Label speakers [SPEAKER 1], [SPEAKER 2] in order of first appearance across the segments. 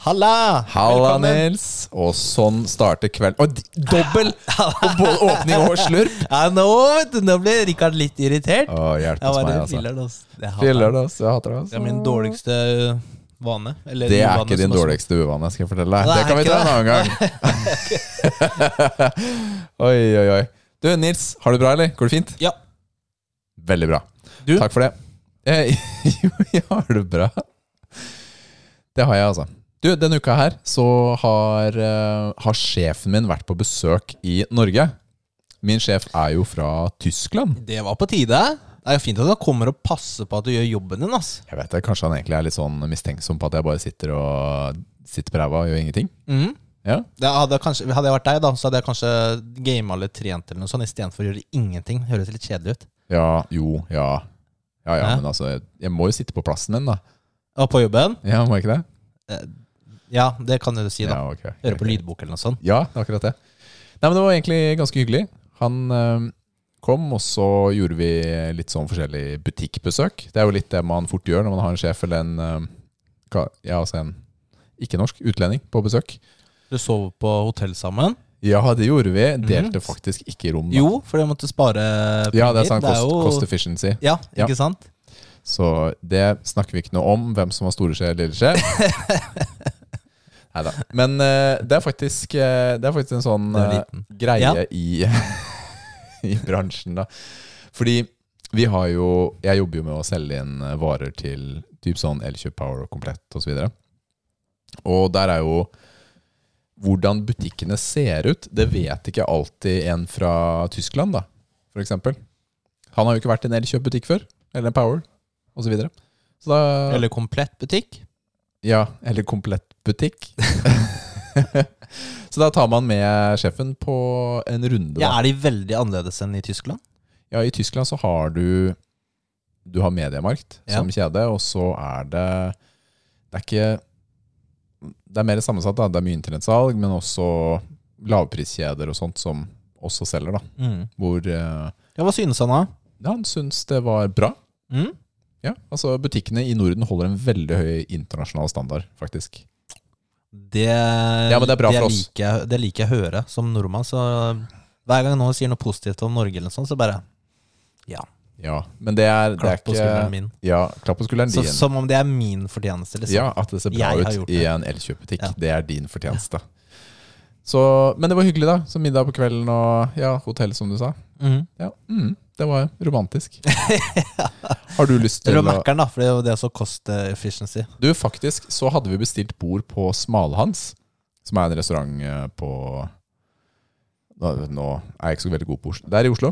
[SPEAKER 1] Halla!
[SPEAKER 2] Halla,
[SPEAKER 1] Velkommen.
[SPEAKER 2] Nils. Og sånn starter kvelden. Og d- dobbel og både åpning og slurp!
[SPEAKER 1] Ja, nå, vet du, nå ble Rikard litt irritert.
[SPEAKER 2] Å,
[SPEAKER 1] Ja,
[SPEAKER 2] hjelpes
[SPEAKER 1] hva er
[SPEAKER 2] meg,
[SPEAKER 1] det?
[SPEAKER 2] altså.
[SPEAKER 1] Filler'n, ass. Jeg hater
[SPEAKER 2] Filler det, ass. Jeg hater det. ass.
[SPEAKER 1] Det er min dårligste eh, vane. Eller
[SPEAKER 2] Det er
[SPEAKER 1] uvane
[SPEAKER 2] ikke din
[SPEAKER 1] som også-
[SPEAKER 2] dårligste uvane, skal jeg fortelle
[SPEAKER 1] Nei,
[SPEAKER 2] deg. Det kan vi
[SPEAKER 1] ikke
[SPEAKER 2] ta en annen gang. oi, oi, oi. Du, Nils. Har du det bra, eller? Går det fint?
[SPEAKER 1] Ja.
[SPEAKER 2] Veldig bra.
[SPEAKER 1] Du?
[SPEAKER 2] Takk for det. Eh, Jo, jeg har det bra. Det har jeg, altså. Du, denne uka her så har, eh, har sjefen min vært på besøk i Norge. Min sjef er jo fra Tyskland.
[SPEAKER 1] Det var på tide. Det er jo fint at han kommer og passer på at du gjør jobben din. ass.
[SPEAKER 2] Jeg vet det, Kanskje han egentlig er litt sånn mistenksom på at jeg bare sitter og sitter på ræva og gjør ingenting.
[SPEAKER 1] Mhm.
[SPEAKER 2] Ja.
[SPEAKER 1] Det hadde, jeg kanskje, hadde jeg vært deg, da, så hadde jeg kanskje gama eller trent eller noe sånt istedenfor å gjøre ingenting. Det Høres litt kjedelig ut.
[SPEAKER 2] Ja, jo, ja. Ja, ja,
[SPEAKER 1] Hæ?
[SPEAKER 2] men altså, jeg, jeg må jo sitte på plassen min, da.
[SPEAKER 1] Og på jobben?
[SPEAKER 2] Ja, må jeg ikke det?
[SPEAKER 1] Ja, det kan du si, da.
[SPEAKER 2] Ja, ok.
[SPEAKER 1] Høre på lydbok eller noe sånt.
[SPEAKER 2] Ja, det er akkurat det. Nei, men det var egentlig ganske hyggelig. Han eh, kom, og så gjorde vi litt sånn forskjellig butikkbesøk. Det er jo litt det man fort gjør når man har en sjef eller en eh, ka- Ja, altså en ikke-norsk utlending på besøk.
[SPEAKER 1] Du sov på hotell sammen?
[SPEAKER 2] Ja, det gjorde vi. Delte faktisk ikke rom. Da.
[SPEAKER 1] Jo, for jeg måtte spare
[SPEAKER 2] Ja, det er sant.
[SPEAKER 1] penger.
[SPEAKER 2] Cost,
[SPEAKER 1] jo-
[SPEAKER 2] cost efficiency.
[SPEAKER 1] Ja,
[SPEAKER 2] Ja.
[SPEAKER 1] ikke sant?
[SPEAKER 2] Så det snakker vi ikke noe om, hvem som var store skje eller lille skje. Neida. Men eh, det, er faktisk, eh, det er faktisk en sånn
[SPEAKER 1] Det er
[SPEAKER 2] eh,
[SPEAKER 1] liten.
[SPEAKER 2] greie
[SPEAKER 1] Ja.
[SPEAKER 2] i, i bransjen, da. Fordi vi har jo Jeg jobber jo med å selge inn eh, varer til typ sånn Elkjøp Power og Komplett osv. Og der er jo hvordan butikkene ser ut, det vet ikke alltid en fra Tyskland, da, for eksempel. Han har jo ikke vært i en Elkjøp-butikk før, eller en Power, og så videre. Så da,
[SPEAKER 1] Eller komplett butikk.
[SPEAKER 2] ja, eller komplett butikk. så da tar man med sjefen på en runde.
[SPEAKER 1] Ja,
[SPEAKER 2] Da.
[SPEAKER 1] er de veldig annerledes enn i Tyskland?
[SPEAKER 2] Ja, I Tyskland så har du Du har Mediemarkt
[SPEAKER 1] Ja.
[SPEAKER 2] som kjede, og så er det Det er ikke Det er mer sammensatt. da Det er mye internettsalg, men også lavpriskjeder og sånt som også selger. da Hvor eh,
[SPEAKER 1] Ja, Hva synes han da?
[SPEAKER 2] ja, han syns det var bra.
[SPEAKER 1] Mm.
[SPEAKER 2] Ja, altså Butikkene i Norden holder en veldig høy internasjonal standard, faktisk.
[SPEAKER 1] Det, ja,
[SPEAKER 2] men det er bra for oss.
[SPEAKER 1] Liker jeg, det liker jeg å høre som nordmann. Så hver gang noen sier noe positivt om Norge, eller noe sånt, så bare
[SPEAKER 2] Ja, men det er, det er
[SPEAKER 1] klapp på skulderen
[SPEAKER 2] ikke
[SPEAKER 1] min.
[SPEAKER 2] ja, Klapp på skulderen
[SPEAKER 1] Så,
[SPEAKER 2] din.
[SPEAKER 1] som om det er min fortjeneste. liksom.
[SPEAKER 2] Ja, at det ser bra
[SPEAKER 1] Jeg har gjort
[SPEAKER 2] ut i
[SPEAKER 1] det.
[SPEAKER 2] en elkjøpbutikk.
[SPEAKER 1] Ja.
[SPEAKER 2] Det er din fortjeneste. Så, men det var hyggelig, da. Så middag på kvelden og ja, hotell, som du sa.
[SPEAKER 1] Mhm.
[SPEAKER 2] Ja, mm, Det var romantisk. Har du lyst til
[SPEAKER 1] Eller
[SPEAKER 2] å
[SPEAKER 1] Mækkern, da, for det er jo det som cost efficiency.
[SPEAKER 2] Du, faktisk så hadde vi bestilt bord på Smalhans, som er en restaurant eh, på Nå nå er jeg ikke så veldig god på Oslo. Det er i Oslo.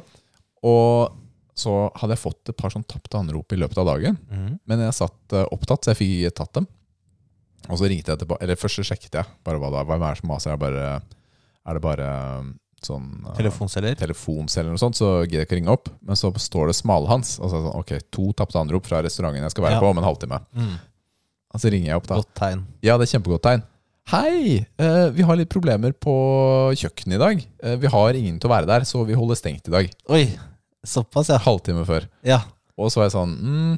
[SPEAKER 2] Og så hadde jeg fått et par sånn tapte anrop i løpet av dagen.
[SPEAKER 1] Mhm.
[SPEAKER 2] Men jeg satt eh, opptatt, så jeg fikk ikke tatt dem. Og så ringte jeg tilbake, eller først så sjekket jeg bare hva det var. Hvem er det som maser? Jeg bare, er det bare eh, sånn eh,
[SPEAKER 1] Telefonselger.
[SPEAKER 2] telefonselger eller noe sånt, så gidder jeg ikke å ringe opp. Men så står det Smalhans. Og så er det sånn, ok, to tapte anrop fra restauranten jeg skal være
[SPEAKER 1] Ja.
[SPEAKER 2] på om en halvtime.
[SPEAKER 1] Mm.
[SPEAKER 2] Og så ringer jeg opp da.
[SPEAKER 1] Godt tegn.
[SPEAKER 2] Ja, det er kjempegodt tegn. Hei, eh, vi har litt problemer på kjøkkenet i dag. Eh, vi har ingen til å være der, så vi holder stengt i dag.
[SPEAKER 1] Oi, såpass, ja.
[SPEAKER 2] Halvtime før.
[SPEAKER 1] ja.
[SPEAKER 2] Og så var jeg sånn mm,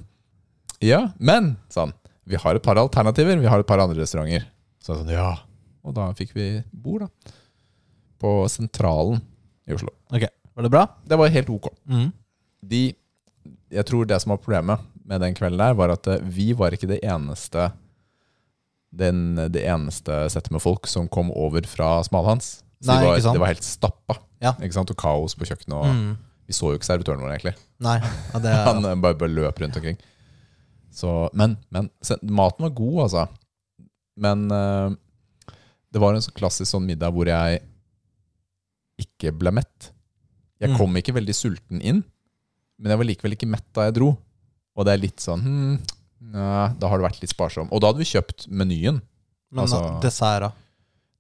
[SPEAKER 2] Ja, men, sa han. Vi har et par alternativer. Vi har et par andre restauranter. Så jeg sånn, ja. Og da fikk vi bord, da. På Sentralen i Oslo.
[SPEAKER 1] Ok, Var det bra?
[SPEAKER 2] Det var helt ok.
[SPEAKER 1] Mhm.
[SPEAKER 2] De, jeg tror det som var problemet med den kvelden der, var at eh, vi var ikke det eneste den, det eneste settet med folk som kom over fra Smalhans. Så
[SPEAKER 1] Nei,
[SPEAKER 2] de var,
[SPEAKER 1] ikke sant.
[SPEAKER 2] Det var helt stappa.
[SPEAKER 1] Ja.
[SPEAKER 2] Ikke sant? Og kaos på kjøkkenet. Og
[SPEAKER 1] Mhm.
[SPEAKER 2] Vi så jo ikke servitøren vår, egentlig.
[SPEAKER 1] Nei. Ja, det er,
[SPEAKER 2] Han eh, bare, bare løp rundt omkring. Så, men, men se- maten var god, altså. Men eh, det var en sånn klassisk sånn middag hvor jeg ikke ble mett. Jeg
[SPEAKER 1] Mm.
[SPEAKER 2] kom ikke veldig sulten inn, men jeg var likevel ikke mett da jeg dro. Og det er litt sånn hmm, nei, Da har det vært litt sparsom. Og da hadde vi kjøpt menyen.
[SPEAKER 1] men
[SPEAKER 2] altså-
[SPEAKER 1] dessert, da?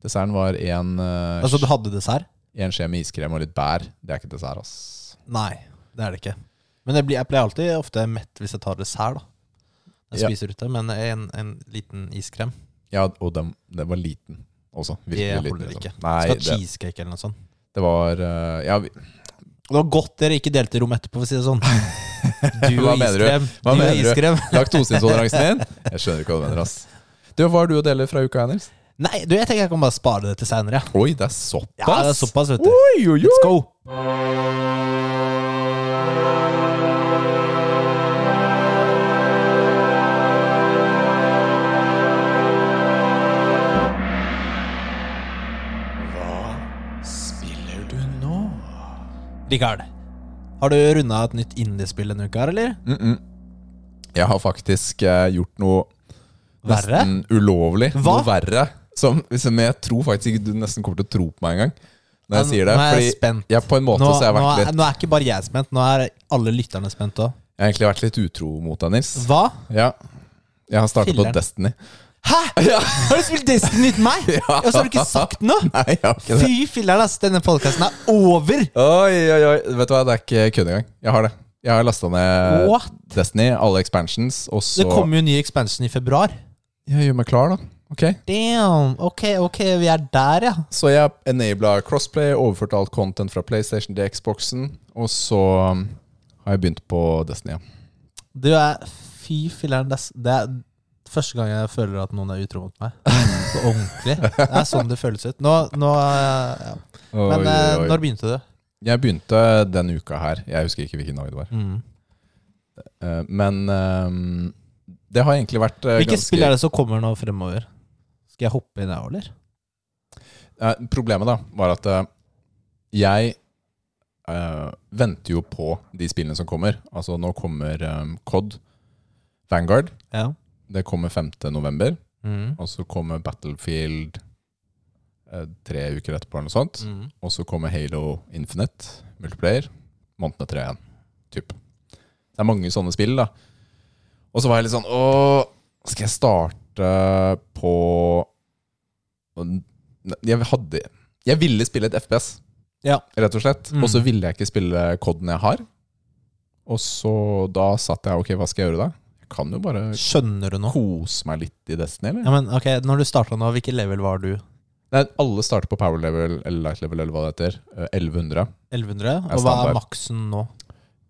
[SPEAKER 2] Desserten var en, eh,
[SPEAKER 1] Altså, du hadde dessert?
[SPEAKER 2] en skje med iskrem og litt bær. Det er ikke dessert, ass.
[SPEAKER 1] Nei, det er det ikke. Men jeg, blir, jeg pleier alltid ofte mett hvis jeg tar dessert, da. Jeg
[SPEAKER 2] Ja.
[SPEAKER 1] spiser ute, men en, en liten iskrem.
[SPEAKER 2] Ja, og den, den var liten også.
[SPEAKER 1] Det holder
[SPEAKER 2] Virkelig liten. liksom.
[SPEAKER 1] ikke.
[SPEAKER 2] Nei,
[SPEAKER 1] Skal ha
[SPEAKER 2] det,
[SPEAKER 1] cheesecake eller noe sånt.
[SPEAKER 2] det var eh, Ja, vi,
[SPEAKER 1] Og det var godt dere ikke delte rom etterpå, for å si det sånn. Du
[SPEAKER 2] Hva
[SPEAKER 1] og
[SPEAKER 2] mener du?
[SPEAKER 1] iskrem. du
[SPEAKER 2] Hva
[SPEAKER 1] og
[SPEAKER 2] mener du?
[SPEAKER 1] iskrem.
[SPEAKER 2] Laktoseintoleransen din? Jeg skjønner ikke hva du mener, ass. Du, Hva har du å dele fra uka, Hennes?
[SPEAKER 1] Nei, du, jeg tenker jeg kan bare spare det til seinere.
[SPEAKER 2] Oi, det er såpass!
[SPEAKER 1] Ja, det er såpass, vet du.
[SPEAKER 2] Oi, oi, oi.
[SPEAKER 1] Let's go!
[SPEAKER 2] Hva spiller du nå?
[SPEAKER 1] Rikard, har du runda et nytt indiespill denne uka, her, eller?
[SPEAKER 2] Mm -mm. Jeg har faktisk eh, gjort noe
[SPEAKER 1] Verre?
[SPEAKER 2] nesten ulovlig.
[SPEAKER 1] Hva?
[SPEAKER 2] Noe verre. Som, som jeg tror faktisk ikke du nesten kommer til å tro på meg engang. Når jeg
[SPEAKER 1] Ja,
[SPEAKER 2] sier det.
[SPEAKER 1] nå er jeg
[SPEAKER 2] Fordi
[SPEAKER 1] spent.
[SPEAKER 2] jeg på en måte
[SPEAKER 1] Nå,
[SPEAKER 2] så har jeg
[SPEAKER 1] nå,
[SPEAKER 2] vært
[SPEAKER 1] er,
[SPEAKER 2] litt
[SPEAKER 1] nå er ikke bare jeg spent, nå er alle lytterne spent òg.
[SPEAKER 2] Jeg har egentlig vært litt utro mot deg, Nils.
[SPEAKER 1] Hva?
[SPEAKER 2] Ja. Jeg har startet
[SPEAKER 1] Filler'n.
[SPEAKER 2] på Destiny.
[SPEAKER 1] Hæ?! Har du spilt Destiny uten meg?!
[SPEAKER 2] Ja.
[SPEAKER 1] Og så har du ikke sagt noe?!
[SPEAKER 2] Nei, jeg har ikke det.
[SPEAKER 1] Fy filler'n, ass! Denne podkasten er over!
[SPEAKER 2] Oi, oi, oi. Vet du hva, det er ikke kødd engang. Jeg har det. Jeg har lasta ned
[SPEAKER 1] What?
[SPEAKER 2] Destiny, alle expansions, og så
[SPEAKER 1] Det kommer jo ny expansion i februar.
[SPEAKER 2] Jeg gjør meg klar, da. Ok.
[SPEAKER 1] Damn! Ok, ok, vi er der, ja.
[SPEAKER 2] Så jeg enabla crossplay, overførte alt content fra PlayStation til Xboxen, og så um, har jeg begynt på Destiny. ja.
[SPEAKER 1] Du er Fy filler'n, det, er- det er første gang jeg føler at noen er utro mot meg. På ordentlig. Det er sånn det føles ut. Nå, nå eh, ja. Men eh,
[SPEAKER 2] Oi, oi.
[SPEAKER 1] når begynte du?
[SPEAKER 2] Jeg begynte den uka her. Jeg husker ikke hvilken dag det var.
[SPEAKER 1] Mm.
[SPEAKER 2] Eh, Men um, det har egentlig vært eh,
[SPEAKER 1] Hvilke
[SPEAKER 2] ganske
[SPEAKER 1] spill er det som kommer nå fremover? Skal jeg hoppe inn der, eller?
[SPEAKER 2] Eh, Problemet da var at eh, jeg eh, venter jo på de spillene som kommer. Altså nå kommer um, COD Vanguard.
[SPEAKER 1] Ja.
[SPEAKER 2] Det kommer 5. november.
[SPEAKER 1] Mm.
[SPEAKER 2] Og så kommer Battlefield eh, tre uker etterpå, eller noe sånt. Og så kommer Halo Infinite, multiplayer, månedene tre igjen. Typ. Det er mange sånne spill, da. Og så var jeg litt sånn Åh, skal jeg starte på Jeg hadde Jeg ville spille et FPS,
[SPEAKER 1] Ja.
[SPEAKER 2] rett og slett.
[SPEAKER 1] Mm.
[SPEAKER 2] Og så ville jeg ikke spille koden jeg har. Og så da satt jeg Ok, hva skal jeg gjøre da? Jeg kan jo bare
[SPEAKER 1] Skjønner du nå?
[SPEAKER 2] kose meg litt i Destiny, eller?
[SPEAKER 1] Ja, men ok, Når du starta nå, hvilket level var du?
[SPEAKER 2] Nei, alle starter på power level eller light level, eller hva det heter. eh, 1100.
[SPEAKER 1] 1100?
[SPEAKER 2] Jeg
[SPEAKER 1] Og hva
[SPEAKER 2] standard.
[SPEAKER 1] er maksen nå?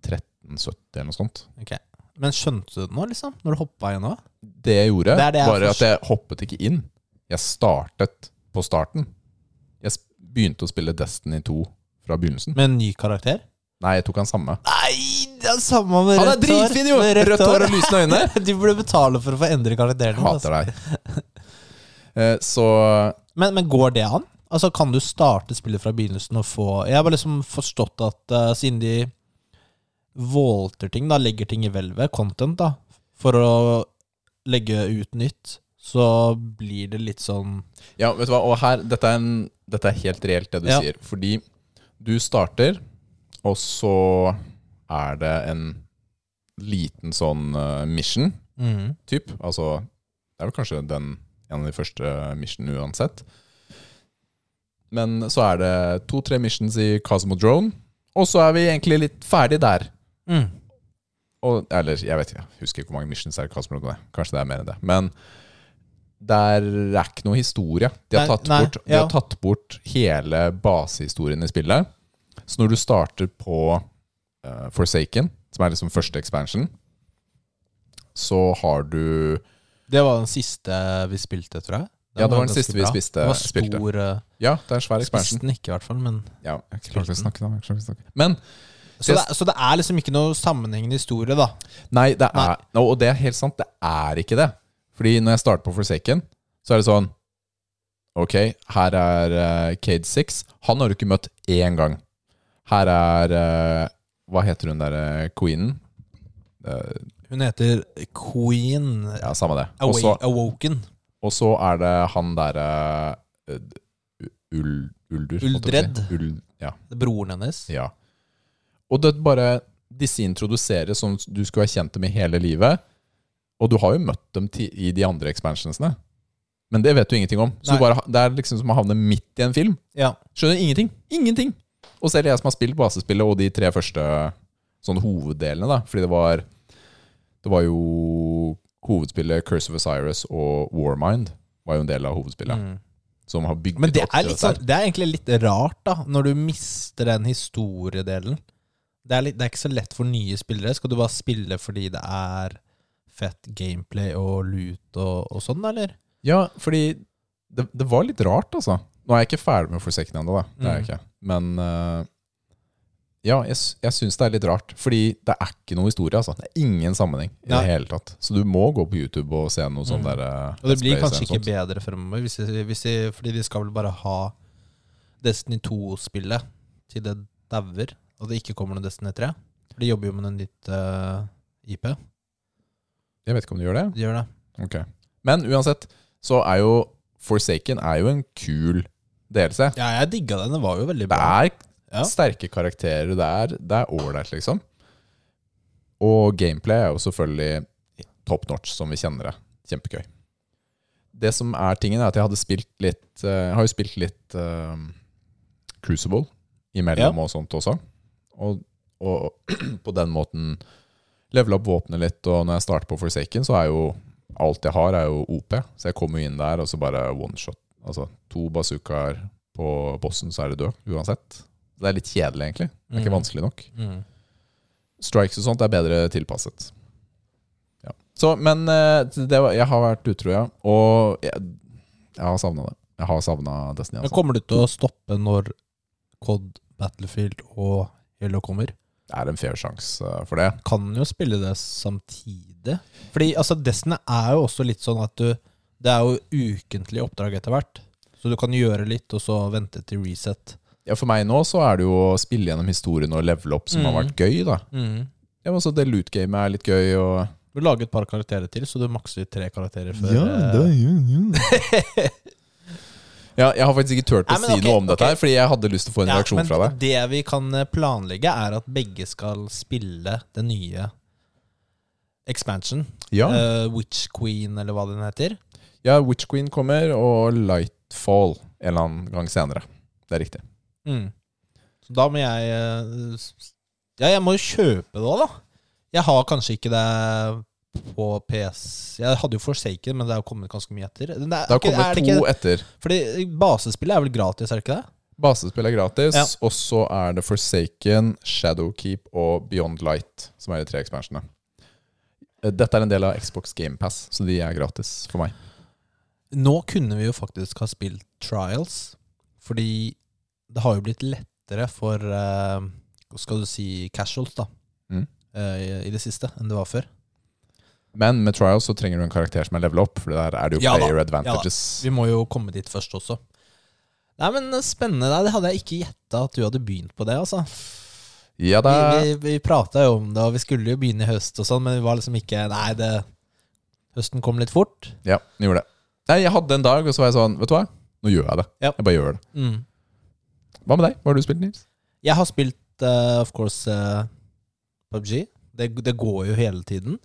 [SPEAKER 2] 1370 eller noe sånt.
[SPEAKER 1] Ok Men skjønte du det nå, liksom? Når du hoppa igjen nå?
[SPEAKER 2] Det jeg gjorde,
[SPEAKER 1] Det er det jeg
[SPEAKER 2] var
[SPEAKER 1] forst-
[SPEAKER 2] at jeg hoppet ikke inn. Jeg startet på starten. Jeg s- begynte å spille Destiny 2 fra begynnelsen.
[SPEAKER 1] Med en ny karakter?
[SPEAKER 2] Nei, jeg tok han samme.
[SPEAKER 1] Nei, det er samme med
[SPEAKER 2] Han er
[SPEAKER 1] rødt hår.
[SPEAKER 2] dritfin, jo!
[SPEAKER 1] Med
[SPEAKER 2] Rødt hår og lysende øyne.
[SPEAKER 1] Du burde betale for å få endre karakteren.
[SPEAKER 2] Jeg
[SPEAKER 1] din, altså.
[SPEAKER 2] hater deg. Eh, Så
[SPEAKER 1] Men, men går det an? Altså, Kan du starte spillet fra begynnelsen og få Jeg har bare liksom forstått at eh, siden de volter ting, da, legger ting i hvelvet, content, da, for å legge ut nytt, så blir det litt sånn
[SPEAKER 2] Ja, vet du hva, og her Dette er, en, dette er helt reelt, det du
[SPEAKER 1] Ja.
[SPEAKER 2] sier. Fordi du starter, og så er det en liten sånn eh, mission.
[SPEAKER 1] mm.
[SPEAKER 2] typ. Altså, det er vel kanskje den, en av de første missionene uansett. Men så er det to-tre missions i Cosmodrone, og så er vi egentlig litt ferdig der.
[SPEAKER 1] Mm.
[SPEAKER 2] Og, eller jeg vet ikke, jeg husker ikke hvor mange missions er i Cosmodrone. det. Kanskje det er mer enn det. Men der er ikke noe historie. De har
[SPEAKER 1] Nei,
[SPEAKER 2] tatt,
[SPEAKER 1] nei,
[SPEAKER 2] bort, de
[SPEAKER 1] ja.
[SPEAKER 2] har tatt bort hele basehistorien i spillet. Så når du starter på eh, Forsaken, som er liksom første expansion, så har du
[SPEAKER 1] Det var den siste vi spilte, tror jeg.
[SPEAKER 2] Ja, det var den
[SPEAKER 1] ganske
[SPEAKER 2] siste vi
[SPEAKER 1] bra.
[SPEAKER 2] spiste-
[SPEAKER 1] Den var
[SPEAKER 2] spilte.
[SPEAKER 1] stor eh,
[SPEAKER 2] Ja, det er en svær ekspansjon.
[SPEAKER 1] Spiste den ikke, i hvert fall. Men,
[SPEAKER 2] Ja, jeg klarte ikke å snakke da. jeg klarer ikke å snakke. Men
[SPEAKER 1] så, det, er- så det er liksom ikke noe sammenhengende historie, da.
[SPEAKER 2] nei, det er Nå, Og det er helt sant, det er ikke det. Fordi når jeg starter på Forsaken, så er det sånn Ok, her er eh, Cade Six. Han har du ikke møtt én gang. Her er eh, Hva heter hun derre queenen? Eh,
[SPEAKER 1] Hun heter Queen eh,
[SPEAKER 2] ja, samme det. Og
[SPEAKER 1] Awa-
[SPEAKER 2] så-
[SPEAKER 1] Awoken.
[SPEAKER 2] Og så er det han derre uh, Ul, Uldur? holdt jeg på å si. Ul, ja.
[SPEAKER 1] Broren hennes.
[SPEAKER 2] Ja. Og det bare Disse introduseres som du skulle ha kjent dem i hele livet. Og du har jo møtt dem ti- i de andre expansionsene. Men det vet du ingenting om. Så
[SPEAKER 1] Nei.
[SPEAKER 2] du bare, ha- det er liksom som å havne midt i en film.
[SPEAKER 1] Ja.
[SPEAKER 2] Skjønner ingenting. Ingenting! Og selv jeg som har spilt basespillet og de tre første sånn hoveddelene, da. Fordi det var Det var jo hovedspillet Curse of Osiris og Warmind var jo en del av hovedspillet.
[SPEAKER 1] Mm.
[SPEAKER 2] Som har bygget
[SPEAKER 1] Men det
[SPEAKER 2] opp
[SPEAKER 1] er,
[SPEAKER 2] til
[SPEAKER 1] litt
[SPEAKER 2] dette her.
[SPEAKER 1] sånn, det er egentlig litt rart, da, når du mister den historiedelen. Det er, litt, det er ikke så lett for nye spillere. Skal du bare spille fordi det er fett gameplay og loot og, og sånn, eller?
[SPEAKER 2] Ja, fordi det, det var litt rart, altså. Nå er jeg ikke ferdig med Forsaken ennå, da. Det er
[SPEAKER 1] Mm.
[SPEAKER 2] jeg ikke. Men eh, ja, jeg, s- jeg syns det er litt rart. Fordi det er ikke noe historie, altså. Det er ingen sammenheng i
[SPEAKER 1] Nei.
[SPEAKER 2] det hele tatt. Så du må gå på YouTube og se noe sånn
[SPEAKER 1] Mm.
[SPEAKER 2] der eh,
[SPEAKER 1] Og det
[SPEAKER 2] Let's
[SPEAKER 1] blir
[SPEAKER 2] Plays
[SPEAKER 1] kanskje
[SPEAKER 2] eller
[SPEAKER 1] ikke
[SPEAKER 2] noe sånt.
[SPEAKER 1] bedre fremover, hvis de, hvis de, fordi de skal vel bare ha Destiny 2-spillet til det dauer, og det ikke kommer noe Destiny 3. For de jobber jo med en nytt eh, IP.
[SPEAKER 2] Jeg vet ikke om du gjør det.
[SPEAKER 1] De gjør det.
[SPEAKER 2] Ok. Men uansett, så er jo Forsaken er jo en kul delelse.
[SPEAKER 1] Ja, jeg digga den. Den var jo veldig
[SPEAKER 2] Det
[SPEAKER 1] bra.
[SPEAKER 2] er
[SPEAKER 1] Ja.
[SPEAKER 2] sterke karakterer. Det er det er ålreit, liksom. Og gameplay er jo selvfølgelig top notch, som vi kjenner det. Kjempegøy. Det som er tingen, er at jeg hadde spilt litt eh, Jeg har jo spilt litt eh, Crucible imellom og sånt også. Og, og på den måten levela opp våpenet litt, og når jeg starter på Forsaken, så er jo alt jeg har, er jo OP. Så jeg kommer jo inn der, og så bare one shot. Altså to bazookaer på bossen, så er du død uansett. Det er litt kjedelig, egentlig. Det er ikke vanskelig nok.
[SPEAKER 1] Mm.
[SPEAKER 2] Strikes og sånt er bedre tilpasset. Ja. Så, men eh, det var, jeg har vært utro, ja. Og jeg, jeg har savna det. Jeg har savna Destiny.
[SPEAKER 1] Men
[SPEAKER 2] Altså.
[SPEAKER 1] kommer du til å stoppe når Cod, Battlefield og Halo kommer?
[SPEAKER 2] Det er en fair sjanse eh, for det.
[SPEAKER 1] Kan jo spille det samtidig. Fordi altså, Destiny er jo også litt sånn at du Det er jo ukentlig oppdrag etter hvert. Så du kan gjøre litt, og så vente til reset.
[SPEAKER 2] Ja, for meg nå så er det jo å spille gjennom historien og levele opp som har
[SPEAKER 1] Mm.
[SPEAKER 2] vært gøy, da.
[SPEAKER 1] Mm.
[SPEAKER 2] Ja, men så det loot-gamet er litt gøy, og
[SPEAKER 1] Du lager et par karakterer til, så du makser tre karakterer før eh,
[SPEAKER 2] ja, Jeg har faktisk ikke turt å
[SPEAKER 1] Nei, men
[SPEAKER 2] si
[SPEAKER 1] ok,
[SPEAKER 2] noe om dette,
[SPEAKER 1] ok.
[SPEAKER 2] her fordi jeg hadde lyst til å få en
[SPEAKER 1] Ja,
[SPEAKER 2] reaksjon
[SPEAKER 1] men
[SPEAKER 2] fra deg.
[SPEAKER 1] Det vi kan eh, planlegge, er at begge skal spille den nye expansion.
[SPEAKER 2] Ja.
[SPEAKER 1] Eh, Witch Queen, eller hva den heter.
[SPEAKER 2] ja, Witch Queen kommer, og Lightfall en eller annen gang senere. Det er riktig.
[SPEAKER 1] Mm. Så da må jeg eh, s- s- Ja, jeg må jo kjøpe det òg, da. Jeg har kanskje ikke det på PS Jeg hadde jo Forsaken, men det er jo kommet ganske mye etter. Men Det er,
[SPEAKER 2] Det har
[SPEAKER 1] ikke- er
[SPEAKER 2] kommet
[SPEAKER 1] det
[SPEAKER 2] to
[SPEAKER 1] ikke,
[SPEAKER 2] etter.
[SPEAKER 1] fordi basespillet er vel gratis, er det ikke det?
[SPEAKER 2] Basespill er gratis,
[SPEAKER 1] Ja.
[SPEAKER 2] og så er det Forsaken, Shadowkeep og Beyond Light, som er de tre ekspansjonene. Eh, Dette er en del av Xbox GamePass, så de er gratis for meg.
[SPEAKER 1] Nå kunne vi jo faktisk ha spilt Trials, fordi det har jo blitt lettere for eh, hva Skal du si casuals, da.
[SPEAKER 2] Mm.
[SPEAKER 1] eh, i- I det siste enn det var før.
[SPEAKER 2] Men med Trials så trenger du en karakter som er level opp, for der er det jo
[SPEAKER 1] Ja da,
[SPEAKER 2] player
[SPEAKER 1] ja da.
[SPEAKER 2] advantages.
[SPEAKER 1] Vi må jo komme dit først også. Nei, men spennende. Nei, Det hadde jeg ikke gjetta at du hadde begynt på det, altså.
[SPEAKER 2] Ja
[SPEAKER 1] Vi,
[SPEAKER 2] da.
[SPEAKER 1] vi, vi prata jo om det, og vi skulle jo begynne i høst og sånn, men vi var liksom ikke Nei, det Høsten kom litt fort.
[SPEAKER 2] Ja, jeg gjorde det. Nei, jeg hadde en dag, og så var jeg sånn, vet du hva? Nå gjør jeg det.
[SPEAKER 1] Ja.
[SPEAKER 2] Jeg bare gjør det.
[SPEAKER 1] Mm.
[SPEAKER 2] Hva med deg? Hva har du spilt, Nils?
[SPEAKER 1] Jeg har spilt, eh, of course, eh, PubG. Det, det går jo hele tiden.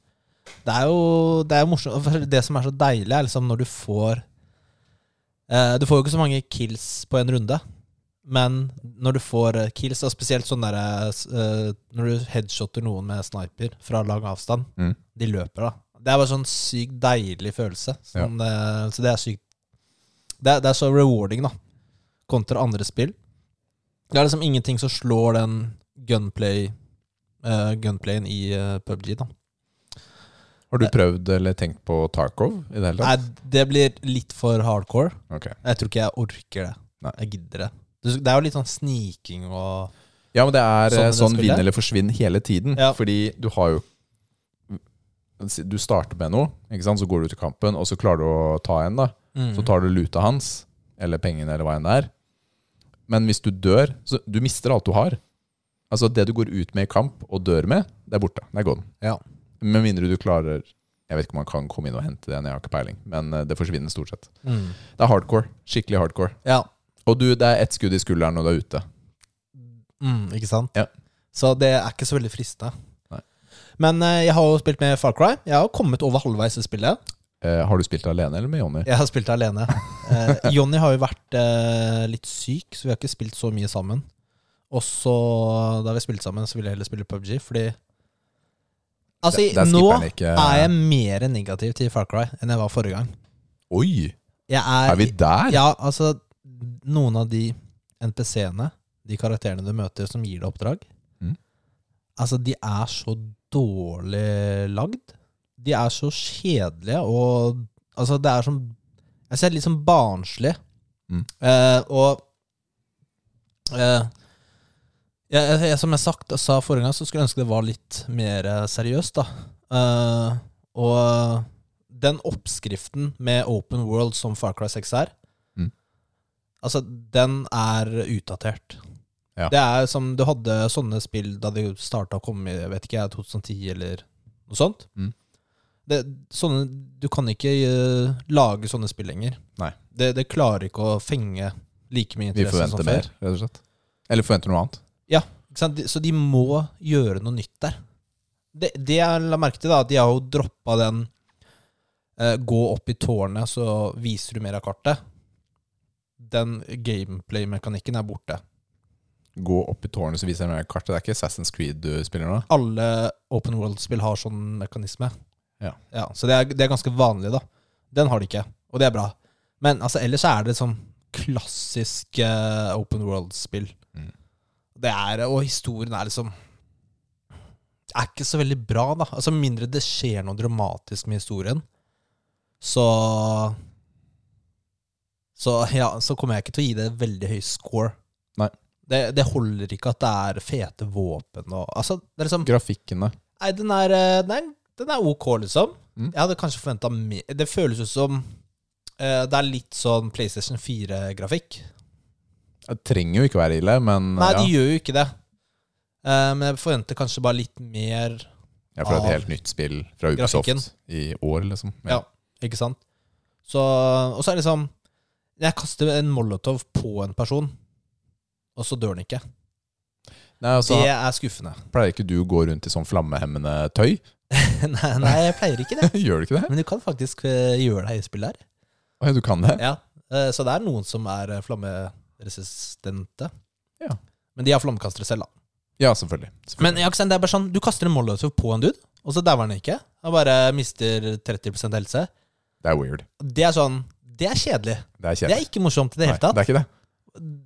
[SPEAKER 1] Det er jo det er jo morsomt. for Det som er så deilig, er liksom når du får eh, Du får jo ikke så mange kills på en runde, men når du får eh, kills, og spesielt sånn derre eh, Når du headshotter noen med sniper fra lang avstand,
[SPEAKER 2] Mm.
[SPEAKER 1] de løper, da. Det er bare sånn sykt deilig følelse. Sånn, eh, så det er sykt det, er- det er så rewarding, da, kontra andre spill. Det er liksom ingenting som slår den gunplay eh, gunplayen i eh, PubG, da.
[SPEAKER 2] Har
[SPEAKER 1] Eh.
[SPEAKER 2] du prøvd eller tenkt på Tarkov i det hele
[SPEAKER 1] Nei,
[SPEAKER 2] tatt?
[SPEAKER 1] det blir litt for hardcore.
[SPEAKER 2] Ok.
[SPEAKER 1] Jeg tror ikke jeg orker det.
[SPEAKER 2] Nei.
[SPEAKER 1] Jeg gidder det. Det det er jo litt sånn sniking og
[SPEAKER 2] Ja, men det er
[SPEAKER 1] Sånn
[SPEAKER 2] eh,
[SPEAKER 1] det
[SPEAKER 2] sånn
[SPEAKER 1] spillet?
[SPEAKER 2] vinn eller forsvinn hele tiden.
[SPEAKER 1] Ja.
[SPEAKER 2] Fordi du har jo Du starter med noe, ikke sant? så går du til kampen, og så klarer du å ta en. da
[SPEAKER 1] mm.
[SPEAKER 2] Så tar du luta hans, eller pengene, eller hva enn det er. Men hvis du dør så Du mister alt du har. Altså Det du går ut med i kamp og dør med, det er borte. Det er gone.
[SPEAKER 1] Ja.
[SPEAKER 2] Med mindre du klarer Jeg vet ikke om man kan komme inn og hente den, jeg har ikke peiling. Men eh, det forsvinner stort sett.
[SPEAKER 1] Mm.
[SPEAKER 2] Det er hardcore. Skikkelig hardcore.
[SPEAKER 1] Ja.
[SPEAKER 2] Og du, det er ett skudd i skulderen når du er ute.
[SPEAKER 1] Mm, ikke sant?
[SPEAKER 2] Ja.
[SPEAKER 1] Så det er ikke så veldig fristende.
[SPEAKER 2] Nei.
[SPEAKER 1] Men eh, jeg har jo spilt med Far Cry. Jeg har jo kommet over halvveis i spillet.
[SPEAKER 2] Eh, har du spilt alene eller med Jonny?
[SPEAKER 1] Jeg har spilt alene. Eh, Jonny har jo vært eh, litt syk, så vi har ikke spilt så mye sammen. Og så, da vi spilte sammen, så ville jeg heller spille PubG, fordi Altså,
[SPEAKER 2] Der- der skipper
[SPEAKER 1] nå
[SPEAKER 2] han ikke- eh,
[SPEAKER 1] er jeg mer negativ til Far Cry enn jeg var forrige gang.
[SPEAKER 2] Oi!
[SPEAKER 1] Jeg er,
[SPEAKER 2] Er vi der?
[SPEAKER 1] Ja, altså, noen av de NPC-ene, de karakterene du møter som gir deg oppdrag,
[SPEAKER 2] Mm.
[SPEAKER 1] altså, de er så dårlig lagd. De er så kjedelige, og altså, det er som Jeg ser litt sånn barnslig.
[SPEAKER 2] Mm.
[SPEAKER 1] Eh, og eh, jeg, jeg, jeg, Som jeg sagt, sa forrige gang, så skulle jeg ønske det var litt mer eh, seriøst. da. Eh, og den oppskriften med open world som Far Cry 6 er,
[SPEAKER 2] Mm.
[SPEAKER 1] altså, den er utdatert.
[SPEAKER 2] Ja.
[SPEAKER 1] Det er som Du hadde sånne spill da de starta å komme i jeg vet ikke, jeg, 2010 eller noe sånt.
[SPEAKER 2] Mm.
[SPEAKER 1] Det, sånne, du kan ikke eh, lage sånne spill lenger.
[SPEAKER 2] Nei.
[SPEAKER 1] Det, det klarer ikke å fenge like mye
[SPEAKER 2] Vi
[SPEAKER 1] interesse som før.
[SPEAKER 2] forventer mer, rett og slett. Eller forventer noe annet.
[SPEAKER 1] Ikke sant? De- Så de må gjøre noe nytt der. Det, det jeg la merke til, da, at de har jo droppa den eh, gå opp i tårnet, så viser du mer av kartet. Den gameplay-mekanikken er borte.
[SPEAKER 2] Gå opp i tårnet så viser jeg meg kartet. Det er ikke Assassin's Creed du spiller nå?
[SPEAKER 1] Alle open world-spill har sånn mekanisme.
[SPEAKER 2] Ja.
[SPEAKER 1] så det er, det er ganske vanlig, da. Den har de ikke, og det er bra. Men altså, ellers er det sånn klassisk eh, open world-spill.
[SPEAKER 2] Mm.
[SPEAKER 1] Det er, Og historien er liksom Er ikke så veldig bra, da. Altså med mindre det skjer noe dramatisk med historien, så Så ja, så kommer jeg ikke til å gi det veldig høy score.
[SPEAKER 2] Nei.
[SPEAKER 1] Det, det holder ikke at det er fete våpen og Altså, det er liksom
[SPEAKER 2] Grafikken, da.
[SPEAKER 1] Nei, den er, eh, den er, den er ok, liksom.
[SPEAKER 2] Mm.
[SPEAKER 1] Jeg hadde kanskje forventa mer Det føles ut som eh, det er litt sånn PlayStation 4-grafikk.
[SPEAKER 2] Det trenger jo ikke være ille, men
[SPEAKER 1] Nei,
[SPEAKER 2] ja.
[SPEAKER 1] de gjør jo ikke det. Eh, men jeg forventer kanskje bare litt mer,
[SPEAKER 2] ja, for det er et
[SPEAKER 1] av
[SPEAKER 2] helt nytt spill fra Ubisoft
[SPEAKER 1] Ah. grafikken.
[SPEAKER 2] i år, liksom.
[SPEAKER 1] Ja. ikke sant? Så, og så er det liksom Jeg kaster en molotov på en person, og så dør den ikke.
[SPEAKER 2] Nei, altså,
[SPEAKER 1] det er skuffende.
[SPEAKER 2] Pleier ikke du å gå rundt i sånn flammehemmende tøy?
[SPEAKER 1] nei, nei, jeg pleier ikke det.
[SPEAKER 2] Gjør du ikke det?
[SPEAKER 1] Men du kan faktisk eh, gjøre deg høyspill der.
[SPEAKER 2] Å, ja, du kan det?
[SPEAKER 1] Ja, eh, så det er noen som er eh, flammeresistente.
[SPEAKER 2] Ja.
[SPEAKER 1] Men de har flammekastere selv, da.
[SPEAKER 2] Ja, selvfølgelig.
[SPEAKER 1] Men
[SPEAKER 2] selvfølgelig.
[SPEAKER 1] ja, ikke sant, det er bare sånn, du kaster en molotov på en dude, og så dauer han ikke. Han bare mister 30 helse.
[SPEAKER 2] det er weird.
[SPEAKER 1] Det er sånn Det er kjedelig.
[SPEAKER 2] Det er
[SPEAKER 1] Det
[SPEAKER 2] kjedelig.
[SPEAKER 1] er ikke morsomt i det hele tatt.
[SPEAKER 2] Nei, det er ikke det.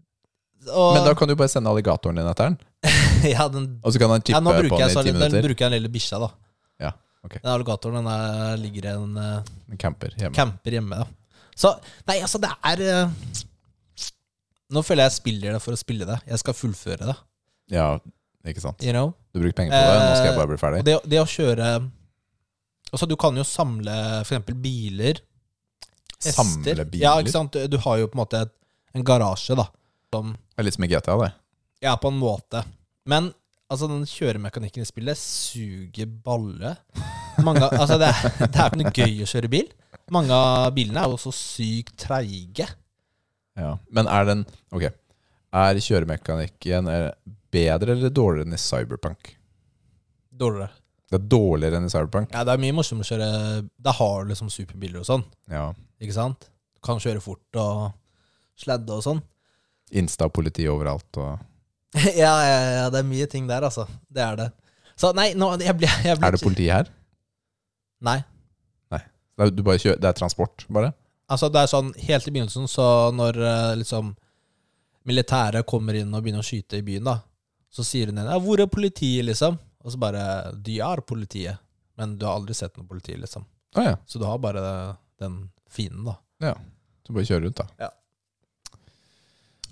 [SPEAKER 1] Og,
[SPEAKER 2] Men da kan du bare sende alligatoren din etter den,
[SPEAKER 1] ja, den,
[SPEAKER 2] og så kan han
[SPEAKER 1] ja,
[SPEAKER 2] tippe
[SPEAKER 1] nå
[SPEAKER 2] på
[SPEAKER 1] bruker jeg,
[SPEAKER 2] den
[SPEAKER 1] så,
[SPEAKER 2] i ti
[SPEAKER 1] den
[SPEAKER 2] minutter.
[SPEAKER 1] bruker jeg den lille bikkja, da.
[SPEAKER 2] Ja, ok. Mm.
[SPEAKER 1] Den alligatoren den er, ligger i en eh,
[SPEAKER 2] Camper hjemme.
[SPEAKER 1] camper hjemme. Da. Så Nei, altså, det er eh, Nå føler jeg jeg spiller det for å spille det. Jeg skal fullføre det.
[SPEAKER 2] Ja, ikke sant.
[SPEAKER 1] You know?
[SPEAKER 2] Du bruker penger på det, nå skal jeg
[SPEAKER 1] Eh,
[SPEAKER 2] bare bli ferdig.
[SPEAKER 1] Og det, det å kjøre Altså, du kan jo samle for eksempel biler. hester.
[SPEAKER 2] Samle
[SPEAKER 1] Ja,
[SPEAKER 2] biler.
[SPEAKER 1] ikke sant? Du, du har jo på en måte et, en garasje, da. Som
[SPEAKER 2] Det er litt som i GTA, det.
[SPEAKER 1] Ja, på en måte. Men altså, den kjøremekanikken i spillet suger balle. Mange, av- altså, det, er, det er ikke noe gøy å kjøre bil. Mange av bilene er jo så sykt treige.
[SPEAKER 2] Ja. Men er den Ok. Er kjøremekanikken er bedre eller dårligere enn i Cyberpunk?
[SPEAKER 1] Dårligere.
[SPEAKER 2] Det er dårligere enn i Cyberpunk.
[SPEAKER 1] Ja, det er mye morsommere å kjøre Da har du liksom superbiler og sånn,
[SPEAKER 2] Ja.
[SPEAKER 1] ikke sant? Du kan kjøre fort og sladde og sånn.
[SPEAKER 2] Insta-politi overalt og
[SPEAKER 1] ja, ja, ja, det er mye ting der, altså. Det er det. Så nei, nå, jeg blir, jeg blir
[SPEAKER 2] Er det politi her?
[SPEAKER 1] Nei.
[SPEAKER 2] Det er, du bare kjører, det er transport, bare?
[SPEAKER 1] Altså, det er sånn helt i begynnelsen, så når eh, liksom militæret kommer inn og begynner å skyte i byen, da, så sier hun igjen ja, 'Hvor er politiet?' liksom. Og så bare 'De er politiet', men du har aldri sett noe politi, liksom.
[SPEAKER 2] Å ja.
[SPEAKER 1] Så du har bare den fienden, da.
[SPEAKER 2] Så bare kjøre rundt, da.
[SPEAKER 1] Ja.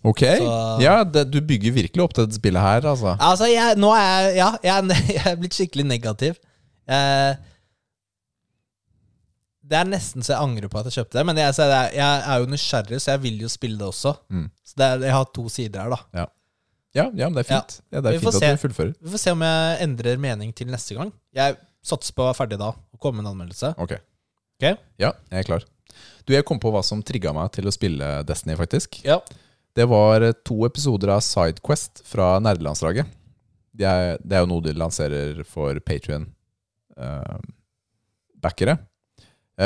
[SPEAKER 2] Ok.
[SPEAKER 1] Så-
[SPEAKER 2] Ja, det, du bygger virkelig opp til dette spillet her, altså.
[SPEAKER 1] Altså, jeg, nå er jeg Ja, jeg er, ne- jeg er blitt skikkelig negativ. Eh, det er nesten så jeg angrer på at jeg kjøpte det, men jeg, så er jeg, jeg er jo nysgjerrig, så jeg vil jo spille det også.
[SPEAKER 2] Mm.
[SPEAKER 1] Så det er, jeg har to sider her, da.
[SPEAKER 2] Ja, ja men det er fint. Ja, det
[SPEAKER 1] Vi
[SPEAKER 2] er
[SPEAKER 1] får
[SPEAKER 2] fint
[SPEAKER 1] se.
[SPEAKER 2] at du fullfører.
[SPEAKER 1] Vi får se om jeg endrer mening til neste gang. Jeg satser på å være ferdig da og komme med en anmeldelse.
[SPEAKER 2] Ok.
[SPEAKER 1] Ok.
[SPEAKER 2] Ja, jeg er klar. Du, jeg kom på hva som trigga meg til å spille Destiny, faktisk.
[SPEAKER 1] Ja.
[SPEAKER 2] Det var eh, to episoder av Sidequest fra Nerdelandslaget. Det er, det er jo noe de lanserer for Patrion-backere. Eh,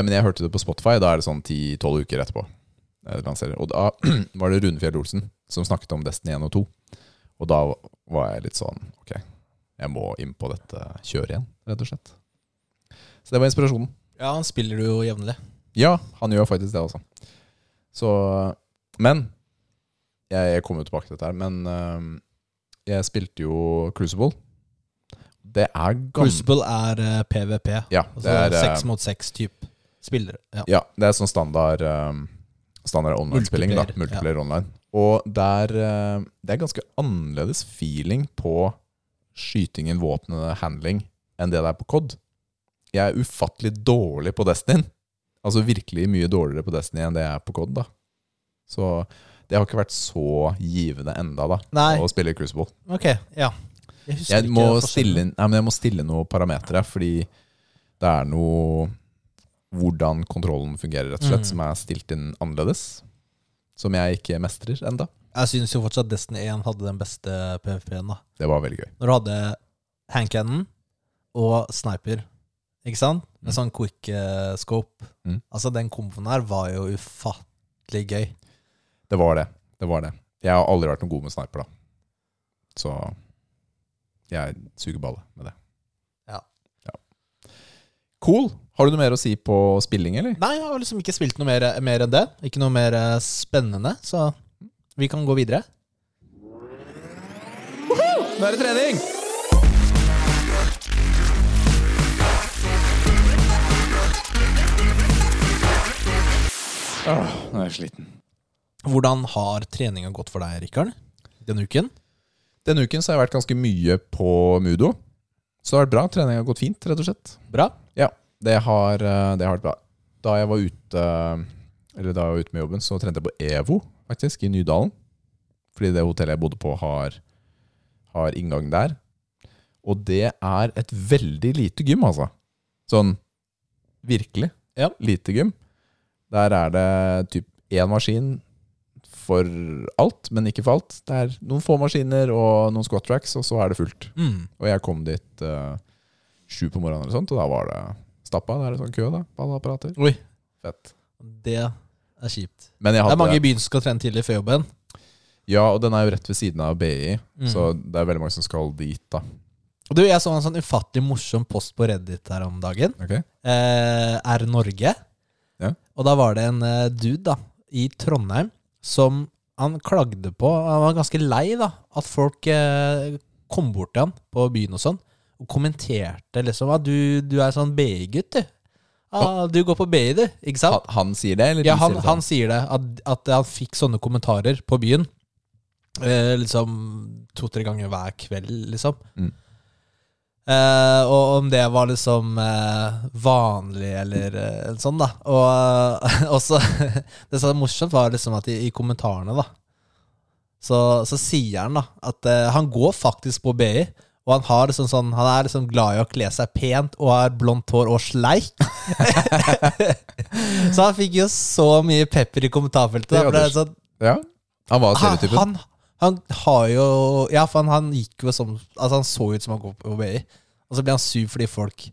[SPEAKER 2] men jeg hørte det på Spotify. Da er det sånn 10-12 uker etterpå. eh, de lanserer. Og da var det Rune Fjell Olsen som snakket om Destiny 1 og 2. Og da var jeg litt sånn Ok, jeg må inn på dette kjøret igjen, rett og slett. Så det var inspirasjonen.
[SPEAKER 1] ja, han spiller jo jevnlig.
[SPEAKER 2] Ja, han gjør faktisk det også. Så Men Jeg, jeg kommer jo tilbake til dette her, men øhm, jeg spilte jo Crucible. Det er ganske
[SPEAKER 1] Crucible er eh, PVP.
[SPEAKER 2] Ja,
[SPEAKER 1] Altså
[SPEAKER 2] det er,
[SPEAKER 1] seks
[SPEAKER 2] øh,
[SPEAKER 1] mot seks-type spillere. Ja.
[SPEAKER 2] ja, det er sånn standard øhm, standard online-spilling. da,
[SPEAKER 1] Multiplayer,
[SPEAKER 2] Multiplayer online. Og der, eh, det er ganske annerledes feeling på skytingen, våpnene, handling enn det det er på COD. Jeg er ufattelig dårlig på Destiny. Altså virkelig mye dårligere på Destiny enn det jeg er på COD. da. Så det har ikke vært så givende enda da,
[SPEAKER 1] Nei.
[SPEAKER 2] å spille Crucible.
[SPEAKER 1] Ok, ja. Jeg, husker
[SPEAKER 2] Jeg
[SPEAKER 1] ikke
[SPEAKER 2] må,
[SPEAKER 1] forskjellen.
[SPEAKER 2] stille, nei, men jeg må stille noen parametere, fordi det er noe Hvordan kontrollen fungerer, rett og slett,
[SPEAKER 1] Mm.
[SPEAKER 2] som er stilt inn annerledes. Som jeg ikke mestrer enda.
[SPEAKER 1] Jeg synes jo fortsatt Destiny 1 hadde den beste PVP-en. da
[SPEAKER 2] Det var veldig gøy.
[SPEAKER 1] Når du hadde handcannon og sniper, ikke sant? Med
[SPEAKER 2] Mm.
[SPEAKER 1] sånn quick eh, scope.
[SPEAKER 2] Mm.
[SPEAKER 1] Altså, den komboen her var jo ufattelig gøy.
[SPEAKER 2] Det var det. Det var det. Jeg har aldri vært noe god med sniper, da. Så jeg suger balle med det.
[SPEAKER 1] Ja.
[SPEAKER 2] Ja. Cool. Har du noe mer å si på spilling, eller?
[SPEAKER 1] Nei, jeg har liksom ikke spilt noe mer, mer enn det. Ikke noe mer eh, spennende, så vi kan gå videre.
[SPEAKER 2] Nå er det trening! Åh, nå er jeg sliten.
[SPEAKER 1] Hvordan har treninga gått for deg, Rikard? Denne uken?
[SPEAKER 2] Denne uken så har jeg vært ganske mye på Mudo. Så det har vært bra. Treninga har gått fint, rett og slett.
[SPEAKER 1] Bra?
[SPEAKER 2] Ja, det har, eh, det har vært bra. Da jeg var ute eh, Eller da jeg var ute med jobben, så trente jeg på EVO, faktisk, i Nydalen. Fordi det hotellet jeg bodde på, har, har inngang der. Og det er et veldig lite gym, altså. Sånn virkelig
[SPEAKER 1] Ja.
[SPEAKER 2] lite gym. Der er det typ én maskin for alt, men ikke for alt. Det er noen få maskiner og noen squat tracks, og så er det fullt.
[SPEAKER 1] Mm.
[SPEAKER 2] Og jeg kom dit eh, sju på morgenen, eller sånt, og da var det stappa. Da er det sånn kø da, på alle apparater.
[SPEAKER 1] Oi.
[SPEAKER 2] Fett.
[SPEAKER 1] Det er kjipt.
[SPEAKER 2] Men jeg
[SPEAKER 1] Det
[SPEAKER 2] hadde,
[SPEAKER 1] er mange i E byen som skal trene tidlig før jobben.
[SPEAKER 2] Ja, og den er jo rett ved siden av BI,
[SPEAKER 1] Mm.
[SPEAKER 2] så det er veldig mange som skal dit. da.
[SPEAKER 1] Og Du, jeg så en sånn ufattelig morsom post på Reddit her om dagen.
[SPEAKER 2] Ok?
[SPEAKER 1] eh, er Norge.
[SPEAKER 2] Ja.
[SPEAKER 1] Og da var det en eh, dude da, i Trondheim som han klagde på Han var ganske lei da, at folk eh, kom bort til han på byen og sånn, og kommenterte liksom at du, du er sånn BI-gutt, du. Ah, du går på BI, du. Ikke sant?
[SPEAKER 2] Han, han sier det, eller
[SPEAKER 1] Ja,
[SPEAKER 2] de
[SPEAKER 1] han,
[SPEAKER 2] sier det? sånn?
[SPEAKER 1] han sier det, at, at han fikk sånne kommentarer på byen. Eh, liksom to-tre ganger hver kveld, liksom.
[SPEAKER 2] Mm.
[SPEAKER 1] Eh, og om det var liksom eh, vanlig eller eh, sånn, da. Og eh, også Det som er morsomt, var liksom at i, i kommentarene, da, så, så sier han da at eh, han går faktisk på BI. Og han, har liksom sånn, han er liksom glad i å kle seg pent og har blondt hår og sleik. så han fikk jo så mye pepper i kommentarfeltet. Da,
[SPEAKER 2] Det
[SPEAKER 1] for det er
[SPEAKER 2] hadde-
[SPEAKER 1] sånn,
[SPEAKER 2] Ja, han var
[SPEAKER 1] han,
[SPEAKER 2] stereotypen.
[SPEAKER 1] han, han har jo Ja, for han, han gikk jo som Altså, han så ut som han går på BI. Og så ble han sur fordi folk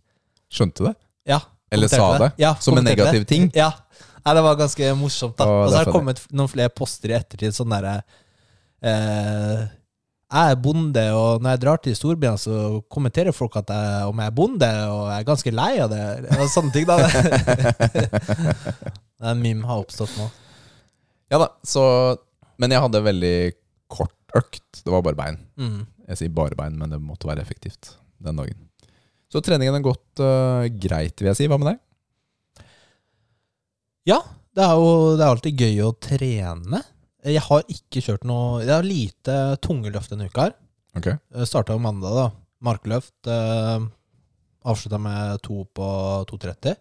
[SPEAKER 2] Skjønte det?
[SPEAKER 1] Ja.
[SPEAKER 2] Eller
[SPEAKER 1] kommenterte
[SPEAKER 2] sa det,
[SPEAKER 1] Ja,
[SPEAKER 2] som en
[SPEAKER 1] kommenterte det.
[SPEAKER 2] negativ ting.
[SPEAKER 1] Ja. Nei, det var ganske morsomt, da.
[SPEAKER 2] Å,
[SPEAKER 1] Og
[SPEAKER 2] det
[SPEAKER 1] så
[SPEAKER 2] er
[SPEAKER 1] har det kommet noen flere poster i ettertid, sånn derre eh, Jeg er bonde, og når jeg drar til storbyene, så kommenterer folk at jeg, om jeg er bonde, og jeg er ganske lei av det, og sånne ting, da. Det er En meme har oppstått nå.
[SPEAKER 2] Ja da, så Men jeg hadde veldig kort økt. Det var bare bein.
[SPEAKER 1] Mm.
[SPEAKER 2] Jeg sier bare bein, men det måtte være effektivt den dagen. Så treningen har gått øh, greit, vil jeg si. Hva med deg?
[SPEAKER 1] Ja, det er jo det er alltid gøy å trene. Jeg har ikke kjørt noe Det er lite tungeløft denne uka her.
[SPEAKER 2] Ok.
[SPEAKER 1] Starta Eh, jo mandag, da. Markløft. Eh, Avslutta med to på 2,30.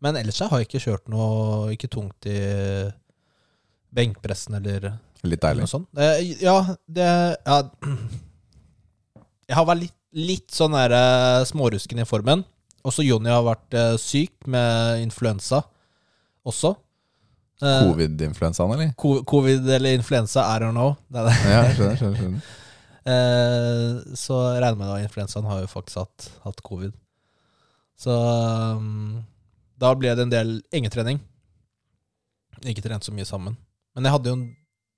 [SPEAKER 1] Men ellers så har jeg ikke kjørt noe ikke tungt i benkpressen eller
[SPEAKER 2] Litt
[SPEAKER 1] eller
[SPEAKER 2] deilig.
[SPEAKER 1] noe sånt. Eh, ja, det ja. Jeg har vært litt, litt sånn der, eh, smårusken i formen. Også Jonny har vært eh, syk med influensa også. Eh,
[SPEAKER 2] Covid-influensaen, eller?
[SPEAKER 1] ko- Covid eller influensa, I don't know. Det er det.
[SPEAKER 2] Ja, jeg skjønner, skjønner, skjønner.
[SPEAKER 1] Eh, så regner jeg med at influensaen har jo faktisk hatt, hatt covid. Så um, da ble det en del engetrening. Ikke trent så mye sammen. Men jeg hadde jo en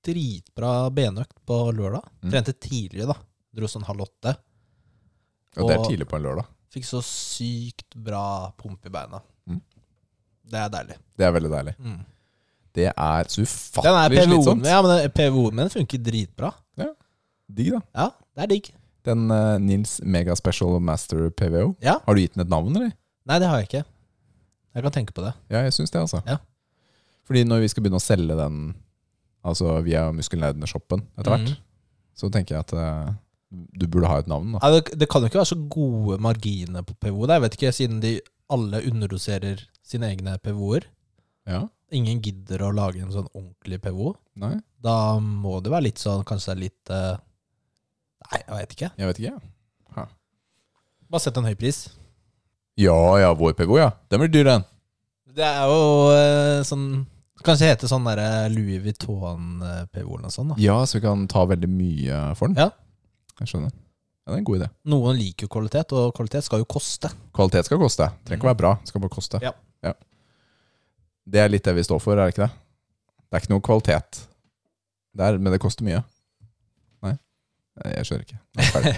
[SPEAKER 1] dritbra benøkt på lørdag.
[SPEAKER 2] Mm.
[SPEAKER 1] Trente tidlig, da. Dro sånn halv åtte.
[SPEAKER 2] Og det er
[SPEAKER 1] Og-
[SPEAKER 2] tidlig på en lørdag.
[SPEAKER 1] Fikk så sykt bra pump i beina.
[SPEAKER 2] Mm.
[SPEAKER 1] Det er deilig.
[SPEAKER 2] Det er veldig deilig.
[SPEAKER 1] Mm.
[SPEAKER 2] Det er så
[SPEAKER 1] Den er
[SPEAKER 2] ufattelig
[SPEAKER 1] PVO-en
[SPEAKER 2] slitsomt.
[SPEAKER 1] ja, men den- PVO-en min funker dritbra.
[SPEAKER 2] Digg, da.
[SPEAKER 1] Ja, det er digg.
[SPEAKER 2] Den eh, Nils Mega Special Master PVO.
[SPEAKER 1] Ja.
[SPEAKER 2] Har du gitt den et navn, eller?
[SPEAKER 1] Nei, det har jeg ikke. Jeg kan tenke på det.
[SPEAKER 2] Ja, jeg syns det, altså.
[SPEAKER 1] Ja.
[SPEAKER 2] Fordi når vi skal begynne å selge den Altså via muskelnerdene shoppen etter hvert,
[SPEAKER 1] Mm.
[SPEAKER 2] så tenker jeg at eh, du burde ha et navn. da
[SPEAKER 1] Nei, det, det kan jo ikke være så gode marginer på PVO. Jeg vet ikke, siden de alle underdoserer sine egne PVO-er.
[SPEAKER 2] Ja,
[SPEAKER 1] Ingen gidder å lage en sånn ordentlig PVO.
[SPEAKER 2] Nei,
[SPEAKER 1] Da må det være litt sånn, kanskje det er litt eh, Nei, jeg vet ikke.
[SPEAKER 2] jeg vet ikke. jeg.
[SPEAKER 1] Bare sett en høy pris.
[SPEAKER 2] Ja ja, vår PVO, ja. Den blir dyr, den.
[SPEAKER 1] Det er jo eh, sånn Kanskje hete sånn derre Louis Vuitton-PVO eller noe sånt. sånn, da.
[SPEAKER 2] Ja, så vi kan ta veldig mye for den.
[SPEAKER 1] Ja.
[SPEAKER 2] Jeg skjønner. Ja, Det er en god idé.
[SPEAKER 1] Noen liker jo kvalitet, og kvalitet skal jo koste.
[SPEAKER 2] Kvalitet skal koste. Trenger ikke å være bra, det skal bare koste.
[SPEAKER 1] Ja.
[SPEAKER 2] Det er litt det vi står for, er det ikke det? Det er ikke noe kvalitet der, men det koster mye. Nei, Nei, jeg skjønner ikke. Nei, ferdig.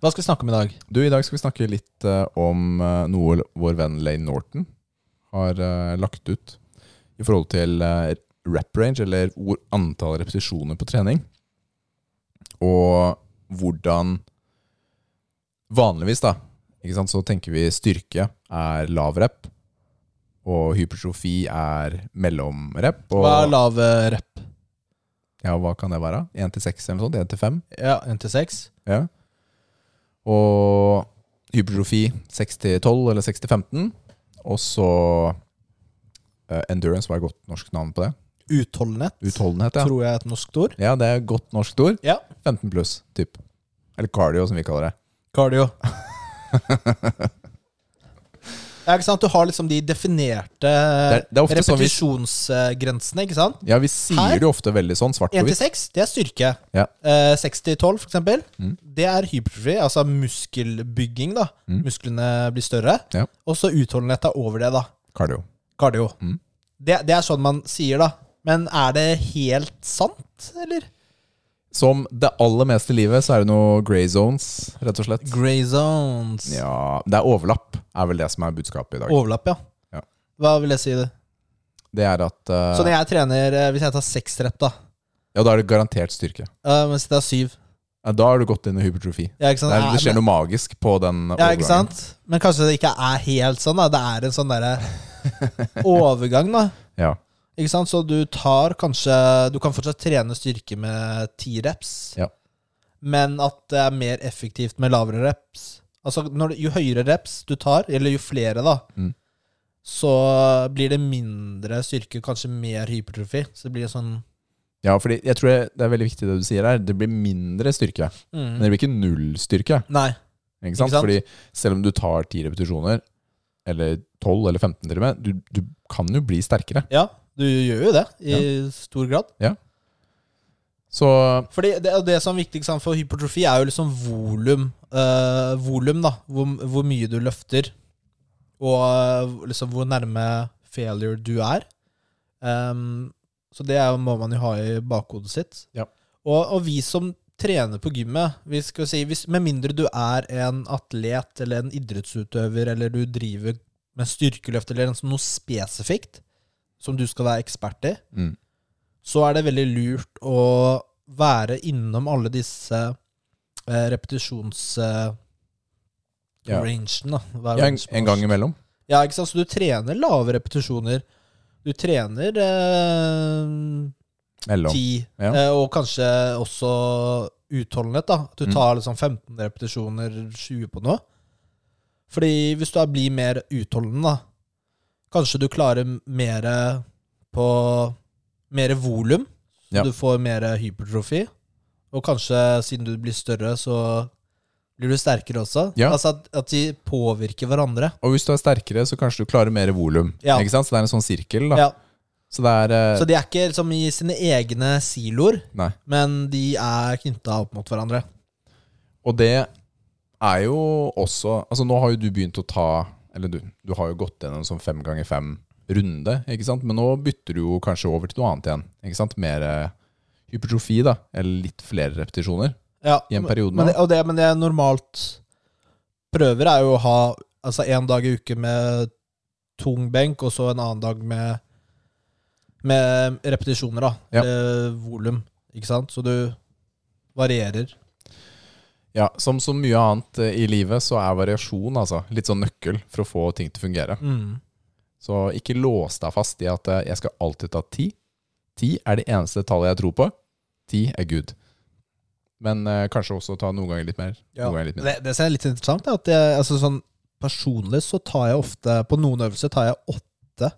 [SPEAKER 1] Hva skal vi snakke om i dag?
[SPEAKER 2] Du, I dag skal vi snakke litt eh, om eh, noe vår venn Lane Norton har eh, lagt ut i forhold til eh, rep range, eller hvor antall repetisjoner på trening, og hvordan Vanligvis, da, ikke sant, så tenker vi styrke er lav rep, og hypertrofi er mellom rep. Og
[SPEAKER 1] Hva er lav eh, rep?
[SPEAKER 2] ja, hva kan det være? 1 til 6 eller noe sånt? 1 til 5?
[SPEAKER 1] Ja, 1 til 6?
[SPEAKER 2] Ja. Og hypertrofi 6-12 eller 6-15. Og så eh, endurance, hva er godt norsk navn på det?
[SPEAKER 1] Utholdenhet,
[SPEAKER 2] Utholdenhet, ja.
[SPEAKER 1] tror jeg er et norsk ord.
[SPEAKER 2] Ja, det er godt norsk ord.
[SPEAKER 1] Ja.
[SPEAKER 2] 15 pluss, typ. Eller cardio, som vi kaller det.
[SPEAKER 1] Cardio. ja, ikke sant? Du har liksom de definerte
[SPEAKER 2] Det er, det er ofte sånn vi,
[SPEAKER 1] repetisjonsgrensene, ikke sant?
[SPEAKER 2] ja, vi sier
[SPEAKER 1] Her?
[SPEAKER 2] det jo ofte veldig sånn, svart på
[SPEAKER 1] 1 til
[SPEAKER 2] hvitt.
[SPEAKER 1] 6, det er styrke.
[SPEAKER 2] Ja.
[SPEAKER 1] Eh, 6 til 12, for eksempel,
[SPEAKER 2] Mm.
[SPEAKER 1] det er hypertrofi, altså muskelbygging, da.
[SPEAKER 2] Mm.
[SPEAKER 1] Musklene blir større.
[SPEAKER 2] Ja.
[SPEAKER 1] Og så utholdenhet er over det, da.
[SPEAKER 2] Cardio.
[SPEAKER 1] Cardio.
[SPEAKER 2] Mm.
[SPEAKER 1] Det, det er sånn man sier, da. Men er det helt sant, eller?
[SPEAKER 2] Som det aller meste i livet, så er det noe grey zones, rett og slett.
[SPEAKER 1] Grey zones.
[SPEAKER 2] Ja, Det er overlapp, er vel det som er budskapet i dag.
[SPEAKER 1] Overlapp, ja.
[SPEAKER 2] Ja.
[SPEAKER 1] Hva vil jeg si? det?
[SPEAKER 2] Det er at eh,
[SPEAKER 1] Så når jeg trener, eh, hvis jeg tar seks rep, da,
[SPEAKER 2] Ja, da er det garantert styrke.
[SPEAKER 1] eh, mens det er syv
[SPEAKER 2] Ja, da har du gått inn i hypertrofi.
[SPEAKER 1] ja, ikke sant?
[SPEAKER 2] Det, er, det skjer
[SPEAKER 1] men,
[SPEAKER 2] noe magisk på den
[SPEAKER 1] ja, ikke sant? Men kanskje det ikke er helt sånn, da. Det er en sånn derre overgang, da.
[SPEAKER 2] Ja.
[SPEAKER 1] Ikke sant? Så du tar kanskje Du kan fortsatt trene styrke med ti reps,
[SPEAKER 2] Ja.
[SPEAKER 1] men at det er mer effektivt med lavere reps. Altså, når, du- jo høyere reps du tar, eller jo flere, da,
[SPEAKER 2] Mm.
[SPEAKER 1] så blir det mindre styrke, kanskje mer hypertrofi. Så det blir sånn
[SPEAKER 2] ja, fordi jeg tror det er veldig viktig det du sier her. Det blir mindre styrke, men
[SPEAKER 1] mm,
[SPEAKER 2] det blir ikke null styrke.
[SPEAKER 1] Nei.
[SPEAKER 2] Ikke sant?
[SPEAKER 1] Ikke sant?
[SPEAKER 2] Fordi selv om du tar ti repetisjoner, eller 12 eller 15 til og med, du, du kan jo bli sterkere.
[SPEAKER 1] Ja, du gjør jo det, i stor grad.
[SPEAKER 2] Så
[SPEAKER 1] Fordi det, og det som er viktig ikke sant, for hypertrofi, er jo liksom volum. eh, volum, da. Hvor, hvor mye du løfter. Og eh, liksom hvor nærme failure du er. Ehm, så det er, jo- må man jo ha i bakhodet sitt.
[SPEAKER 2] Ja.
[SPEAKER 1] Og, og vi som trener på gymmet, vi skal si, hvis, med mindre du er en atlet eller en idrettsutøver, eller du driver med styrkeløft eller en sånn noe spesifikt som du skal være ekspert i,
[SPEAKER 2] mm,
[SPEAKER 1] så er det veldig lurt å være innom alle disse eh, repetisjons... Eh,
[SPEAKER 2] Ja.
[SPEAKER 1] Rangen, da. Hva er
[SPEAKER 2] ja, en,
[SPEAKER 1] range på
[SPEAKER 2] en gang
[SPEAKER 1] norsk?
[SPEAKER 2] imellom.
[SPEAKER 1] Ja, ikke sant? Så du trener lave repetisjoner. Du trener eh,
[SPEAKER 2] Mellom.
[SPEAKER 1] ti,
[SPEAKER 2] Ja.
[SPEAKER 1] eh, og kanskje også utholdenhet, da. At du
[SPEAKER 2] Mm.
[SPEAKER 1] tar liksom 15 repetisjoner, 20 på noe. Fordi hvis du er- blir mer utholdende, da, kanskje du klarer mer på mer volum, så
[SPEAKER 2] Ja.
[SPEAKER 1] du får mer hypertrofi. Og kanskje siden du blir større, så blir du sterkere også.
[SPEAKER 2] Ja.
[SPEAKER 1] Altså at, at de påvirker hverandre.
[SPEAKER 2] Og hvis du er sterkere, så kanskje du klarer mer volum.
[SPEAKER 1] Ja.
[SPEAKER 2] Ikke sant? Så det er en sånn sirkel. Da.
[SPEAKER 1] Ja.
[SPEAKER 2] Så det er eh,
[SPEAKER 1] Så de er ikke liksom i sine egne siloer,
[SPEAKER 2] Nei.
[SPEAKER 1] men de er knytta opp mot hverandre.
[SPEAKER 2] Og det er jo også Altså nå har jo du begynt å ta Eller du, du har jo gått gjennom en sånn fem ganger fem runde, ikke sant? Men nå bytter du jo kanskje over til noe annet igjen. Ikke sant? Mer eh, hypertrofi, da. Eller litt flere repetisjoner.
[SPEAKER 1] Ja,
[SPEAKER 2] I en periode
[SPEAKER 1] men,
[SPEAKER 2] nå.
[SPEAKER 1] det- og det, men det jeg normalt prøver, er jo å ha altså en dag i uke med tung benk, og så en annen dag med, med repetisjoner, da.
[SPEAKER 2] Ja.
[SPEAKER 1] Eller volum. Ikke sant? Så du varierer.
[SPEAKER 2] Ja, Som så mye annet eh, i livet, så er variasjon altså litt sånn nøkkel for å få ting til å fungere.
[SPEAKER 1] Mm.
[SPEAKER 2] Så ikke lås deg fast i at eh, jeg skal alltid ta ti. Ti er det eneste tallet jeg tror på. Ti er good. Men eh, kanskje også ta noen ganger litt mer.
[SPEAKER 1] Ja.
[SPEAKER 2] Noen ganger litt mindre.
[SPEAKER 1] Det, det som er litt interessant, er at jeg, altså sånn, personlig så tar jeg ofte På noen øvelser tar jeg åtte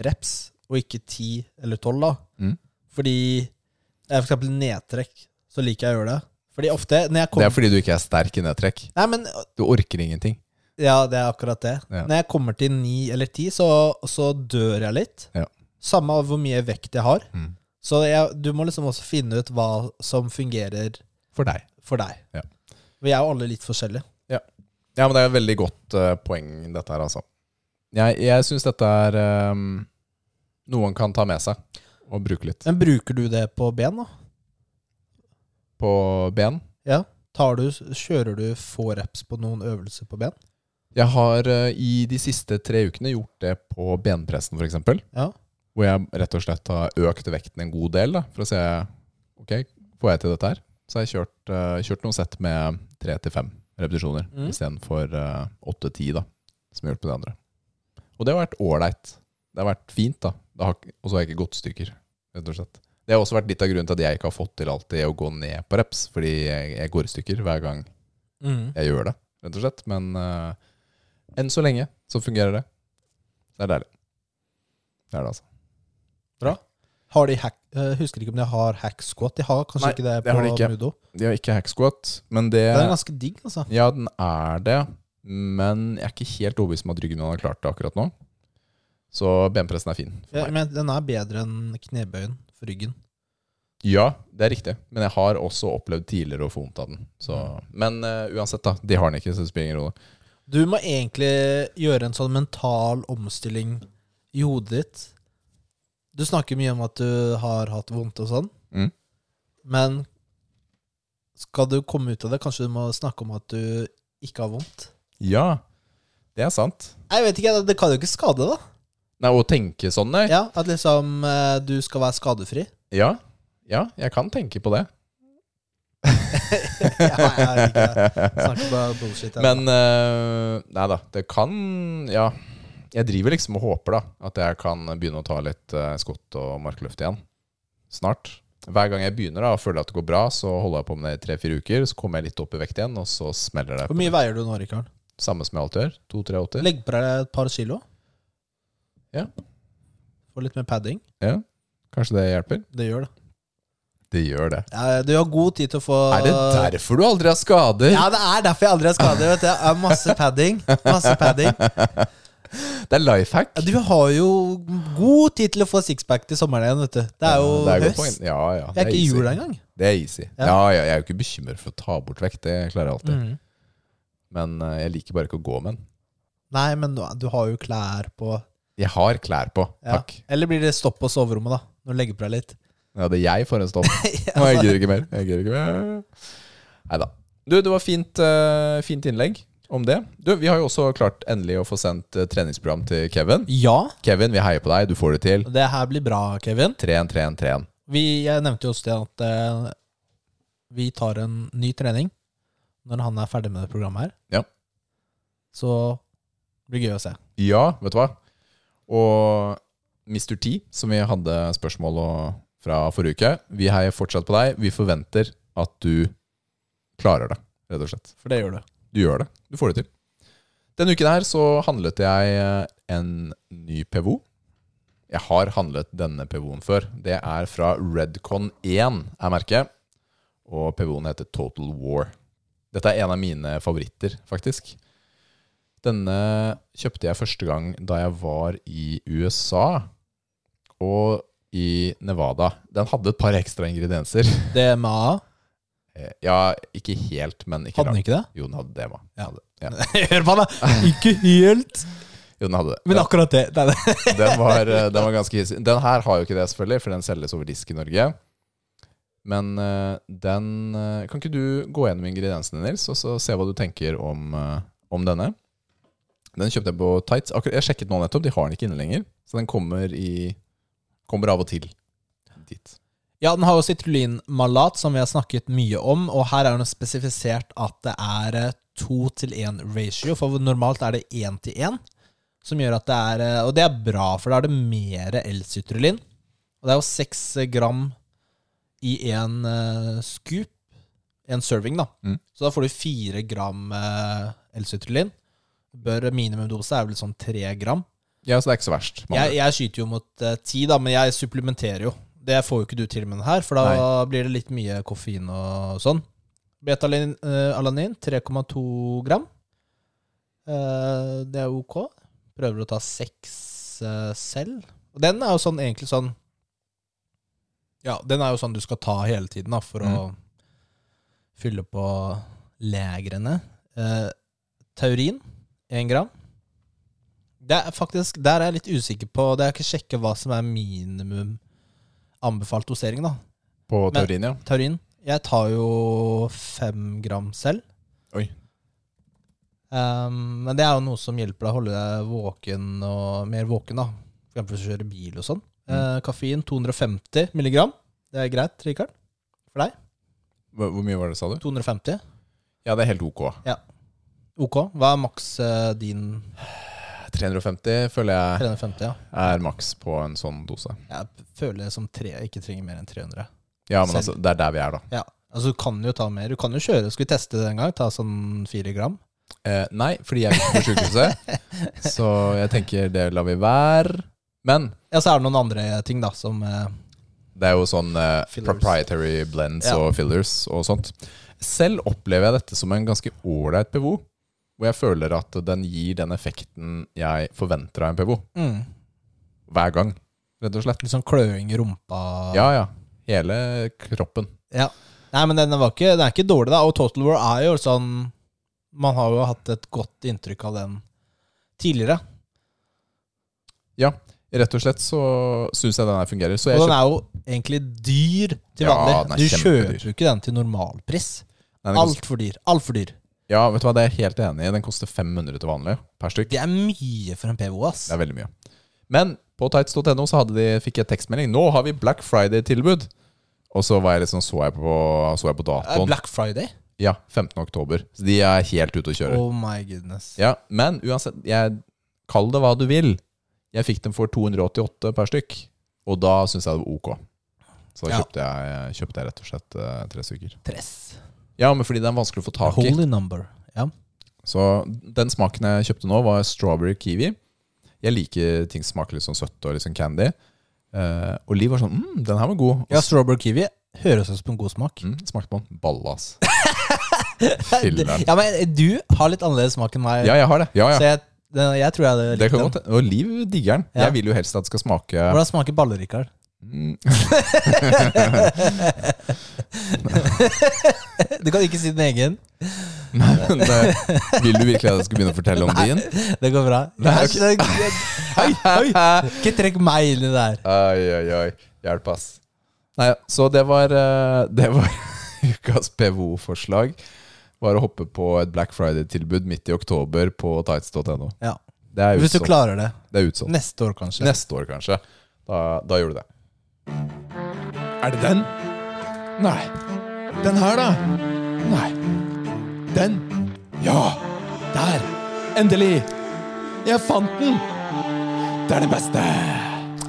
[SPEAKER 1] reps, og ikke ti eller tolv. da.
[SPEAKER 2] Mm.
[SPEAKER 1] Fordi eh, For eksempel nedtrekk, så liker jeg å gjøre det. Fordi ofte når jeg
[SPEAKER 2] Det
[SPEAKER 1] kommer
[SPEAKER 2] er fordi du ikke er sterk i nedtrekk.
[SPEAKER 1] Nei, men
[SPEAKER 2] Du orker ingenting.
[SPEAKER 1] Ja, det er akkurat det.
[SPEAKER 2] Ja.
[SPEAKER 1] Når jeg kommer til ni eller ti, så, så dør jeg litt.
[SPEAKER 2] Ja.
[SPEAKER 1] Samme av hvor mye vekt jeg har.
[SPEAKER 2] Mm.
[SPEAKER 1] Så jeg, du må liksom også finne ut hva som fungerer
[SPEAKER 2] For deg.
[SPEAKER 1] for deg.
[SPEAKER 2] Ja.
[SPEAKER 1] Vi er jo alle litt forskjellige.
[SPEAKER 2] Ja, men det er et veldig godt eh, poeng, dette her, altså. Jeg, jeg syns dette er eh, noe han kan ta med seg og bruke litt.
[SPEAKER 1] Men bruker du det på ben, da?
[SPEAKER 2] På ben.
[SPEAKER 1] Ja. Tar du, kjører du få reps på noen øvelser på ben?
[SPEAKER 2] Jeg har eh, i de siste tre ukene gjort det på benpressen, for eksempel.
[SPEAKER 1] Ja.
[SPEAKER 2] Hvor jeg rett og slett har økt vekten en god del, da, for å se ok, får jeg til dette her. Så har jeg kjørt, eh, kjørt noen sett med tre til fem repetisjoner
[SPEAKER 1] Mm.
[SPEAKER 2] istedenfor åtte-ti, da, som jeg har gjort på de andre. Og det har vært ålreit. Det har vært fint, da. Det har ikke- Og så har jeg ikke gått stykker, rett og slett. Det har også vært litt av grunnen til at jeg ikke har fått til alltid å gå ned på reps, fordi jeg, jeg går i stykker hver gang
[SPEAKER 1] Mm.
[SPEAKER 2] jeg gjør det, rett og slett. Men eh, enn så lenge så fungerer det. Det er deilig. Det er det, altså.
[SPEAKER 1] Har de hack, eh, husker ikke om de har hack squat. De har kanskje
[SPEAKER 2] Nei,
[SPEAKER 1] ikke det
[SPEAKER 2] det
[SPEAKER 1] på
[SPEAKER 2] har de ikke.
[SPEAKER 1] Mudo.
[SPEAKER 2] De har ikke hacksquat, men det
[SPEAKER 1] Den er ganske digg, altså.
[SPEAKER 2] Ja, den er det, men jeg er ikke helt overbevist om at ryggen min har klart det akkurat nå. Så benpressen er fin.
[SPEAKER 1] Ja,
[SPEAKER 2] For meg.
[SPEAKER 1] men den er bedre enn knebøyen for ryggen.
[SPEAKER 2] Ja, det er riktig, men jeg har også opplevd tidligere å få vondt av den. Så. Men eh, uansett, da. De har den ikke, så det spiller ingen rolle.
[SPEAKER 1] Du må egentlig gjøre en sånn mental omstilling i hodet ditt. Du snakker mye om at du har hatt vondt og sånn,
[SPEAKER 2] Mm.
[SPEAKER 1] men skal du komme ut av det, kanskje du må snakke om at du ikke har vondt?
[SPEAKER 2] Ja, det er sant.
[SPEAKER 1] Jeg vet ikke, det kan jo ikke skade, da.
[SPEAKER 2] Nei, å tenke sånn, nei.
[SPEAKER 1] Ja, At liksom eh, du skal være skadefri.
[SPEAKER 2] Ja, ja jeg kan tenke på det.
[SPEAKER 1] ja, jeg vet ikke. Snakker bare bullshit. jeg.
[SPEAKER 2] Men eh, Nei da, det kan Ja. Jeg driver liksom og håper da at jeg kan begynne å ta litt eh, skott og markløft igjen. Snart. Hver gang jeg begynner da og føler at det går bra, så holder jeg på med det i tre-fire uker. Så kommer jeg litt opp i vekt igjen, og så smeller det.
[SPEAKER 1] Hvor mye veier du nå, Rikard?
[SPEAKER 2] Samme som jeg alltid gjør. To-tre åtter.
[SPEAKER 1] Legg på deg et par kilo.
[SPEAKER 2] Ja.
[SPEAKER 1] Få litt mer padding.
[SPEAKER 2] Ja. Kanskje det hjelper?
[SPEAKER 1] Det gjør det.
[SPEAKER 2] Det gjør det.
[SPEAKER 1] Ja, du har god tid til å få
[SPEAKER 2] Er det derfor du aldri har skader?
[SPEAKER 1] Ja, det er derfor jeg aldri har skader. Vet du. Jeg har masse padding. Masse padding.
[SPEAKER 2] Det er life hack.
[SPEAKER 1] Ja, Du har jo god tid til å få sixpack til sommeren igjen. vet du. Det er jo
[SPEAKER 2] Det godt
[SPEAKER 1] høst.
[SPEAKER 2] poeng. Ja, ja.
[SPEAKER 1] Jeg er
[SPEAKER 2] det
[SPEAKER 1] ikke i
[SPEAKER 2] easy.
[SPEAKER 1] jula engang.
[SPEAKER 2] Det er easy.
[SPEAKER 1] Ja.
[SPEAKER 2] Ja. ja, Jeg er jo ikke bekymret for å ta bort vekt. Det klarer jeg alltid.
[SPEAKER 1] Mm.
[SPEAKER 2] Men eh, jeg liker bare ikke å gå med den.
[SPEAKER 1] Nei, men du, du har jo klær på.
[SPEAKER 2] Jeg har klær på,
[SPEAKER 1] Ja.
[SPEAKER 2] takk.
[SPEAKER 1] Eller blir det stopp på soverommet, da? Når du legger på deg litt.
[SPEAKER 2] Ja, det er jeg for en stopp. Nå, jeg
[SPEAKER 1] Altså,
[SPEAKER 2] gidder ikke mer. Jeg gidder ikke mer. Neida. Du, det var fint, eh, fint innlegg om det. Du, vi har jo også klart endelig å få sendt eh, treningsprogram til Kevin.
[SPEAKER 1] ja,
[SPEAKER 2] Kevin, vi heier på deg. Du får det til.
[SPEAKER 1] det her blir bra, Kevin.
[SPEAKER 2] Tren, tren, tren.
[SPEAKER 1] Vi, jeg nevnte jo også det at eh, vi tar en ny trening når han er ferdig med det programmet her.
[SPEAKER 2] Ja.
[SPEAKER 1] Så det blir gøy å se.
[SPEAKER 2] Ja, vet du hva? Og Mr. T, som vi hadde spørsmål og- fra forrige uke, vi heier fortsatt på deg. Vi forventer at du klarer det, rett og slett.
[SPEAKER 1] For det gjør du.
[SPEAKER 2] Du gjør det. Du får det til. Denne uken her så handlet jeg eh, en ny PVO. Jeg har handlet denne PVO-en før. Det er fra Redcon1, er merket. Og PVO-en heter Total War. Dette er en av mine favoritter, faktisk. Denne kjøpte jeg første gang da jeg var i USA og i Nevada. Den hadde et par ekstra ingredienser.
[SPEAKER 1] DMA,
[SPEAKER 2] Eh, Ja, ikke helt, men ikke
[SPEAKER 1] hadde han
[SPEAKER 2] langt.
[SPEAKER 1] ikke det?
[SPEAKER 2] Jo, den hadde det, hva?
[SPEAKER 1] Ja.
[SPEAKER 2] Hadde- ja.
[SPEAKER 1] Hør på han, da! Ikke helt,
[SPEAKER 2] Jo, den hadde det.
[SPEAKER 1] men akkurat det. Nei, nei.
[SPEAKER 2] Den var, eh, den var ganske hissig. Den her har jo ikke det, selvfølgelig, for den selges over disk i Norge. Men eh, den eh, Kan ikke du gå gjennom ingrediensene, Nils, og så se hva du tenker om, eh, om denne? Den kjøpte jeg på Tights. Akkurat, jeg sjekket nå nettopp, de har den ikke inne lenger. Så den kommer, i, kommer av og til dit.
[SPEAKER 1] Ja, den har jo citrullinmalat, som vi har snakket mye om, og her er det spesifisert at det er eh, 2 til 1 ratio, for normalt er det 1 til 1. Som gjør at det er eh, Og det er bra, for da er det mer L-sytrulin. Og det er jo seks eh, gram i én scoop. En serving, da.
[SPEAKER 2] Mm.
[SPEAKER 1] Så da får du fire gram eh, L-sytrulin. Bør minimumdose er vel sånn tre gram.
[SPEAKER 2] Ja, så det er ikke så verst. med andre
[SPEAKER 1] Jeg, jeg skyter jo mot eh, ti, da, men jeg supplementerer jo. Det får jo ikke du til med den her, for da blir det litt mye koffein og sånn. eh, Beta-alanin, 3,2 gram. Eh, det er ok. Prøver å ta seks eh, selv. Og den er jo sånn egentlig sånn Ja, den er jo sånn du skal ta hele tiden da, for å fylle på legrene. Eh, taurin, én gram. Det er faktisk, Der er jeg litt usikker på Det er ikke sjekke hva som er minimum anbefalt dosering. da
[SPEAKER 2] På
[SPEAKER 1] Men-
[SPEAKER 2] teorien, ja.
[SPEAKER 1] Taurin. Jeg tar jo fem gram selv.
[SPEAKER 2] Oi.
[SPEAKER 1] Ehm, men det er jo noe som hjelper deg å holde deg våken og mer våken. da For eksempel hvis du kjører bil og sånn.
[SPEAKER 2] Mm.
[SPEAKER 1] Eh, kaffein 250 milligram. Det er greit, Rikard? For deg?
[SPEAKER 2] Hvor hvor mye var det, sa du?
[SPEAKER 1] 250.
[SPEAKER 2] Ja, det er helt ok.
[SPEAKER 1] Ok. Hva er maks eh, din
[SPEAKER 2] 350 føler jeg
[SPEAKER 1] 350? Ja.
[SPEAKER 2] er maks på en sånn dose.
[SPEAKER 1] Jeg føler det som tre, ikke trenger mer enn 300.
[SPEAKER 2] Ja, men
[SPEAKER 1] Selv.
[SPEAKER 2] altså, det er der vi er, da.
[SPEAKER 1] Ja, altså Du kan jo ta mer. Du kan jo kjøre. Skal vi teste det en gang? Ta sånn fire gram?
[SPEAKER 2] Eh, nei, fordi jeg er ikke på sykehuset, så jeg tenker det lar vi være. Men
[SPEAKER 1] Ja, så er det noen andre ting, da, som eh,
[SPEAKER 2] det er jo sånn eh,
[SPEAKER 1] Fillers.
[SPEAKER 2] proprietary blends
[SPEAKER 1] Ja.
[SPEAKER 2] og fillers og sånt. Selv opplever jeg dette som en ganske ålreit PVO, hvor jeg føler at den gir den effekten jeg forventer av en PVO,
[SPEAKER 1] mm,
[SPEAKER 2] hver gang, rett og slett.
[SPEAKER 1] Litt sånn kløing i rumpa.
[SPEAKER 2] Ja, ja. Hele kroppen.
[SPEAKER 1] Ja. Nei, men den, var ikke, den er ikke dårlig, da. Og Total War er jo sånn Man har jo hatt et godt inntrykk av den tidligere.
[SPEAKER 2] Rett og slett så syns jeg den her fungerer. Så jeg
[SPEAKER 1] Og den
[SPEAKER 2] kjøper
[SPEAKER 1] er jo egentlig dyr til
[SPEAKER 2] Ja, den er
[SPEAKER 1] vanlig. Du
[SPEAKER 2] kjempedyr.
[SPEAKER 1] kjøper jo ikke den til normalpris.
[SPEAKER 2] den. den koster,
[SPEAKER 1] Altfor dyr. Altfor dyr.
[SPEAKER 2] ja, vet du hva, det er jeg helt enig i. Den koster 500 til vanlig per stykk.
[SPEAKER 1] Det er mye for en PVO, ass.
[SPEAKER 2] Det er veldig mye. Men på tights.no så hadde de, fikk jeg tekstmelding. 'Nå har vi Black Friday-tilbud'. Og så var jeg litt sånn, så jeg på, så jeg på
[SPEAKER 1] Eh,
[SPEAKER 2] datoen.
[SPEAKER 1] Black Friday.
[SPEAKER 2] Ja, 15. oktober. Så de er helt ute å kjøre.
[SPEAKER 1] Oh my goodness.
[SPEAKER 2] Ja, Men uansett, jeg, kall det hva du vil. Jeg fikk dem for 288 per stykk. Og da syns jeg det var ok. Så da
[SPEAKER 1] Ja.
[SPEAKER 2] kjøpte jeg, kjøpte jeg rett og slett eh, tre stykker.
[SPEAKER 1] Tress.
[SPEAKER 2] Ja, men fordi det er vanskelig å få tak i.
[SPEAKER 1] Holy number. Ja.
[SPEAKER 2] Så den smaken jeg kjøpte nå, var strawberry kiwi. Jeg liker ting som smaker litt sånn søtt og litt sånn candy. Eh, og Liv var sånn mm, 'Den her var god'. Og
[SPEAKER 1] Ja, strawberry kiwi høres ut som en god smak.
[SPEAKER 2] mm, smakte på den. Ballas. Filler'n.
[SPEAKER 1] Ja, men Du har litt annerledes smak enn meg,
[SPEAKER 2] Ja, jeg har det. Ja,
[SPEAKER 1] så
[SPEAKER 2] ja.
[SPEAKER 1] jeg, den- jeg tror jeg hadde
[SPEAKER 2] Det
[SPEAKER 1] likt
[SPEAKER 2] kan
[SPEAKER 1] den.
[SPEAKER 2] godt Og Liv digger den.
[SPEAKER 1] Ja.
[SPEAKER 2] Jeg vil jo helst at det skal smake
[SPEAKER 1] Hvordan smaker baller, Rikard?
[SPEAKER 2] mm,
[SPEAKER 1] Du kan ikke si din egen.
[SPEAKER 2] Nei, men det, Vil du virkelig at jeg skal begynne å fortelle om din?
[SPEAKER 1] Det går bra.
[SPEAKER 2] Nei, ok.
[SPEAKER 1] Jeg- jeg- Oi, oi. Ikke trekk meg inn i det her.
[SPEAKER 2] Oi, oi, oi. Hjelp, ass. Nei, så det var, eh, det var ukas PVO-forslag. Var å hoppe på et Black Friday-tilbud midt i oktober på tights.no.
[SPEAKER 1] Ja.
[SPEAKER 2] Det er
[SPEAKER 1] Hvis du
[SPEAKER 2] utsolgt.
[SPEAKER 1] klarer det.
[SPEAKER 2] Det er utsolgt.
[SPEAKER 1] Neste år, kanskje.
[SPEAKER 2] Neste år, kanskje. Da, da gjør du det. Er det den? Nei. Den her, da? Nei. Den? Ja! Der! Endelig! Jeg fant den! Det er det beste!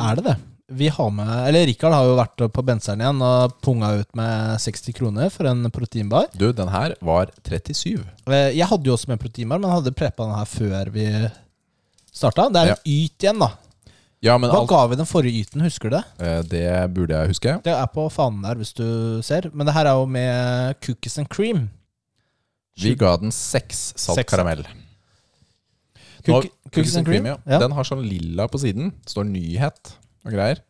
[SPEAKER 1] Er det det? Vi har med, eller Rikard har jo vært på benseren igjen og punga ut med 60 kroner for en proteinbar.
[SPEAKER 2] Du, den her var 37.
[SPEAKER 1] Eh, Jeg hadde jo også med proteinbar, men hadde preppa den her før vi starta. Det er en yt igjen, da.
[SPEAKER 2] Ja, men
[SPEAKER 1] Hva
[SPEAKER 2] alt,
[SPEAKER 1] ga vi den forrige yten, husker du det?
[SPEAKER 2] eh, det burde jeg huske.
[SPEAKER 1] Det er på fanen der, hvis du ser. Men det her er jo med cookies and cream.
[SPEAKER 2] Vi ga den seks salt
[SPEAKER 1] Seks.
[SPEAKER 2] karamell. Nå-
[SPEAKER 1] Cook, cookies and cream,
[SPEAKER 2] ja.
[SPEAKER 1] ja.
[SPEAKER 2] Den har sånn lilla på siden. Står nyhet og greier.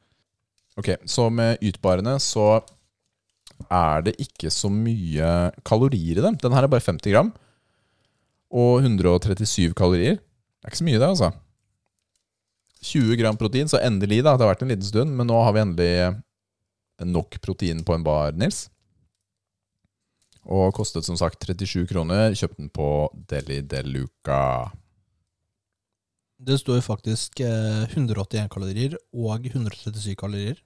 [SPEAKER 2] Ok, Så med ytbarene så er det ikke så mye kalorier i dem. Den her er bare 50 gram. Og 137 kalorier. Det er ikke så mye, det, altså. 20 gram protein, så endelig, da. Det har vært en liten stund, men nå har vi endelig nok protein på en bar, Nils. Og kostet som sagt 37 kroner. Kjøpte den på Deli de Luca.
[SPEAKER 1] Det står jo faktisk eh, 181 kalorier og 137 kalorier.